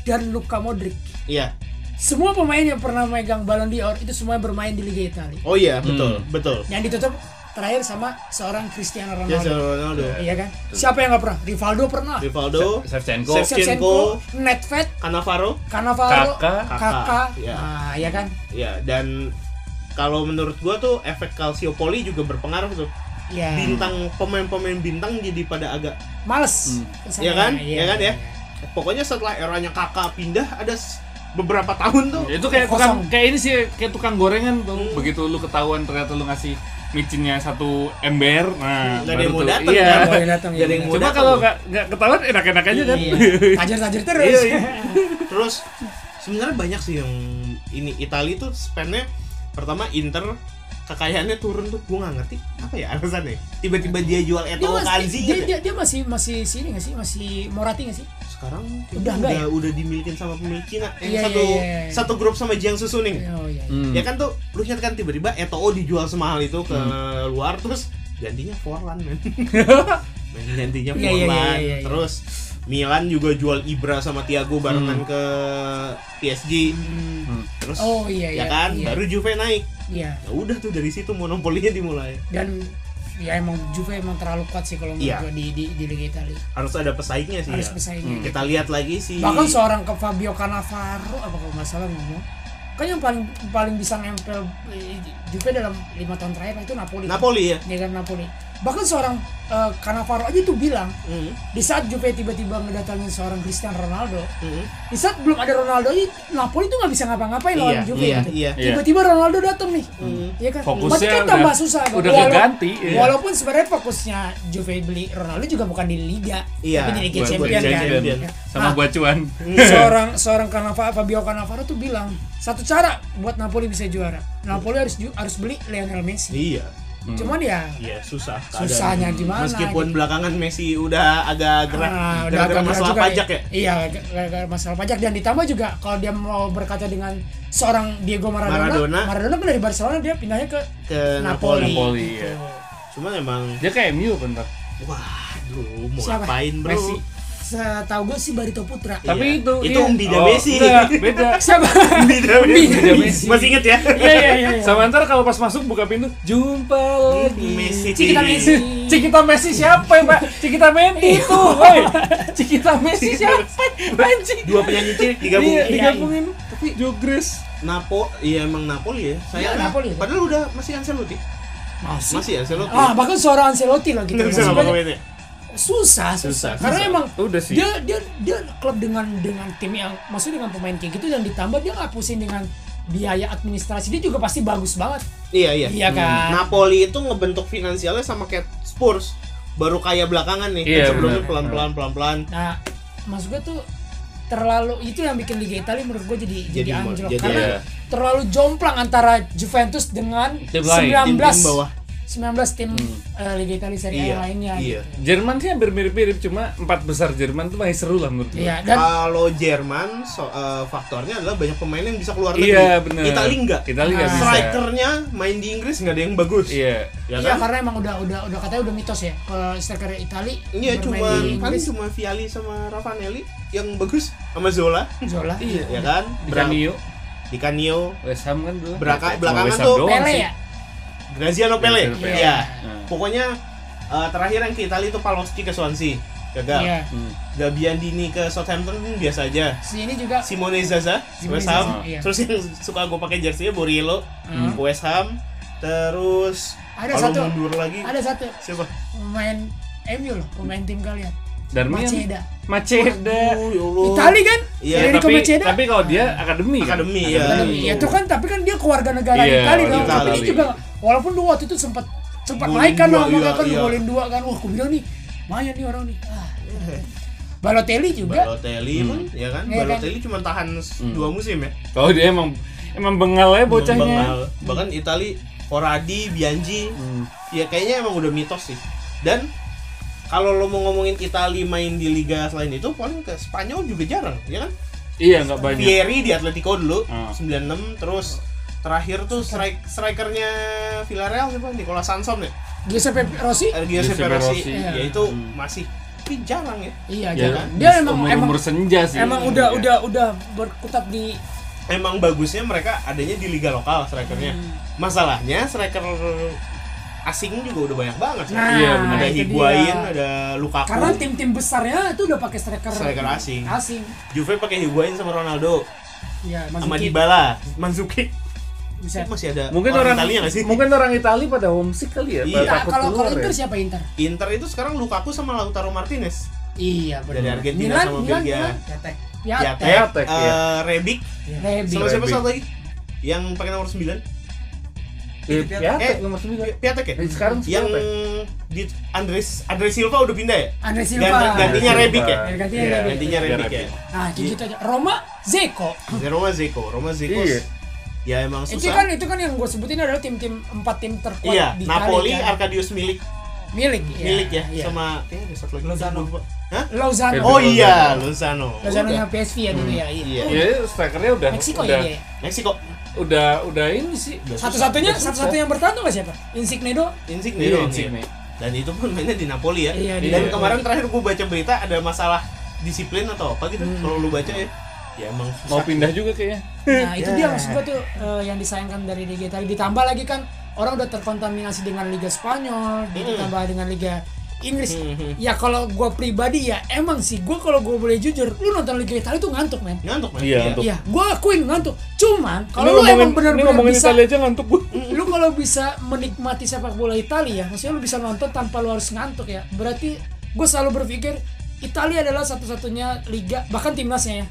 Speaker 3: dan Luka Modric,
Speaker 2: Iya.
Speaker 3: semua pemain yang pernah megang Ballon d'Or itu semua bermain di Liga Italia.
Speaker 2: Oh iya, betul, betul.
Speaker 3: Yang ditutup terakhir sama seorang Cristiano
Speaker 2: Dia
Speaker 3: Ronaldo.
Speaker 2: Ronaldo.
Speaker 3: Iya kan? Siapa yang nggak pernah? Rivaldo pernah.
Speaker 2: Rivaldo,
Speaker 1: Shevchenko.
Speaker 3: Shevchenko, Nedved,
Speaker 2: Cannavaro,
Speaker 3: Cannavaro,
Speaker 1: Kakak.
Speaker 3: Kakak,
Speaker 2: Iya.
Speaker 3: nah, ya kan?
Speaker 2: ya dan kalau menurut gua tuh efek Calciopoli juga berpengaruh tuh.
Speaker 3: Ya.
Speaker 2: Bintang pemain-pemain bintang jadi pada agak
Speaker 3: Males. Kesana,
Speaker 2: ya kan?
Speaker 3: iya.
Speaker 2: Ya kan ya. Pokoknya setelah eranya Kakak pindah ada s- beberapa
Speaker 3: Iya.
Speaker 2: tahun tuh.
Speaker 1: Ya, itu kayak
Speaker 3: Kosong.
Speaker 1: tukang kayak ini sih kayak tukang gorengan tuh begitu lu ketahuan ternyata lu ngasih micinnya satu ember nah
Speaker 2: Nggak ada
Speaker 1: baru
Speaker 2: yang mau
Speaker 1: tuh-
Speaker 2: datang,
Speaker 1: iya
Speaker 2: nggak
Speaker 3: ada yang datang,
Speaker 1: Nggak ada
Speaker 3: iya.
Speaker 1: yang mau
Speaker 2: Cuma
Speaker 1: datang.
Speaker 2: kalau
Speaker 1: kalau nggak nggak ketahuan enak-enak aja kan
Speaker 3: Tajir-tajir terus.
Speaker 2: Iya, iya. Terus sebenarnya banyak sih yang ini Itali tuh spannya pertama Inter kekayaannya turun tuh gua nggak ngerti apa ya alasannya tiba-tiba dia jual
Speaker 3: dia
Speaker 2: Eto'o gitu ya. ke
Speaker 3: masih
Speaker 2: Anzi
Speaker 3: dia, dia, dia masih masih sini nggak sih masih Morati nggak sih
Speaker 2: sekarang kayaknya
Speaker 3: Udah
Speaker 2: udah
Speaker 3: nggak ya?
Speaker 2: udah, dimiliki sama pemilik Cina yang
Speaker 3: Iya,
Speaker 2: satu
Speaker 3: iya, iya.
Speaker 2: satu grup sama Jiang Susuning
Speaker 3: oh iya
Speaker 1: Hmm.
Speaker 3: iya.
Speaker 2: ya kan tuh lu lihat kan tiba-tiba Eto'o dijual semahal itu ke
Speaker 3: Hmm.
Speaker 2: luar terus gantinya Forlan men Men, gantinya
Speaker 3: Iya, iya,
Speaker 2: Forlan
Speaker 3: iya, iya, iya.
Speaker 2: terus Milan juga jual Ibra sama Thiago barengan ke PSG terus
Speaker 3: Hmm. Oh, iya, iya,
Speaker 2: ya kan
Speaker 3: iya.
Speaker 2: baru Juve naik
Speaker 3: Iya.
Speaker 2: ya udah tuh dari situ monopolinya dimulai
Speaker 3: dan ya emang Juve emang terlalu kuat sih kalau menurut
Speaker 2: Iya.
Speaker 3: gua di, di di Liga Italia
Speaker 2: harus ada pesaingnya sih
Speaker 3: Harus
Speaker 2: ya.
Speaker 3: pesaingnya.
Speaker 2: Hmm. kita lihat lagi sih
Speaker 3: bahkan seorang ke Fabio Cannavaro apa kalau nggak salah ngomong kan yang paling paling bisa nempel eh, Juve dalam lima tahun terakhir itu Napoli
Speaker 2: Napoli ya
Speaker 3: Dia kan Napoli bahkan seorang eh, Cannavaro aja tuh bilang
Speaker 2: Hmm,
Speaker 3: di saat Juve tiba-tiba ngedatangin seorang Cristiano Ronaldo
Speaker 2: hmm.
Speaker 3: di saat belum ada Ronaldo aja, Napoli tuh nggak bisa ngapa-ngapain lawan
Speaker 2: Iya,
Speaker 3: Juve
Speaker 2: iya,
Speaker 3: gitu.
Speaker 2: iya. Hmm.
Speaker 3: tiba-tiba Ronaldo datang nih Iya kan
Speaker 1: Fokusnya
Speaker 3: Berarti kan
Speaker 1: udah-
Speaker 3: tambah susah kan?
Speaker 1: udah
Speaker 3: Walau-
Speaker 1: keganti, iya.
Speaker 3: walaupun sebenarnya fokusnya Juve beli Ronaldo juga bukan di Liga
Speaker 2: Iya,
Speaker 3: tapi di Liga
Speaker 1: buat
Speaker 3: Champion
Speaker 1: buat
Speaker 3: kan
Speaker 1: champion.
Speaker 3: Iya.
Speaker 1: sama
Speaker 3: Nah,
Speaker 1: gua cuan
Speaker 2: Hmm.
Speaker 3: seorang seorang Cannavaro Fabio Cannavaro tuh bilang satu cara buat Napoli bisa juara Napoli harus ju- harus beli Lionel Messi
Speaker 2: iya
Speaker 3: cuman
Speaker 1: Hmm.
Speaker 3: ya
Speaker 2: Iya susah.
Speaker 3: Susahnya
Speaker 2: keadaan.
Speaker 3: gimana, gitu.
Speaker 2: Meskipun belakangan Messi udah agak gerak
Speaker 3: Ah, udah
Speaker 2: gara-gara
Speaker 3: agak berat
Speaker 2: masalah
Speaker 3: juga
Speaker 2: pajak
Speaker 3: nih.
Speaker 2: ya.
Speaker 3: Iya, gara-gara masalah pajak dan ditambah juga kalau dia mau berkaca dengan seorang Diego Maradona,
Speaker 2: Maradona.
Speaker 3: Maradona, kan dari Barcelona dia pindahnya ke
Speaker 2: Ke
Speaker 3: Napoli.
Speaker 1: Napoli, iya.
Speaker 2: Cuman emang
Speaker 1: dia kayak Mio bentar
Speaker 2: waduh mau
Speaker 3: Siapa?
Speaker 2: ngapain bro?
Speaker 1: Messi.
Speaker 3: Setahu gue sih Barito Putra.
Speaker 1: tapi
Speaker 2: Iya.
Speaker 1: itu
Speaker 2: Itu
Speaker 1: iya.
Speaker 2: Umbida Messi.
Speaker 1: enggak, beda
Speaker 3: Siapa?
Speaker 2: Beda
Speaker 1: Beda Messi.
Speaker 2: Masih inget ya?
Speaker 1: Iya iya iya. Sama ntar kalau pas masuk buka pintu, jumpa lagi.
Speaker 2: Hmm, Messi.
Speaker 1: Cikita
Speaker 3: Iya.
Speaker 1: Messi. Cikita Messi siapa ya, Pak? Cikita Messi itu. Hei. Cikita Messi siapa? Anjing.
Speaker 2: Dua penyanyi cilik digabung.
Speaker 1: Iya,
Speaker 3: iya.
Speaker 1: digabungin. Tapi Jogres.
Speaker 2: Napo, iya emang Napoli ya. Saya
Speaker 3: Iya, Napoli.
Speaker 2: Padahal udah masih Ancelotti.
Speaker 3: Masih.
Speaker 2: Masih ya, Ancelotti.
Speaker 3: Ah, bahkan seorang Ancelotti loh gitu.
Speaker 2: Nggak bisa
Speaker 3: Maksudnya,
Speaker 2: ngapa-ngapain ya?
Speaker 3: susah, susah,
Speaker 2: Susah,
Speaker 3: Karena
Speaker 2: susah.
Speaker 3: emang
Speaker 1: Udah sih.
Speaker 3: dia dia dia klub dengan dengan tim yang maksudnya dengan pemain kayak gitu dan ditambah dia nggak pusing dengan biaya administrasi dia juga pasti bagus banget.
Speaker 2: Iya iya.
Speaker 3: Iya kan?
Speaker 2: Napoli itu ngebentuk finansialnya sama kayak Spurs. Baru kaya belakangan nih.
Speaker 1: Iya,
Speaker 2: Sebelumnya
Speaker 1: benar.
Speaker 2: pelan-pelan pelan-pelan.
Speaker 3: Nah, maksud gue tuh terlalu itu yang bikin Liga Italia menurut gue jadi jadi,
Speaker 2: Jadi mo-
Speaker 3: anjlok
Speaker 2: jadi
Speaker 3: karena
Speaker 2: ya.
Speaker 3: terlalu jomplang antara Juventus dengan
Speaker 1: Tim
Speaker 3: 19
Speaker 1: lain,
Speaker 2: tim-tim bawah. Hmm.
Speaker 3: 19 tim eh, Liga Italia Serie A
Speaker 2: Iya.
Speaker 3: yang lainnya.
Speaker 2: Iya.
Speaker 1: Jerman sih hampir mirip-mirip cuma empat besar Jerman tuh masih seru lah menurut gue.
Speaker 3: Iya, dan
Speaker 2: Kalau Jerman so- eh, faktornya adalah banyak pemain yang bisa keluar negeri.
Speaker 1: Iya benar.
Speaker 2: Italia enggak.
Speaker 1: Italia Ah, enggak bisa.
Speaker 2: Strikernya main di Inggris nggak ada yang bagus.
Speaker 1: Iya.
Speaker 2: Ya
Speaker 3: iya,
Speaker 2: kan?
Speaker 3: karena emang udah udah udah katanya udah mitos ya kalau striker Itali
Speaker 2: Iya,
Speaker 3: bermain
Speaker 2: cuma
Speaker 3: di
Speaker 2: paling
Speaker 3: Inggris,
Speaker 2: cuma Viali sama Ravanelli yang bagus sama Zola,
Speaker 3: Zola.
Speaker 1: Iya.
Speaker 2: ya kan?
Speaker 1: Di
Speaker 2: Bra-
Speaker 1: Canio,
Speaker 2: Di Canio,
Speaker 1: West Ham kan dulu. Cuma
Speaker 2: Beraka- belakangan
Speaker 1: West Ham
Speaker 2: tuh
Speaker 1: doang
Speaker 3: Pele
Speaker 1: sih.
Speaker 3: ya?
Speaker 2: Graziano Pele.
Speaker 1: Graziano Pele.
Speaker 2: Iya.
Speaker 1: Hmm.
Speaker 2: Pokoknya eh, terakhir yang ke Italia itu Palosci ke Swansea. Gagal.
Speaker 3: Iya.
Speaker 1: Hmm.
Speaker 2: Gabiandini ke Southampton hmm, biasa aja.
Speaker 3: Si ini juga
Speaker 2: Simone Zaza,
Speaker 3: Simone
Speaker 2: West Ham.
Speaker 3: Zaza, iya.
Speaker 2: Terus yang suka gue pakai jersey-nya Borriello,
Speaker 3: Hmm.
Speaker 2: West Ham. Terus
Speaker 3: Ada
Speaker 2: kalau
Speaker 3: satu.
Speaker 2: mundur lagi
Speaker 3: ada satu
Speaker 2: siapa?
Speaker 3: pemain MU loh, pemain tim kalian.
Speaker 1: Darmian.
Speaker 3: Maceda.
Speaker 1: Maceda.
Speaker 2: Oh, ya Allah.
Speaker 3: Itali kan?
Speaker 2: Iya,
Speaker 1: Ya,
Speaker 3: Dari
Speaker 1: tapi,
Speaker 3: Maceda.
Speaker 1: tapi kalau dia akademi kan?
Speaker 2: Akademi, iya.
Speaker 3: Akademi. Ya itu kan tapi kan dia keluarga negara
Speaker 1: Iya,
Speaker 3: Itali dong.
Speaker 2: Itali.
Speaker 3: Tapi dia juga walaupun dua waktu itu sempat sempat
Speaker 2: Golin
Speaker 3: naik kan
Speaker 2: dua,
Speaker 3: ngomong
Speaker 2: iya,
Speaker 3: kan
Speaker 2: iya.
Speaker 3: golin dua kan. Wah, aku bilang nih, lumayan nih orang nih. Ah. Balotelli juga.
Speaker 2: Balotelli pun, ya kan?
Speaker 3: Iya kan? Hmm.
Speaker 2: Balotelli cuma tahan s- dua musim ya.
Speaker 1: Kalau dia emang emang bengal aja bocahnya.
Speaker 2: Bengal. Bahkan Itali, Corradi, Bianji,
Speaker 1: Hmm.
Speaker 2: ya kayaknya emang udah mitos sih. Dan kalau lo mau ngomongin Itali main di liga selain itu, paling ke Spanyol juga jarang, ya kan?
Speaker 1: Iya nggak banyak.
Speaker 2: Pieri di Atletico dulu,
Speaker 1: Ah.
Speaker 2: 96, terus terakhir tuh strike, strikernya Villarreal siapa? Nicola Sansom ya?
Speaker 3: Giuseppe Rossi?
Speaker 2: Eh, Giuseppe
Speaker 1: Giuseppe
Speaker 2: Rossi,
Speaker 1: Rossi.
Speaker 2: ya itu
Speaker 1: Hmm.
Speaker 2: masih tapi jarang ya.
Speaker 3: Iya,
Speaker 1: Ya,
Speaker 3: jangan. Dia emang
Speaker 1: umur,
Speaker 3: emang
Speaker 1: umur senja sih. iya.
Speaker 3: emang udah udah udah berkutat di
Speaker 2: emang bagusnya mereka adanya di liga lokal strikernya.
Speaker 3: Hmm.
Speaker 2: Masalahnya striker asing juga udah banyak banget. ya.
Speaker 3: Nah,
Speaker 1: Iya, benar.
Speaker 2: ada
Speaker 3: itu
Speaker 2: Higuain,
Speaker 3: dia.
Speaker 2: ada Lukaku.
Speaker 3: Karena tim-tim besarnya itu udah pakai striker
Speaker 2: Striker asing.
Speaker 3: Asing.
Speaker 2: Juve pakai Higuain sama Ronaldo,
Speaker 3: Iya,
Speaker 2: sama
Speaker 3: Manzukic
Speaker 2: Dybala, Manzukic.
Speaker 3: bisa.
Speaker 2: Itu masih ada
Speaker 1: mungkin orang,
Speaker 2: Italia nggak sih?
Speaker 1: mungkin orang Italia pada homesick kali ya,
Speaker 2: Iya.
Speaker 1: pada
Speaker 3: Nah,
Speaker 1: takut
Speaker 3: kalau kalau
Speaker 1: keluar
Speaker 3: Inter
Speaker 1: ya.
Speaker 3: siapa Inter?
Speaker 2: Inter itu sekarang Lukaku sama Lautaro Martinez.
Speaker 3: Iya, benar.
Speaker 2: Dari Argentina
Speaker 3: Milan,
Speaker 2: sama
Speaker 3: Milan,
Speaker 2: Belgia.
Speaker 3: Milan, Piatek. Piatek.
Speaker 1: Piatek,
Speaker 2: eh,
Speaker 1: iya.
Speaker 2: Rebic,
Speaker 3: Ya, Rebic.
Speaker 2: sama siapa
Speaker 1: Rebic.
Speaker 2: satu lagi? Yang pakai nomor 9?
Speaker 1: Eh, Piatek
Speaker 2: Eh,
Speaker 1: nomor 9.
Speaker 2: Piatek ya?
Speaker 1: Eh, sekarang sih
Speaker 2: yang
Speaker 1: Piatek.
Speaker 2: di Andres Andres Silva udah pindah ya?
Speaker 3: Andre Silva.
Speaker 2: Ganti, gantinya
Speaker 1: Silva.
Speaker 2: Rebic ya?
Speaker 3: Gantinya
Speaker 1: Iya,
Speaker 3: Rebic.
Speaker 2: Gantinya
Speaker 1: Gantinya
Speaker 2: Rebic ya?
Speaker 1: Rebic.
Speaker 3: Nah, kayak gitu aja. Roma, Zeko.
Speaker 2: Roma Zeko, Roma Zeko
Speaker 1: Iya.
Speaker 2: ya emang susah.
Speaker 3: Itu kan itu kan yang gue sebutin adalah tim-tim empat tim terkuat
Speaker 2: iya,
Speaker 3: di
Speaker 2: Napoli,
Speaker 3: Italia.
Speaker 2: Arcadius milik
Speaker 3: milik,
Speaker 2: milik ya,
Speaker 3: kan? iya.
Speaker 2: sama kayaknya ada satu lagi
Speaker 3: Lozano.
Speaker 2: lupa. Hah?
Speaker 3: Lozano.
Speaker 2: Oh iya, Lozano.
Speaker 3: Lozano-nya
Speaker 2: Udah.
Speaker 3: PSV ya dulu ya. Iya.
Speaker 2: Iya.
Speaker 1: Ya, strikernya udah
Speaker 3: Meksiko
Speaker 1: udah,
Speaker 3: ya Iya, dia.
Speaker 2: Meksiko.
Speaker 1: udah udah ini sih. Iya,
Speaker 2: Udah
Speaker 3: Satu-satunya
Speaker 1: Udah susah.
Speaker 3: satu-satunya yang bertahan tuh nggak siapa? Insigne do.
Speaker 2: Insigne
Speaker 1: Iya,
Speaker 2: doang
Speaker 1: Insigne.
Speaker 2: ya. Dan itu pun mainnya di Napoli ya.
Speaker 3: Iya, di
Speaker 2: Dan
Speaker 1: Napoli.
Speaker 2: kemarin terakhir gua baca berita ada masalah disiplin atau apa gitu.
Speaker 3: Hmm.
Speaker 2: Kalau lu baca ya, ya emang
Speaker 1: Mau
Speaker 2: susah.
Speaker 1: pindah juga kayaknya.
Speaker 3: Nah, itu dia maksud gua tuh eh, yang disayangkan dari Liga Italia ditambah lagi kan orang udah terkontaminasi dengan Liga Spanyol, ditambah
Speaker 1: Mm.
Speaker 3: dengan Liga Inggris.
Speaker 1: Mm-hmm.
Speaker 3: Ya kalau gua pribadi ya emang sih gua kalau gua boleh jujur, lu nonton Liga Italia tuh ngantuk, men.
Speaker 2: Ngantuk man.
Speaker 1: Iya, ngantuk.
Speaker 3: Iya, gua akuin ngantuk. Cuman
Speaker 1: Ini
Speaker 3: kalau lu
Speaker 1: ngomongin-
Speaker 3: emang
Speaker 1: ini
Speaker 3: benar-benar
Speaker 1: ngomongin
Speaker 3: bisa
Speaker 1: Italia aja ngantuk gue.
Speaker 3: lu kalau bisa menikmati sepak bola Italia, ya, maksudnya lu bisa nonton tanpa lu harus ngantuk ya. Berarti gue selalu berpikir Italia adalah satu-satunya liga bahkan timnasnya ya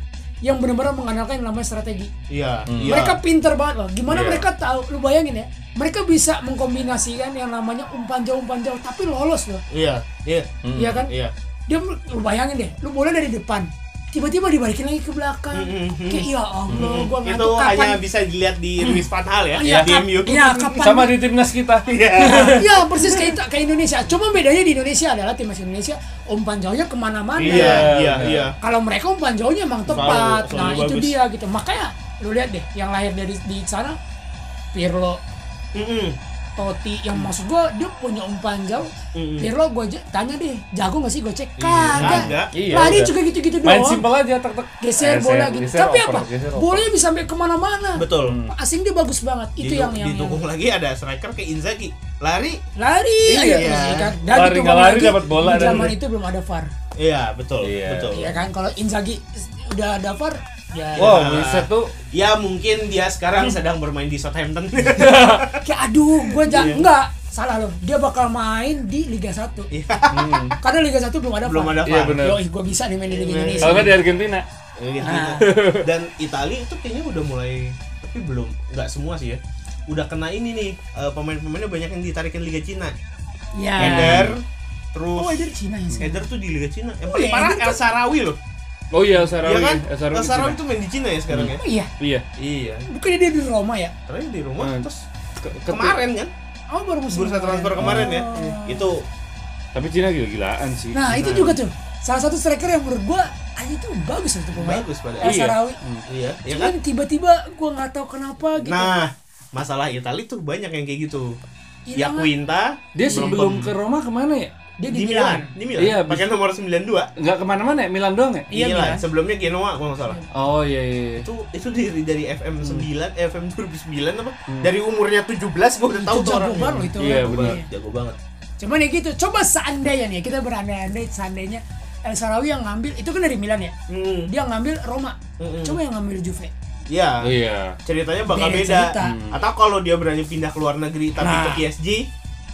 Speaker 3: yang benar-benar mengandalkan yang namanya strategi.
Speaker 2: Iya.
Speaker 1: Hmm.
Speaker 2: iya.
Speaker 3: Mereka pinter banget loh. Gimana
Speaker 1: Iya.
Speaker 3: mereka tahu? Lu bayangin ya. Mereka bisa mengkombinasikan yang namanya umpan jauh-umpan jauh tapi lolos loh.
Speaker 2: Iya, iya.
Speaker 1: Hmm.
Speaker 3: Iya kan?
Speaker 2: Iya.
Speaker 3: Dia lu bayangin deh, lu bola dari depan tiba-tiba dibalikin lagi ke belakang.
Speaker 2: Hmm,
Speaker 3: Kayak ya Allah, gua
Speaker 2: Itu
Speaker 3: ngantuk kapan?
Speaker 2: hanya bisa dilihat di Luis Van Hal ya,
Speaker 3: Iya,
Speaker 2: di
Speaker 3: kap-
Speaker 2: MU.
Speaker 3: iya, kapan?
Speaker 1: Sama di timnas kita.
Speaker 3: ya persis kayak itu kayak Indonesia cuma bedanya di Indonesia adalah timnas Indonesia umpan jauhnya kemana-mana
Speaker 2: Iya, iya, iya.
Speaker 3: kalau mereka umpan jauhnya emang tepat
Speaker 2: selalu
Speaker 3: nah itu
Speaker 2: bagus.
Speaker 3: dia gitu makanya lu lihat deh yang lahir dari di sana Pirlo
Speaker 2: Mm-mm.
Speaker 3: Totti yang
Speaker 2: Hmm.
Speaker 3: maksud gua dia punya umpan jauh Pirlo gua aja- tanya deh jago gak sih gue cek kagak
Speaker 2: kagak.
Speaker 1: Iya,
Speaker 3: lari
Speaker 1: udah.
Speaker 3: juga gitu-gitu
Speaker 1: Main
Speaker 3: doang
Speaker 1: simpel aja tek tek.
Speaker 3: Gitu. geser bola gitu
Speaker 1: geser
Speaker 3: tapi
Speaker 1: oper,
Speaker 3: apa
Speaker 1: geser oper.
Speaker 3: bolanya bisa sampai kemana-mana
Speaker 2: Betul.
Speaker 3: asing dia bagus banget itu
Speaker 2: Didu-
Speaker 3: yang yang, yang
Speaker 2: didukung lagi ada striker ke Inzaghi. Lari.
Speaker 3: lari
Speaker 2: Iya.
Speaker 3: aja terus, ya kan? dan
Speaker 1: Lari
Speaker 3: itu
Speaker 1: nggak
Speaker 3: ngomong
Speaker 1: lari,
Speaker 3: lagi,
Speaker 1: dapat bola
Speaker 3: di
Speaker 1: dan-
Speaker 3: zaman itu belum ada VAR
Speaker 2: Iya, betul.
Speaker 1: Iya.
Speaker 2: Betul.
Speaker 3: ya kan kalau Inzaghi s- udah ada VAR ya
Speaker 2: Oh.
Speaker 1: Wow, bisa tuh
Speaker 2: Ya mungkin dia sekarang sedang bermain di Southampton.
Speaker 3: kayak aduh gue jangan
Speaker 2: Iya.
Speaker 3: enggak salah loh dia bakal main di Liga 1 Iya. karena Liga 1 belum ada
Speaker 2: Belum ada
Speaker 1: Iya,
Speaker 2: VAR.
Speaker 1: bener.
Speaker 3: Yo, gue bisa nih main di Liga
Speaker 2: Iya,
Speaker 3: Indonesia
Speaker 1: kalau kan nggak di Argentina. Iya.
Speaker 2: Gitu. Dan Italia itu kayaknya udah mulai tapi belum nggak semua sih ya. Udah kena ini nih eh, pemain-pemainnya banyak yang ditarikin Liga Cina.
Speaker 3: ya
Speaker 2: Eder, terus
Speaker 3: oh Eder Cina ya sekarang
Speaker 2: Eder tuh di Liga Cina. Yang
Speaker 3: Oh,
Speaker 2: paling
Speaker 3: iya,
Speaker 2: parah
Speaker 3: Eder
Speaker 2: El Sarawi loh.
Speaker 1: Oh iya, El Sarawi.
Speaker 2: Iya kan?
Speaker 1: El Sarawi
Speaker 2: El
Speaker 1: di
Speaker 2: Sarawi
Speaker 1: Cina.
Speaker 2: tuh main di Cina ya sekarang ya.
Speaker 3: oh iya
Speaker 1: Iya.
Speaker 2: Iya.
Speaker 3: bukannya dia di Roma ya
Speaker 2: Terakhir di rumah
Speaker 1: Hmm.
Speaker 2: terus
Speaker 1: Ke- ke-
Speaker 2: kemarin kan
Speaker 3: Oh baru musim
Speaker 2: bursa
Speaker 3: kemarin.
Speaker 2: transfer kemarin ya
Speaker 3: Oh.
Speaker 2: itu
Speaker 1: Tapi Cina gila-gilaan sih.
Speaker 3: Nah itu
Speaker 2: Nah.
Speaker 3: juga tuh salah satu striker yang menurut gua ah, itu bagus itu pemain.
Speaker 2: bagus pada
Speaker 3: El Sarawi.
Speaker 1: Hmm.
Speaker 2: iya iya kan
Speaker 3: Cuman tiba-tiba gua nggak tahu kenapa gitu.
Speaker 2: nah masalah Itali tuh banyak yang kayak gitu ya
Speaker 3: Hilang.
Speaker 2: Quinta
Speaker 1: Dia
Speaker 2: belum
Speaker 1: sebelum
Speaker 2: pem-
Speaker 1: ke Roma kemana ya?
Speaker 3: Iya, dia
Speaker 2: di Milan di Milan
Speaker 1: Iya,
Speaker 2: pakai nomor 92
Speaker 1: Nggak kemana-mana ya? Milan doang ya?
Speaker 2: di
Speaker 3: Iya,
Speaker 2: Milan
Speaker 3: Milan.
Speaker 2: sebelumnya Genoa kalau nggak salah
Speaker 1: Oh iya iya. iya.
Speaker 2: itu itu dari dari FM
Speaker 3: Hmm.
Speaker 2: 9 eh, FM 2009 apa
Speaker 1: Hmm.
Speaker 2: dari umurnya 17 gua udah tahu
Speaker 3: Itu
Speaker 2: tuh
Speaker 3: jago
Speaker 2: orang
Speaker 3: banget loh itu.
Speaker 1: Iya,
Speaker 3: orang.
Speaker 1: benar.
Speaker 3: Iya.
Speaker 2: jago banget
Speaker 3: Cuman ya gitu, coba seandainya nih kita berandai-andai seandainya El Sarawi yang ngambil itu kan dari Milan ya.
Speaker 2: hmm.
Speaker 3: Dia ngambil Roma.
Speaker 2: Mm-mm.
Speaker 3: Coba yang ngambil Juve.
Speaker 2: ya
Speaker 1: Oh iya.
Speaker 2: ceritanya bakal
Speaker 3: Beda
Speaker 2: beda,
Speaker 3: cerita.
Speaker 2: Hmm. atau kalau dia berani pindah ke luar negeri tapi
Speaker 3: Nah.
Speaker 2: ke PSG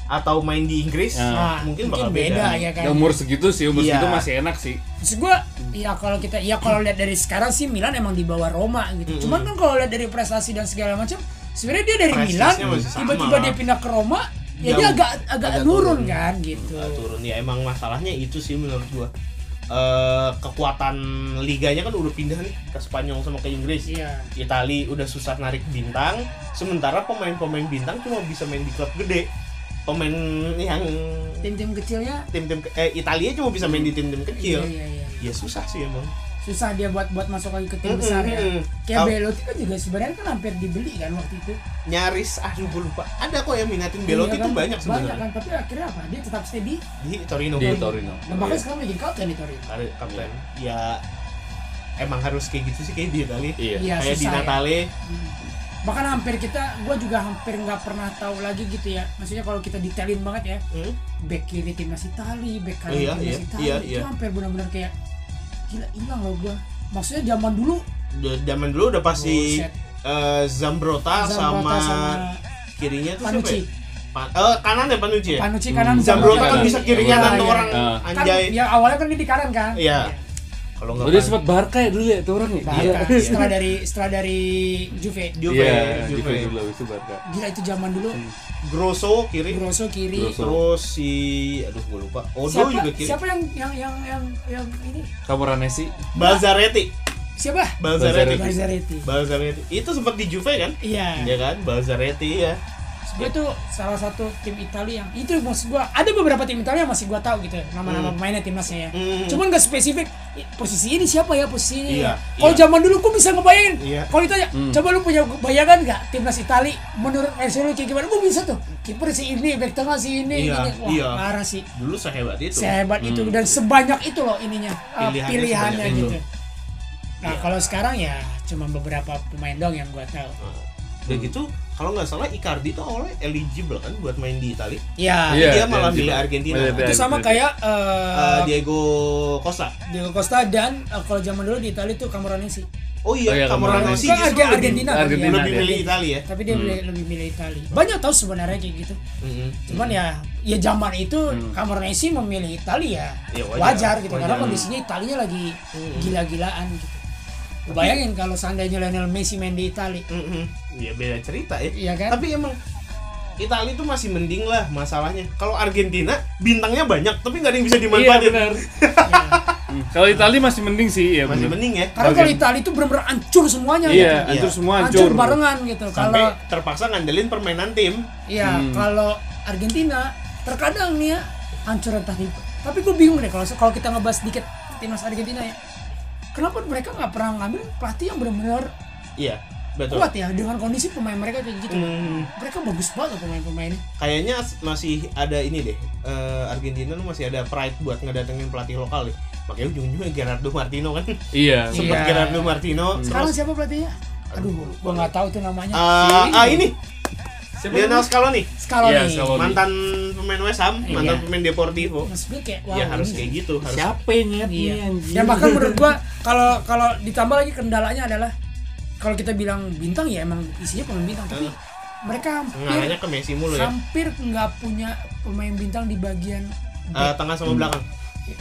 Speaker 2: atau main di Inggris
Speaker 1: Nah.
Speaker 2: mungkin bakal beda,
Speaker 3: ya kan.
Speaker 1: Ya, umur segitu sih, umur
Speaker 2: Iya.
Speaker 1: segitu masih enak sih.
Speaker 3: Terus gue, ya kalau kita, ya kalau lihat dari sekarang sih Milan emang di bawah Roma gitu.
Speaker 2: Mm-mm.
Speaker 3: Cuman kan kalau lihat dari prestasi dan segala macam, sebenarnya dia dari
Speaker 2: Prestisnya
Speaker 3: Milan
Speaker 2: masih sama
Speaker 3: tiba-tiba
Speaker 2: lah.
Speaker 3: dia pindah ke Roma, ya
Speaker 2: Jauh.
Speaker 3: dia agak agak,
Speaker 2: Agak
Speaker 3: nurun
Speaker 2: turun.
Speaker 3: kan gitu.
Speaker 2: Nggak turun ya emang masalahnya itu sih menurut gua Eh, kekuatan liganya kan udah pindah nih ke Spanyol sama ke Inggris
Speaker 3: Iya.
Speaker 2: Itali udah susah narik bintang sementara pemain-pemain bintang cuma bisa main di klub gede pemain yang
Speaker 3: Tim-tim kecilnya,
Speaker 2: tim-tim ke- eh Italia cuma bisa main di
Speaker 3: iya.
Speaker 2: tim-tim kecil
Speaker 3: iya iya
Speaker 2: ya susah sih emang
Speaker 3: susah dia buat buat masuk lagi ke tim
Speaker 2: Mm-mm,
Speaker 3: besar ya.
Speaker 2: mm-mm.
Speaker 3: Kayak
Speaker 2: Tau-
Speaker 3: Belotti kan juga sebenarnya kan hampir dibeli kan waktu itu.
Speaker 2: nyaris aduh gue lupa ada kok yang minatin Belotti
Speaker 3: Iya
Speaker 2: itu
Speaker 3: kan?
Speaker 2: banyak
Speaker 3: Banyak
Speaker 2: sebenarnya
Speaker 3: kan, tapi akhirnya apa? Dia tetap stay di,
Speaker 2: di Torino
Speaker 1: Di Torino.
Speaker 2: Iya.
Speaker 1: Iya.
Speaker 3: dan bahkan sekarang lagi kapten di Torino.
Speaker 2: Kare- kapten ya emang harus kayak gitu sih kayak di Itali
Speaker 1: Iya.
Speaker 3: Iya,
Speaker 2: kayak di
Speaker 3: susah ya.
Speaker 2: Natale
Speaker 3: bahkan hampir kita gue juga hampir nggak pernah tahu lagi gitu ya maksudnya kalau kita detailin banget ya
Speaker 2: Hmm?
Speaker 3: back kiri timnas Itali back kanan
Speaker 2: Oh, iya,
Speaker 3: timnas
Speaker 2: iya,
Speaker 3: Itali
Speaker 2: iya,
Speaker 3: itu
Speaker 2: iya.
Speaker 3: hampir benar-benar kayak gila hilang loh gue maksudnya zaman dulu
Speaker 2: udah zaman dulu udah pasti
Speaker 3: Buset.
Speaker 2: eh, Zambrota, sama,
Speaker 3: Zambrota sama
Speaker 2: kirinya tuh
Speaker 3: Panucci.
Speaker 2: siapa ya? Pa- eh, kanan ya Panucci ya?
Speaker 3: Panucci kanan
Speaker 2: Zambrota kan
Speaker 1: Kanan.
Speaker 2: bisa kirinya
Speaker 3: Iya,
Speaker 2: tanpa
Speaker 3: iya.
Speaker 2: orang
Speaker 1: Nah.
Speaker 3: kan
Speaker 2: anjay.
Speaker 3: ya awalnya kan dia di kanan kan
Speaker 2: Iya. Kalau
Speaker 1: Oh, dia
Speaker 2: Pan-
Speaker 1: sempat Barca ya dulu ya, tuh orang ya?
Speaker 3: Bahkan Iya kan? setelah dari setelah dari Juve
Speaker 2: Juve,
Speaker 1: Iya,
Speaker 2: Juve.
Speaker 1: Juve dulu habis itu Barca.
Speaker 3: gila itu zaman dulu
Speaker 2: Hmm. Grosso kiri.
Speaker 3: Grosso kiri
Speaker 1: Grosso.
Speaker 2: Terus si aduh gue lupa. Odo
Speaker 3: siapa
Speaker 2: juga kiri.
Speaker 3: siapa yang yang yang yang yang ini
Speaker 1: Camoranesi.
Speaker 2: Balzaretti.
Speaker 3: siapa
Speaker 2: Balzaretti.
Speaker 3: Barzaretti
Speaker 2: Balzaretti. Itu sempat di Juve kan?
Speaker 3: iya
Speaker 2: Iya kan? Balzaretti ya.
Speaker 3: gue tuh salah satu tim Italia yang itu maksud gue ada beberapa tim Italia yang masih gue tahu gitu nama-nama pemainnya timnasnya ya
Speaker 2: Hmm.
Speaker 3: cuman gak spesifik "I- posisi ini siapa ya posisi ini
Speaker 2: Iya,
Speaker 3: ya?" kalau
Speaker 2: iya.
Speaker 3: zaman dulu gue bisa ngebayangin
Speaker 2: Iya.
Speaker 3: kalau ditanya coba lu punya bayangan gak timnas Italia menurut Marcelo kayak gimana gue bisa tuh kiper si ini back tengah si ini
Speaker 2: Iya,
Speaker 3: gini. wah
Speaker 2: iya.
Speaker 3: parah sih
Speaker 2: Dulu sehebat itu.
Speaker 3: sehebat itu dan sebanyak itu loh ininya uh,
Speaker 2: Pilihannya
Speaker 3: pilihannya,
Speaker 2: sebanyak Iya.
Speaker 3: gitu nah kalau sekarang ya cuma beberapa pemain dong yang gue tahu
Speaker 1: Hmm.
Speaker 2: Udah gitu, kalau nggak salah Icardi tuh awalnya eligible kan buat main di Italia.
Speaker 3: ya
Speaker 1: Iya,
Speaker 2: dia malah
Speaker 1: iya,
Speaker 2: milih
Speaker 1: iya.
Speaker 2: Argentina.
Speaker 1: Milih
Speaker 3: itu
Speaker 1: Argentina.
Speaker 3: sama kayak uh,
Speaker 2: iya.
Speaker 1: Ah.
Speaker 2: Eh, Diego Costa.
Speaker 3: Diego Costa dan eh, kalau zaman dulu di Italia itu Camoranesi.
Speaker 1: Oh
Speaker 2: Oh
Speaker 1: iya,
Speaker 2: iya, Camerano
Speaker 1: Camoranesi.
Speaker 2: sih
Speaker 3: Kan
Speaker 2: justru
Speaker 3: Arge-
Speaker 2: lebih-
Speaker 3: Argentina kan
Speaker 1: Argentina
Speaker 3: dia.
Speaker 2: lebih
Speaker 1: dia. Hmm.
Speaker 2: milih ya. Italia.
Speaker 3: Tapi dia milih- lebih milih Italia. Banyak tahu sebenarnya kayak gitu.
Speaker 2: Mm-mm.
Speaker 3: Cuman ya ya zaman itu
Speaker 1: Hmm.
Speaker 3: Camoranesi memilih Italia.
Speaker 2: Ya,
Speaker 3: wajar,
Speaker 2: wajar,
Speaker 3: gitu
Speaker 2: wajar.
Speaker 3: karena kondisinya Italia lagi
Speaker 1: Hmm.
Speaker 3: gila-gilaan gitu. Lu Bayangin kalau seandainya Lionel Messi main di Italia.
Speaker 2: Mm-mm. Ya beda cerita ya.
Speaker 3: Iya kan?
Speaker 2: Tapi emang Italia tuh masih mending lah masalahnya. Kalau Argentina bintangnya banyak tapi nggak ada yang bisa
Speaker 1: Iya
Speaker 2: dimanfaatin.
Speaker 1: benar. Hmm. Kalau Itali masih mending sih, ya
Speaker 2: Masih
Speaker 1: benar.
Speaker 2: mending ya.
Speaker 3: Karena kalau Italia itu benar-benar hancur semuanya
Speaker 1: Iya,
Speaker 3: gitu.
Speaker 1: hancur
Speaker 2: Iya.
Speaker 1: semua
Speaker 3: Hancur
Speaker 1: hancur.
Speaker 3: barengan gitu.
Speaker 2: Sampai
Speaker 3: Kalau
Speaker 2: terpaksa ngandelin permainan tim.
Speaker 3: Iya,
Speaker 2: Hmm.
Speaker 3: kalau Argentina terkadang nih ya hancur entah di. Tapi gue bingung deh kalau kalau kita ngebahas sedikit timnas Argentina ya. Kenapa mereka nggak pernah ngambil pelatih yang benar-benar
Speaker 2: Iya, betul.
Speaker 3: kuat ya dengan kondisi pemain mereka kayak gitu.
Speaker 2: Hmm,
Speaker 3: Mereka bagus banget loh pemain-pemainnya.
Speaker 2: kayaknya masih ada ini deh. eh, Argentina tuh masih ada pride buat ngedatengin pelatih lokal deh. Makanya ujung-ujungnya Gerardo Martino kan.
Speaker 1: Iya.
Speaker 2: Sempet
Speaker 3: Iya.
Speaker 2: Gerardo Martino.
Speaker 3: Sekarang siapa pelatihnya? Aduh, gue nggak tahu tuh namanya.
Speaker 2: Ah, ah, ini
Speaker 1: Siapa
Speaker 2: Lionel Scaloni,
Speaker 3: Iya. Scaloni.
Speaker 1: Iya, Scaloni.
Speaker 2: mantan pemain West Ham, mantan
Speaker 3: Iya.
Speaker 2: pemain Deportivo.
Speaker 3: Mas gue kayak wah.
Speaker 2: ya harus
Speaker 3: ini-
Speaker 2: kayak gitu, harus.
Speaker 1: Siapa
Speaker 3: Iya.
Speaker 1: nyet nih anjing?
Speaker 3: Dan bahkan menurut gua kalau kalau ditambah lagi kendalanya adalah kalau kita bilang bintang ya emang isinya pemain bintang tapi mereka hampir
Speaker 2: Ngarahnya ke Messi mulu ya.
Speaker 3: hampir nggak punya pemain bintang di bagian
Speaker 2: Eh, tengah sama belakang.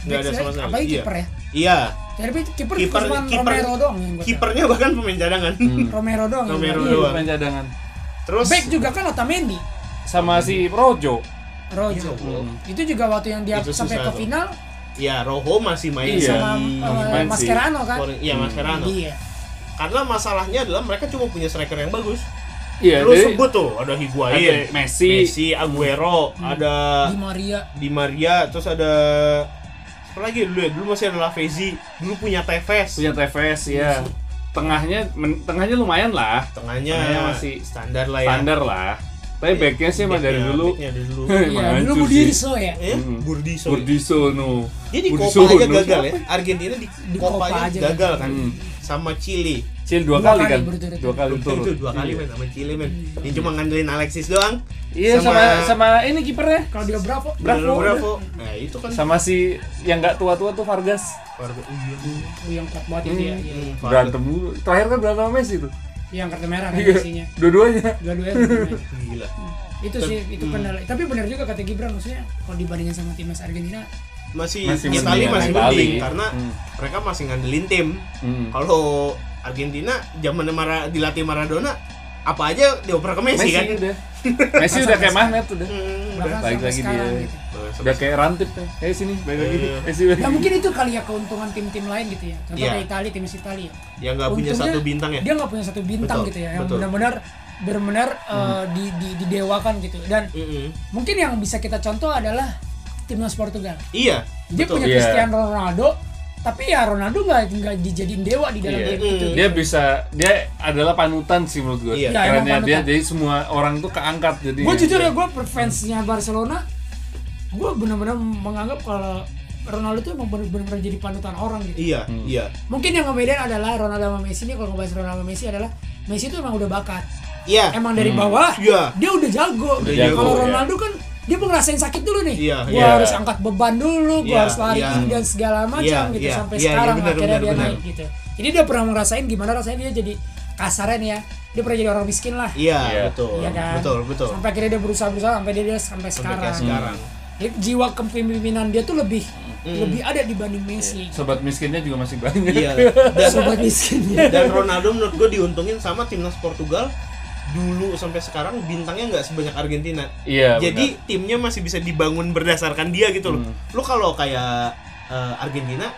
Speaker 2: Nggak ada sama sekali.
Speaker 3: apa
Speaker 2: Iya.
Speaker 3: kiper ya.
Speaker 2: Iya.
Speaker 3: Tapi kiper
Speaker 2: Kiper
Speaker 3: cuma
Speaker 2: kiper
Speaker 3: Romero doang yang gua tahu.
Speaker 2: kipernya bahkan pemain cadangan.
Speaker 1: Hmm.
Speaker 3: Romero doang. yang
Speaker 2: Romero
Speaker 3: gua tahu.
Speaker 2: doang.
Speaker 1: pemain Iya, cadangan.
Speaker 2: Terus
Speaker 3: Back juga kan Otamendi,
Speaker 1: Sama si Rojo.
Speaker 3: Rojo. Itu juga waktu yang dia
Speaker 2: Itu
Speaker 3: sampai
Speaker 2: susah
Speaker 3: ke
Speaker 2: tuh.
Speaker 3: final
Speaker 2: ya Rojo masih main
Speaker 1: Iya.
Speaker 2: sama
Speaker 3: sama eh,
Speaker 1: main sih.
Speaker 3: Mascherano kan.
Speaker 2: Korea- Iya, Mascherano.
Speaker 3: Iya.
Speaker 2: Karena masalahnya adalah mereka cuma punya striker yang bagus.
Speaker 1: Iya,
Speaker 2: Lu
Speaker 1: jadi-
Speaker 2: sebut tuh ada Higuain,
Speaker 1: Ada Messi. Hmm.
Speaker 2: Messi, Aguero, ada
Speaker 3: Di Maria
Speaker 2: Di Maria, terus ada apa lagi dulu ya? Dulu masih ada Lavezzi, dulu punya Tevez.
Speaker 1: punya TVS ya. Tengahnya men- tengahnya lumayan lah.
Speaker 2: Tengahnya,
Speaker 1: Tengahnya masih
Speaker 2: standar lah ya. Iya,
Speaker 1: Standar lah. Tapi backnya sih emang dari
Speaker 2: Backnya-
Speaker 1: dulu. Hmm.
Speaker 2: backnya dari dulu.
Speaker 1: Emang
Speaker 3: Iya,
Speaker 1: hancur
Speaker 3: dulu
Speaker 1: sih.
Speaker 3: Budi Riso ya
Speaker 2: Eh, Burdiso. ya?
Speaker 1: Burdiso no.
Speaker 2: Dia di
Speaker 1: Burdiso,
Speaker 2: Copa aja
Speaker 1: no.
Speaker 2: gagal ya. Argentina di, di Copa, aja gagal kan.
Speaker 1: Hmm.
Speaker 2: Sama Chili.
Speaker 1: Cil
Speaker 3: Dua
Speaker 1: dua, kali
Speaker 3: kali
Speaker 1: kan.
Speaker 3: berturut-turut.
Speaker 1: Dua kali turut.
Speaker 2: Itu dua kali men sama Chili men. Dia cuma ngandelin Alexis doang.
Speaker 1: Iya sama sama ini kipernya.
Speaker 3: kalau dia berapa
Speaker 1: Bravo.
Speaker 2: Bravo. Nah, itu kan
Speaker 1: Sama si yang nggak tua-tua tuh Vargas.
Speaker 2: Warga- iya.
Speaker 3: Oh, yang kuat banget itu ya iya.
Speaker 2: Hmm, Vargas.
Speaker 1: Berantem dulu. Terakhir kan berantem sama Messi tuh.
Speaker 3: yang kartu merah kan
Speaker 1: Iya.
Speaker 3: isinya
Speaker 1: Dua-duanya.
Speaker 3: dua-duanya sebenarnya.
Speaker 2: Gila.
Speaker 3: itu sih itu
Speaker 2: Hmm.
Speaker 3: kendala tapi benar juga kata Gibran maksudnya kalau dibandingin sama timnas Argentina
Speaker 2: Masih,
Speaker 1: Masih
Speaker 2: Itali
Speaker 1: mendingan
Speaker 2: masih
Speaker 1: Itali.
Speaker 2: mending karena
Speaker 1: Hmm.
Speaker 2: mereka masih ngandelin tim.
Speaker 1: Hmm.
Speaker 2: Kalau Argentina zaman Mara dilatih Maradona apa aja dioper ke Messi,
Speaker 1: Messi
Speaker 2: kan.
Speaker 1: udah. Messi udah kayak magnet udah.
Speaker 2: Hmm, udah.
Speaker 3: bahkan
Speaker 1: balik
Speaker 3: sampai
Speaker 1: lagi
Speaker 3: sekarang
Speaker 1: dia.
Speaker 3: gitu.
Speaker 1: Udah kayak rantip ya. Eh sini, balik lagi.
Speaker 2: Iya.
Speaker 1: Eh sini. balik
Speaker 3: Ya
Speaker 1: lagi.
Speaker 3: mungkin itu kali ya keuntungan tim-tim lain gitu ya. Contoh
Speaker 2: Iya.
Speaker 3: kayak Italia, timnas Italia.
Speaker 2: Yang Ya, nggak punya
Speaker 3: Untungnya
Speaker 2: satu bintang ya.
Speaker 3: Dia nggak punya satu bintang
Speaker 2: Betul,
Speaker 3: gitu ya. Yang
Speaker 2: betul. Hmm.
Speaker 3: benar-benar benar-benar eh, di, di didewakan gitu. Dan
Speaker 2: Mm-mm.
Speaker 3: mungkin yang bisa kita contoh adalah timnas Portugal.
Speaker 2: Iya.
Speaker 3: Dia
Speaker 2: betul.
Speaker 3: punya
Speaker 1: Iya.
Speaker 3: Cristiano Ronaldo, tapi ya Ronaldo nggak nggak dijadiin dewa di dalam gitu.
Speaker 1: Iya.
Speaker 3: game itu.
Speaker 1: Dia bisa dia adalah panutan sih menurut gue.
Speaker 3: Iya,
Speaker 2: Iya.
Speaker 3: emang
Speaker 1: Kerennya dia
Speaker 3: panutan.
Speaker 1: jadi semua orang tuh keangkat jadi.
Speaker 3: Gue jujur
Speaker 2: iya.
Speaker 3: ya gue fansnya Barcelona, gue benar-benar menganggap kalau Ronaldo itu emang benar-benar jadi panutan orang gitu.
Speaker 2: Iya, iya.
Speaker 3: Mungkin yang ngebedain adalah Ronaldo sama Messi ini kalau ngebahas Ronaldo sama Messi adalah Messi itu emang udah bakat.
Speaker 2: Iya.
Speaker 3: Emang dari bawah
Speaker 2: Iya.
Speaker 3: dia udah jago.
Speaker 1: Hmm. Udah
Speaker 3: Gitu.
Speaker 1: jago,
Speaker 3: Kalau
Speaker 1: ya.
Speaker 3: Ronaldo kan dia mau ngerasain sakit dulu nih.
Speaker 2: Iya,
Speaker 3: Gua
Speaker 2: iya.
Speaker 3: harus angkat beban dulu, gua
Speaker 2: Iya,
Speaker 3: harus lari
Speaker 2: iya.
Speaker 3: ini dan segala macam
Speaker 2: Iya,
Speaker 3: gitu
Speaker 2: iya,
Speaker 3: sampai
Speaker 2: iya, iya,
Speaker 3: sekarang
Speaker 2: benar,
Speaker 3: akhirnya
Speaker 2: benar,
Speaker 3: dia
Speaker 2: benar.
Speaker 3: naik gitu. Jadi dia pernah ngerasain gimana rasanya dia jadi kasarnya nih ya. Dia pernah jadi orang miskin lah.
Speaker 2: Iya,
Speaker 1: Iya.
Speaker 2: betul.
Speaker 3: Iya kan?
Speaker 2: Betul, betul.
Speaker 3: Sampai akhirnya dia berusaha-berusaha sampai dia, dia sampai
Speaker 2: Sampai
Speaker 3: sekarang.
Speaker 2: kayak sekarang. Hmm.
Speaker 3: Jadi jiwa kepemimpinan dia tuh lebih lebih ada dibanding Messi.
Speaker 1: sobat miskinnya juga masih banyak.
Speaker 2: Iya. Dan,
Speaker 3: Sobat miskin. ya.
Speaker 2: dan Ronaldo menurut gue diuntungin sama timnas Portugal dulu sampai sekarang bintangnya nggak sebanyak Argentina.
Speaker 1: Iya,
Speaker 2: Jadi timnya masih bisa dibangun berdasarkan dia gitu
Speaker 1: Hmm.
Speaker 2: loh. Lu kalau kayak eh, Argentina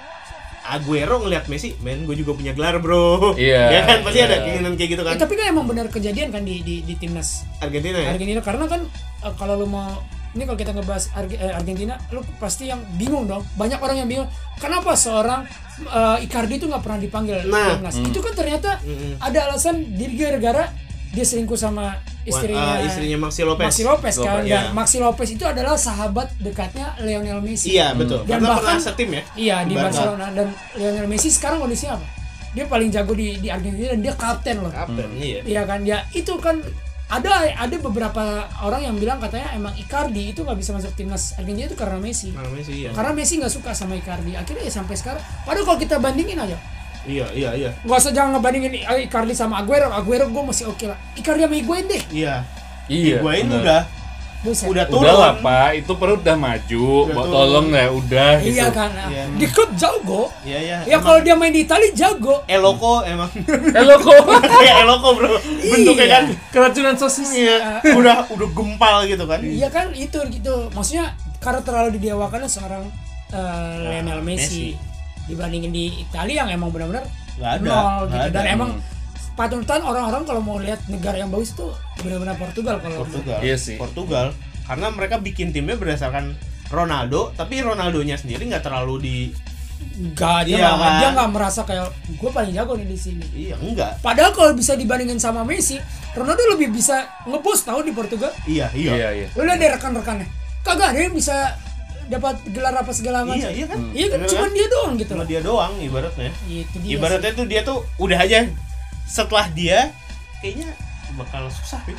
Speaker 2: Aguero ngelihat Messi, men gue juga punya gelar bro.
Speaker 1: Iya,
Speaker 2: ya kan pasti
Speaker 1: iya.
Speaker 2: ada keinginan kayak gitu kan.
Speaker 3: Eh, tapi kan emang benar kejadian kan di di, di timnas
Speaker 2: Argentina ya.
Speaker 3: Argentina karena kan eh, kalau lu mau ini kalau kita ngebahas Arge- eh, Argentina lu pasti yang bingung dong banyak orang yang bingung kenapa seorang eh, Icardi itu nggak pernah dipanggil
Speaker 2: Nah. Hmm.
Speaker 3: timnas itu kan ternyata
Speaker 2: Mm-mm.
Speaker 3: ada alasan di- gara-gara dia selingkuh sama istrinya
Speaker 2: Wah, eh, istrinya Maxi Lopez.
Speaker 3: Maxi Lopez kan
Speaker 1: Lopez,
Speaker 3: dan
Speaker 2: iya.
Speaker 3: Maxi Lopez itu adalah sahabat dekatnya Lionel Messi
Speaker 2: Iya betul.
Speaker 3: Dan
Speaker 2: Karena pernah
Speaker 3: bahkan-
Speaker 2: setim ya.
Speaker 3: Iya di
Speaker 2: Barca.
Speaker 3: Barcelona dan Lionel Messi sekarang kondisinya apa dia paling jago di di Argentina dan dia kapten loh
Speaker 2: Kapten
Speaker 1: Hmm.
Speaker 2: iya.
Speaker 3: Iya kan ya itu kan ada ada beberapa orang yang bilang katanya emang Icardi itu nggak bisa masuk timnas Argentina itu karena Messi.
Speaker 2: Namanya sih iya.
Speaker 3: Karena Messi nggak suka sama Icardi. Akhirnya ya sampai sekarang. Padahal kalau kita bandingin aja,
Speaker 2: Iya iya iya.
Speaker 3: nggak usah jangan ngebandingin I- Icardi sama Aguero. Aguero gue masih oke lah. Icardi sama Higuain deh.
Speaker 2: Iya.
Speaker 1: Iya.
Speaker 2: Gue
Speaker 1: benar.
Speaker 2: udah
Speaker 3: Buset.
Speaker 2: udah turun.
Speaker 1: Udah lah Pak, itu perut udah maju.
Speaker 2: Udah
Speaker 1: Bawa
Speaker 2: turun.
Speaker 1: tolong ya, udah gitu.
Speaker 3: Iya kan.
Speaker 2: Iya.
Speaker 3: Di klub jago.
Speaker 2: Iya iya.
Speaker 3: Ya
Speaker 2: Emang
Speaker 3: kalau dia main di Itali jago.
Speaker 2: Eloko emang
Speaker 1: Hello Eh, kok.
Speaker 2: kayak Eloko bro. Bentuknya
Speaker 3: Iya.
Speaker 2: kan.
Speaker 1: Keracunan sosis.
Speaker 2: Iya. Udah udah gempal gitu kan.
Speaker 3: Iya kan itu gitu. Maksudnya karena terlalu didewakan seorang
Speaker 2: Nah,
Speaker 3: eh, Lionel Messi, dibandingin di Italia yang emang benar-benar
Speaker 2: Nggak ada,
Speaker 3: nol
Speaker 2: nggak
Speaker 3: gitu.
Speaker 2: ada.
Speaker 3: Dan emang panutan orang-orang kalau mau lihat negara yang bagus tuh benar-benar Portugal kalau
Speaker 2: Portugal.
Speaker 1: Iya sih.
Speaker 2: Portugal. Karena mereka bikin timnya berdasarkan Ronaldo, tapi Ronaldonya sendiri nggak terlalu di
Speaker 3: nggak dia
Speaker 2: Iya
Speaker 3: nggak
Speaker 2: kan?
Speaker 3: dia nggak merasa kayak gue paling jago nih di sini.
Speaker 2: iya enggak.
Speaker 3: Padahal kalau bisa dibandingin sama Messi, Ronaldo lebih bisa ngebos tahu di Portugal.
Speaker 2: Iya iya.
Speaker 1: Iya, iya.
Speaker 3: Lu lihat deh rekan-rekannya, kagak ada yang bisa dapat gelar apa segala macam.
Speaker 2: Iya, iya kan?
Speaker 3: Iya kan,
Speaker 2: Bener
Speaker 3: cuma
Speaker 2: kan?
Speaker 3: dia doang gitu
Speaker 2: Cuma
Speaker 3: loh. Iya
Speaker 2: dia doang ibaratnya.
Speaker 3: Itu dia
Speaker 2: Ibaratnya tuh dia tuh udah aja setelah dia kayaknya bakal susah sih.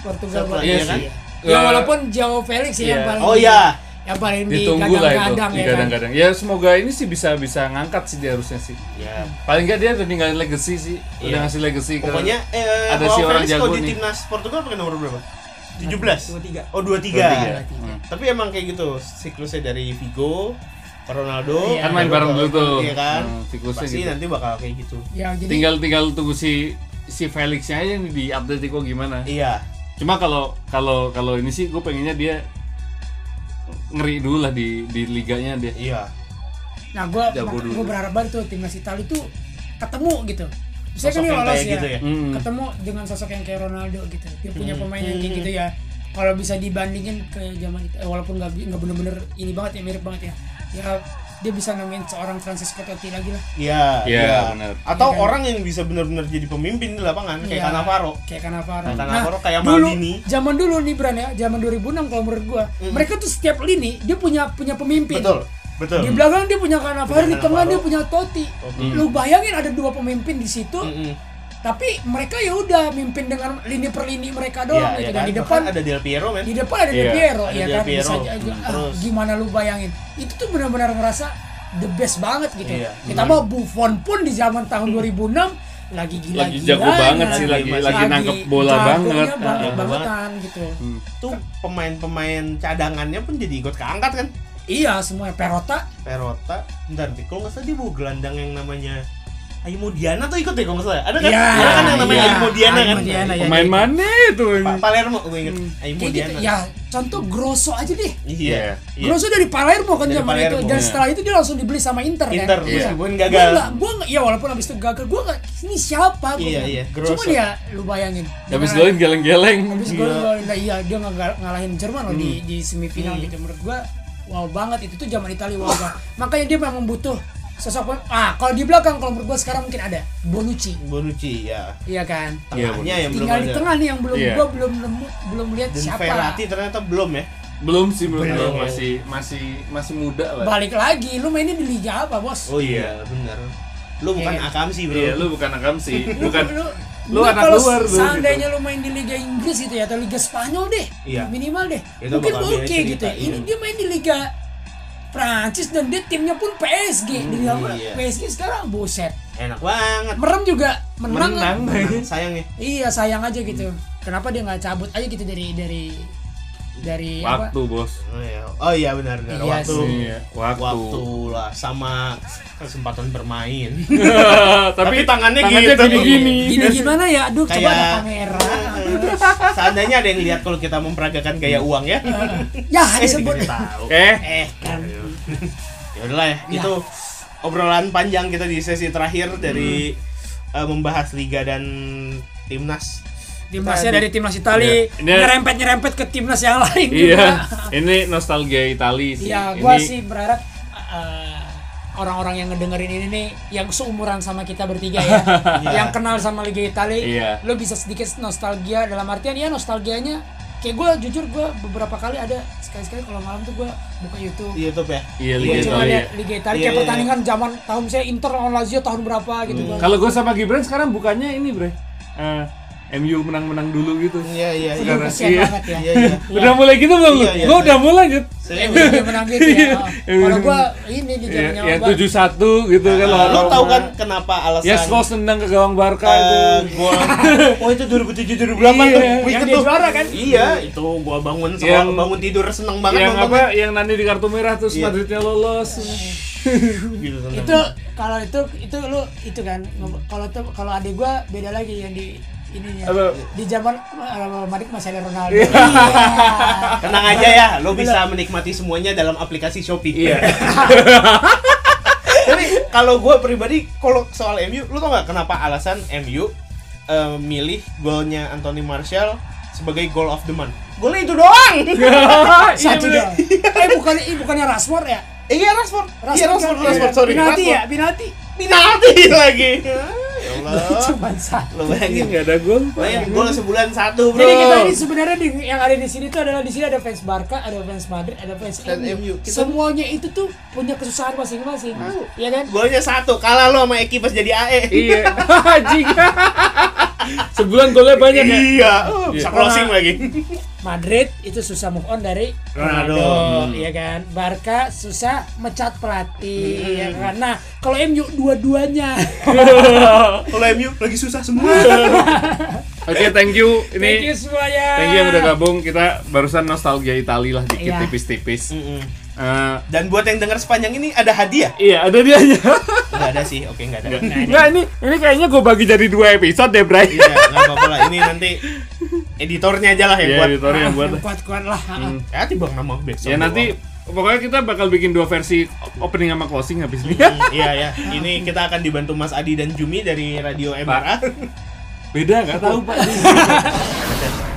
Speaker 3: Portugal
Speaker 2: Setelah
Speaker 3: Portugal.
Speaker 1: Iya
Speaker 2: kan?
Speaker 1: sih.
Speaker 3: Ya
Speaker 1: Ya,
Speaker 3: walaupun Jao Felix sih yang
Speaker 1: Iya.
Speaker 3: paling
Speaker 2: Oh
Speaker 3: di-
Speaker 2: iya.
Speaker 3: yang paling
Speaker 1: ditunggu lah itu.
Speaker 3: digadang-gadang ya kan.
Speaker 1: Digadang-gadang. Ya semoga ini sih bisa bisa ngangkat sih dia harusnya sih.
Speaker 2: Ya.
Speaker 1: Paling nggak dia udah ninggalin legacy sih.
Speaker 2: Iya.
Speaker 1: Udah ngasih legacy ke-
Speaker 2: Pokoknya eh,
Speaker 1: ada
Speaker 2: Joao
Speaker 1: si orang
Speaker 2: Felix kalau
Speaker 1: jago
Speaker 2: di
Speaker 1: nih.
Speaker 2: timnas Portugal pakai nomor berapa? 17.
Speaker 3: 23.
Speaker 2: Oh, 23.
Speaker 1: 23. Hmm.
Speaker 2: Tapi emang kayak gitu siklusnya dari Vigo, Ronaldo,
Speaker 1: Kan main
Speaker 2: Ronaldo,
Speaker 1: bareng dulu tuh.
Speaker 2: Iya kan?
Speaker 1: Hmm, siklusnya
Speaker 2: Pasti
Speaker 1: gitu.
Speaker 2: nanti bakal kayak gitu.
Speaker 3: Ya jadi
Speaker 1: Tinggal tinggal tunggu si si Felixnya aja nih di Atletico gimana.
Speaker 2: Iya.
Speaker 1: Cuma kalau kalau kalau ini sih gue pengennya dia ngeri dulu lah di di liganya dia.
Speaker 2: Iya.
Speaker 3: nah gua
Speaker 1: Jago dulu.
Speaker 3: gua berharap banget tuh timnas Italia tuh ketemu gitu. Saya kan
Speaker 2: Sosok
Speaker 3: dia
Speaker 2: yang
Speaker 3: lolos
Speaker 2: kayak
Speaker 3: ya,
Speaker 2: gitu ya? Hmm.
Speaker 1: Hmm.
Speaker 3: ketemu dengan sosok yang kayak Ronaldo gitu, dia punya pemain yang kayak gitu ya. Kalau bisa dibandingin ke zaman kita, eh, walaupun nggak bi- nggak bener-bener ini banget ya mirip banget ya, ya dia bisa nemuin seorang Francisco Totti lagi lah.
Speaker 2: Iya,
Speaker 1: Iya,
Speaker 2: iya.
Speaker 1: benar.
Speaker 2: Atau
Speaker 3: Iya kan?
Speaker 2: orang yang bisa benar-benar jadi pemimpin di lapangan kayak
Speaker 3: Iya,
Speaker 2: Cannavaro.
Speaker 3: Kayak Cannavaro. Nah,
Speaker 2: Kayak Cannavaro, kayak
Speaker 3: dulu,
Speaker 2: Maldini. Hmm.
Speaker 3: Zaman dulu nih Bran ya, zaman 2006 kalau menurut gua, mereka tuh setiap lini dia punya punya pemimpin.
Speaker 2: Betul, betul.
Speaker 3: Di belakang dia punya Cannavaro,
Speaker 2: Punya
Speaker 3: di tengah
Speaker 2: Cannavaro.
Speaker 3: dia punya Totti. Lu bayangin ada dua pemimpin di situ,
Speaker 2: Mm-mm.
Speaker 3: tapi mereka ya udah mimpin dengan lini per lini mereka
Speaker 2: Iya,
Speaker 3: doang
Speaker 2: iya
Speaker 3: gitu. Dan
Speaker 2: kan?
Speaker 3: di depan
Speaker 2: Bahkan ada Del Piero men.
Speaker 3: di depan ada
Speaker 1: Iya,
Speaker 3: Del Piero
Speaker 2: ada
Speaker 3: ya
Speaker 2: Del
Speaker 3: kan
Speaker 2: Piero.
Speaker 3: bisa aja-
Speaker 2: Hmm,
Speaker 3: ah,
Speaker 2: terus.
Speaker 3: gimana lu bayangin itu tuh benar-benar ngerasa the best banget gitu
Speaker 2: Iya,
Speaker 3: kita mau Buffon pun di zaman tahun 2006 lagi kan? gila
Speaker 1: Lagi jago banget sih, lagi- lagi nangkep bola banget.
Speaker 2: Iya,
Speaker 3: jagonya banget
Speaker 2: Jago
Speaker 3: bangetan gitu
Speaker 2: Tuh pemain-pemain cadangannya pun jadi ikut keangkat kan.
Speaker 3: iya semua Perota
Speaker 2: Perota, bentar deh, kalau nggak salah dia bawa gelandang yang namanya Aimo Diana tuh ikut deh kalau nggak salah. Ada kan?
Speaker 3: Iya,
Speaker 2: Ada kan yang namanya
Speaker 3: iya.
Speaker 2: Aimo Diana kan?
Speaker 3: Aimo Diana, ya.
Speaker 1: Pemain mana itu?
Speaker 2: Pa- Palermo gue inget. Aimo
Speaker 3: kayak gitu
Speaker 2: Diana.
Speaker 3: ya contoh Grosso aja deh
Speaker 2: Iya. iya.
Speaker 3: Grosso dari Palermo kan
Speaker 2: Dari
Speaker 3: zaman itu
Speaker 2: Palermo,
Speaker 3: dan
Speaker 2: iya.
Speaker 3: setelah itu dia langsung dibeli sama Inter, kan?
Speaker 2: Inter
Speaker 1: Iya.
Speaker 2: meskipun
Speaker 3: gue
Speaker 2: gagal.
Speaker 3: nggak gue nggak ya walaupun abis itu gagal gue nggak ini siapa gue
Speaker 2: Iya,
Speaker 3: bilang.
Speaker 2: iya,
Speaker 3: cuma
Speaker 2: Grosso.
Speaker 3: dia lu bayangin
Speaker 1: Habis
Speaker 3: Dengan-
Speaker 1: golin geleng-geleng.
Speaker 3: habis
Speaker 2: Iya. Hmm.
Speaker 3: gol gol nah iya dia nggak ngalahin Jerman loh di di semifinal gitu menurut gua wow banget itu tuh zaman Italia wow banget makanya dia memang butuh sosok pem- ah kalau di belakang kalau menurut gua sekarang mungkin ada Bonucci
Speaker 2: Bonucci ya.
Speaker 3: iya kan
Speaker 1: Iya,
Speaker 2: Tengahnya yang belum
Speaker 3: tinggal
Speaker 2: ada.
Speaker 3: di tengah nih yang belum
Speaker 1: Iya.
Speaker 3: gua belum nemu belum lihat
Speaker 2: Dan
Speaker 3: siapa
Speaker 2: Verratti ternyata belum ya.
Speaker 1: Belum sih, belum.
Speaker 2: Belum.
Speaker 1: Masih masih masih muda lah.
Speaker 3: balik lagi lu mainnya di liga apa bos
Speaker 2: Oh iya, benar. Lu bukan
Speaker 3: Iya.
Speaker 2: akam sih, Bro.
Speaker 1: Iya, lu bukan akam sih. Bukan lu
Speaker 3: lu
Speaker 1: anak
Speaker 3: kalau
Speaker 1: luar lu,
Speaker 3: seandainya lu main di Liga Inggris gitu ya atau Liga Spanyol deh
Speaker 2: Iya.
Speaker 3: minimal deh
Speaker 2: Itu
Speaker 3: mungkin
Speaker 2: bakal
Speaker 3: oke
Speaker 2: beda cerita,
Speaker 3: gitu ya.
Speaker 2: iya.
Speaker 3: ini dia main di Liga Prancis dan dia timnya pun PSG di Liga
Speaker 2: iya.
Speaker 3: PSG sekarang buset
Speaker 2: Enak banget.
Speaker 3: merem juga menang,
Speaker 1: Menang.
Speaker 3: kan?
Speaker 2: Menang, sayang ya.
Speaker 3: iya sayang aja gitu kenapa dia nggak cabut aja gitu dari dari dari
Speaker 1: Waktu,
Speaker 3: apa
Speaker 1: Bos.
Speaker 2: Oh iya, oh, iya benar benar.
Speaker 3: Iya
Speaker 2: waktu,
Speaker 3: sih.
Speaker 1: Iya, waktu.
Speaker 2: waktu lah sama kesempatan bermain.
Speaker 1: tapi,
Speaker 2: Tapi tangannya gitu.
Speaker 1: gini-gini.
Speaker 3: gini gimana ya aduh coba ada
Speaker 2: Kayak-
Speaker 3: pangeran
Speaker 2: Seandainya ada yang lihat kalau kita memperagakan gaya uang ya.
Speaker 3: ya disebut
Speaker 2: Dikasih tahu.
Speaker 1: Eh,
Speaker 3: eh kan
Speaker 2: Ya udahlah ya. Itu obrolan panjang kita di sesi
Speaker 3: Hmm.
Speaker 2: terakhir dari eh, membahas liga dan timnas.
Speaker 3: timnasnya dari timnas Itali
Speaker 1: Iya. Ini-
Speaker 3: nyerempet nyerempet ke timnas yang lain
Speaker 1: iya.
Speaker 3: juga
Speaker 1: Ini nostalgia Itali sih.
Speaker 3: Iya, gua
Speaker 1: Ini-
Speaker 3: sih berharap eh, orang-orang yang ngedengerin ini nih yang seumuran sama kita bertiga ya, yang kenal sama Liga Italia,
Speaker 1: Iya.
Speaker 3: lo bisa sedikit nostalgia dalam artian ya nostalgianya kayak gue jujur gue beberapa kali ada sekali-sekali kalau malam tuh gue buka YouTube.
Speaker 2: di YouTube ya.
Speaker 1: Iya,
Speaker 3: Gua
Speaker 1: Liga
Speaker 3: cuma
Speaker 1: Italia.
Speaker 3: lihat Liga Italia
Speaker 2: Iya,
Speaker 3: kayak
Speaker 2: iya,
Speaker 3: pertandingan zaman tahun saya Inter lawan Lazio tahun berapa gitu gua.
Speaker 1: Kalau gue sama Gibran sekarang bukannya ini, Bre. Eh, MU menang-menang dulu gitu.
Speaker 2: Iya iya iya.
Speaker 3: Aduh,
Speaker 1: Sekarang
Speaker 3: kasihan
Speaker 1: iya.
Speaker 3: banget ya.
Speaker 2: Iya iya.
Speaker 1: Udah mulai gitu belum? lu?
Speaker 2: Iya, iya,
Speaker 1: Gua
Speaker 2: iya.
Speaker 1: udah mulai gitu.
Speaker 2: Serius.
Speaker 3: Dia menang gitu ya.
Speaker 1: Iya.
Speaker 3: Kalau gue ini di
Speaker 1: Ya,
Speaker 3: zamannya
Speaker 1: yang
Speaker 3: gua-
Speaker 1: 7-1 gitu kan
Speaker 2: Nah,
Speaker 1: lawan
Speaker 2: lo
Speaker 1: Roma.
Speaker 2: tau kan kenapa alasan
Speaker 1: Yes, lo senang ke gawang Barca itu.
Speaker 2: eh, gua oh itu 2007 2008 tuh
Speaker 1: Iya,
Speaker 2: gua
Speaker 3: yang
Speaker 2: ikut
Speaker 3: dia
Speaker 2: tuh.
Speaker 3: juara kan?
Speaker 2: iya itu gua bangun sekolah
Speaker 1: Yang-
Speaker 2: bangun tidur seneng banget
Speaker 1: yang
Speaker 2: nontonnya.
Speaker 1: apa? Yang nanti di kartu merah terus
Speaker 2: Iya.
Speaker 1: Madridnya lolos.
Speaker 2: Gitu, seneng.
Speaker 3: itu kalau itu itu lu itu kan ngom- kalau tuh kalau adik gua beda lagi yang di ininya
Speaker 1: Apa?
Speaker 3: di zaman uh, Madrid masih ada Ronaldo
Speaker 1: Iya.
Speaker 3: Iya.
Speaker 2: tenang aja ya lo bisa menikmati semuanya dalam aplikasi Shopee
Speaker 1: Iya.
Speaker 2: tapi kalau gua pribadi kalau soal MU lo tau gak kenapa alasan MU eh, milih golnya Anthony Martial sebagai goal of the month golnya itu doang
Speaker 3: satu doang eh bukan eh bukannya Rashford ya
Speaker 2: Eh, iya Rashford
Speaker 3: Rashford
Speaker 2: iya Rashford
Speaker 3: kan?
Speaker 2: Rashford sorry
Speaker 3: Pinati ya
Speaker 2: Rashford.
Speaker 3: Pinati
Speaker 2: Minati lagi ya Allah
Speaker 3: cuma satu
Speaker 2: lo bayangin
Speaker 1: Enggak ada gol.
Speaker 2: Bayangin Iya, gol sebulan satu bro
Speaker 3: jadi kita ini sebenarnya di, yang ada di sini tuh adalah di sini ada fans Barca, ada fans Madrid, ada fans
Speaker 2: Dan MU.
Speaker 3: MU.
Speaker 2: Kita-
Speaker 3: Semuanya itu tuh punya kesusahan masing-masing. Iya kan?
Speaker 2: Golnya satu, kalah lo sama Eki pas jadi E. AE
Speaker 1: Iya. Anjing. Sebulan golnya banyak ya.
Speaker 2: Iya, oh, bisa closing lagi
Speaker 3: Madrid itu susah move on dari
Speaker 2: Ronaldo.
Speaker 3: Ronaldo,
Speaker 1: Hmm.
Speaker 3: ya kan. Barca susah mecat pelatih,
Speaker 1: Hmm.
Speaker 3: ya kan. Nah, kalau MU dua-duanya.
Speaker 2: Iya. Kalau MU lagi susah semua
Speaker 1: Oke, thank you. Ini
Speaker 3: Thank you semuanya.
Speaker 1: Thank you yang udah gabung. Kita barusan nostalgia Itali lah dikit
Speaker 3: Iya.
Speaker 1: tipis-tipis.
Speaker 2: Hmm.
Speaker 1: Eh,
Speaker 2: Dan buat yang dengar sepanjang ini ada hadiah?
Speaker 1: iya, ada dia aja.
Speaker 2: Enggak ada sih, oke enggak ada
Speaker 1: Enggak ini ini kayaknya gue bagi jadi dua episode deh, Bray.
Speaker 2: Iya, enggak apa-apa lah, ini nanti editornya aja lah yang
Speaker 1: Iya,
Speaker 2: buat
Speaker 1: editor yang buat. Hmm.
Speaker 3: Yang kuat-kuat lah.
Speaker 2: Hati bang nama besok
Speaker 1: Ya nanti Pokoknya kita bakal bikin dua versi opening sama closing habis ini.
Speaker 2: Hmm, iya ya. Ini kita akan dibantu Mas Adi dan Jumi dari Radio
Speaker 1: kan?
Speaker 2: MRA.
Speaker 1: Beda nggak tahu Pak.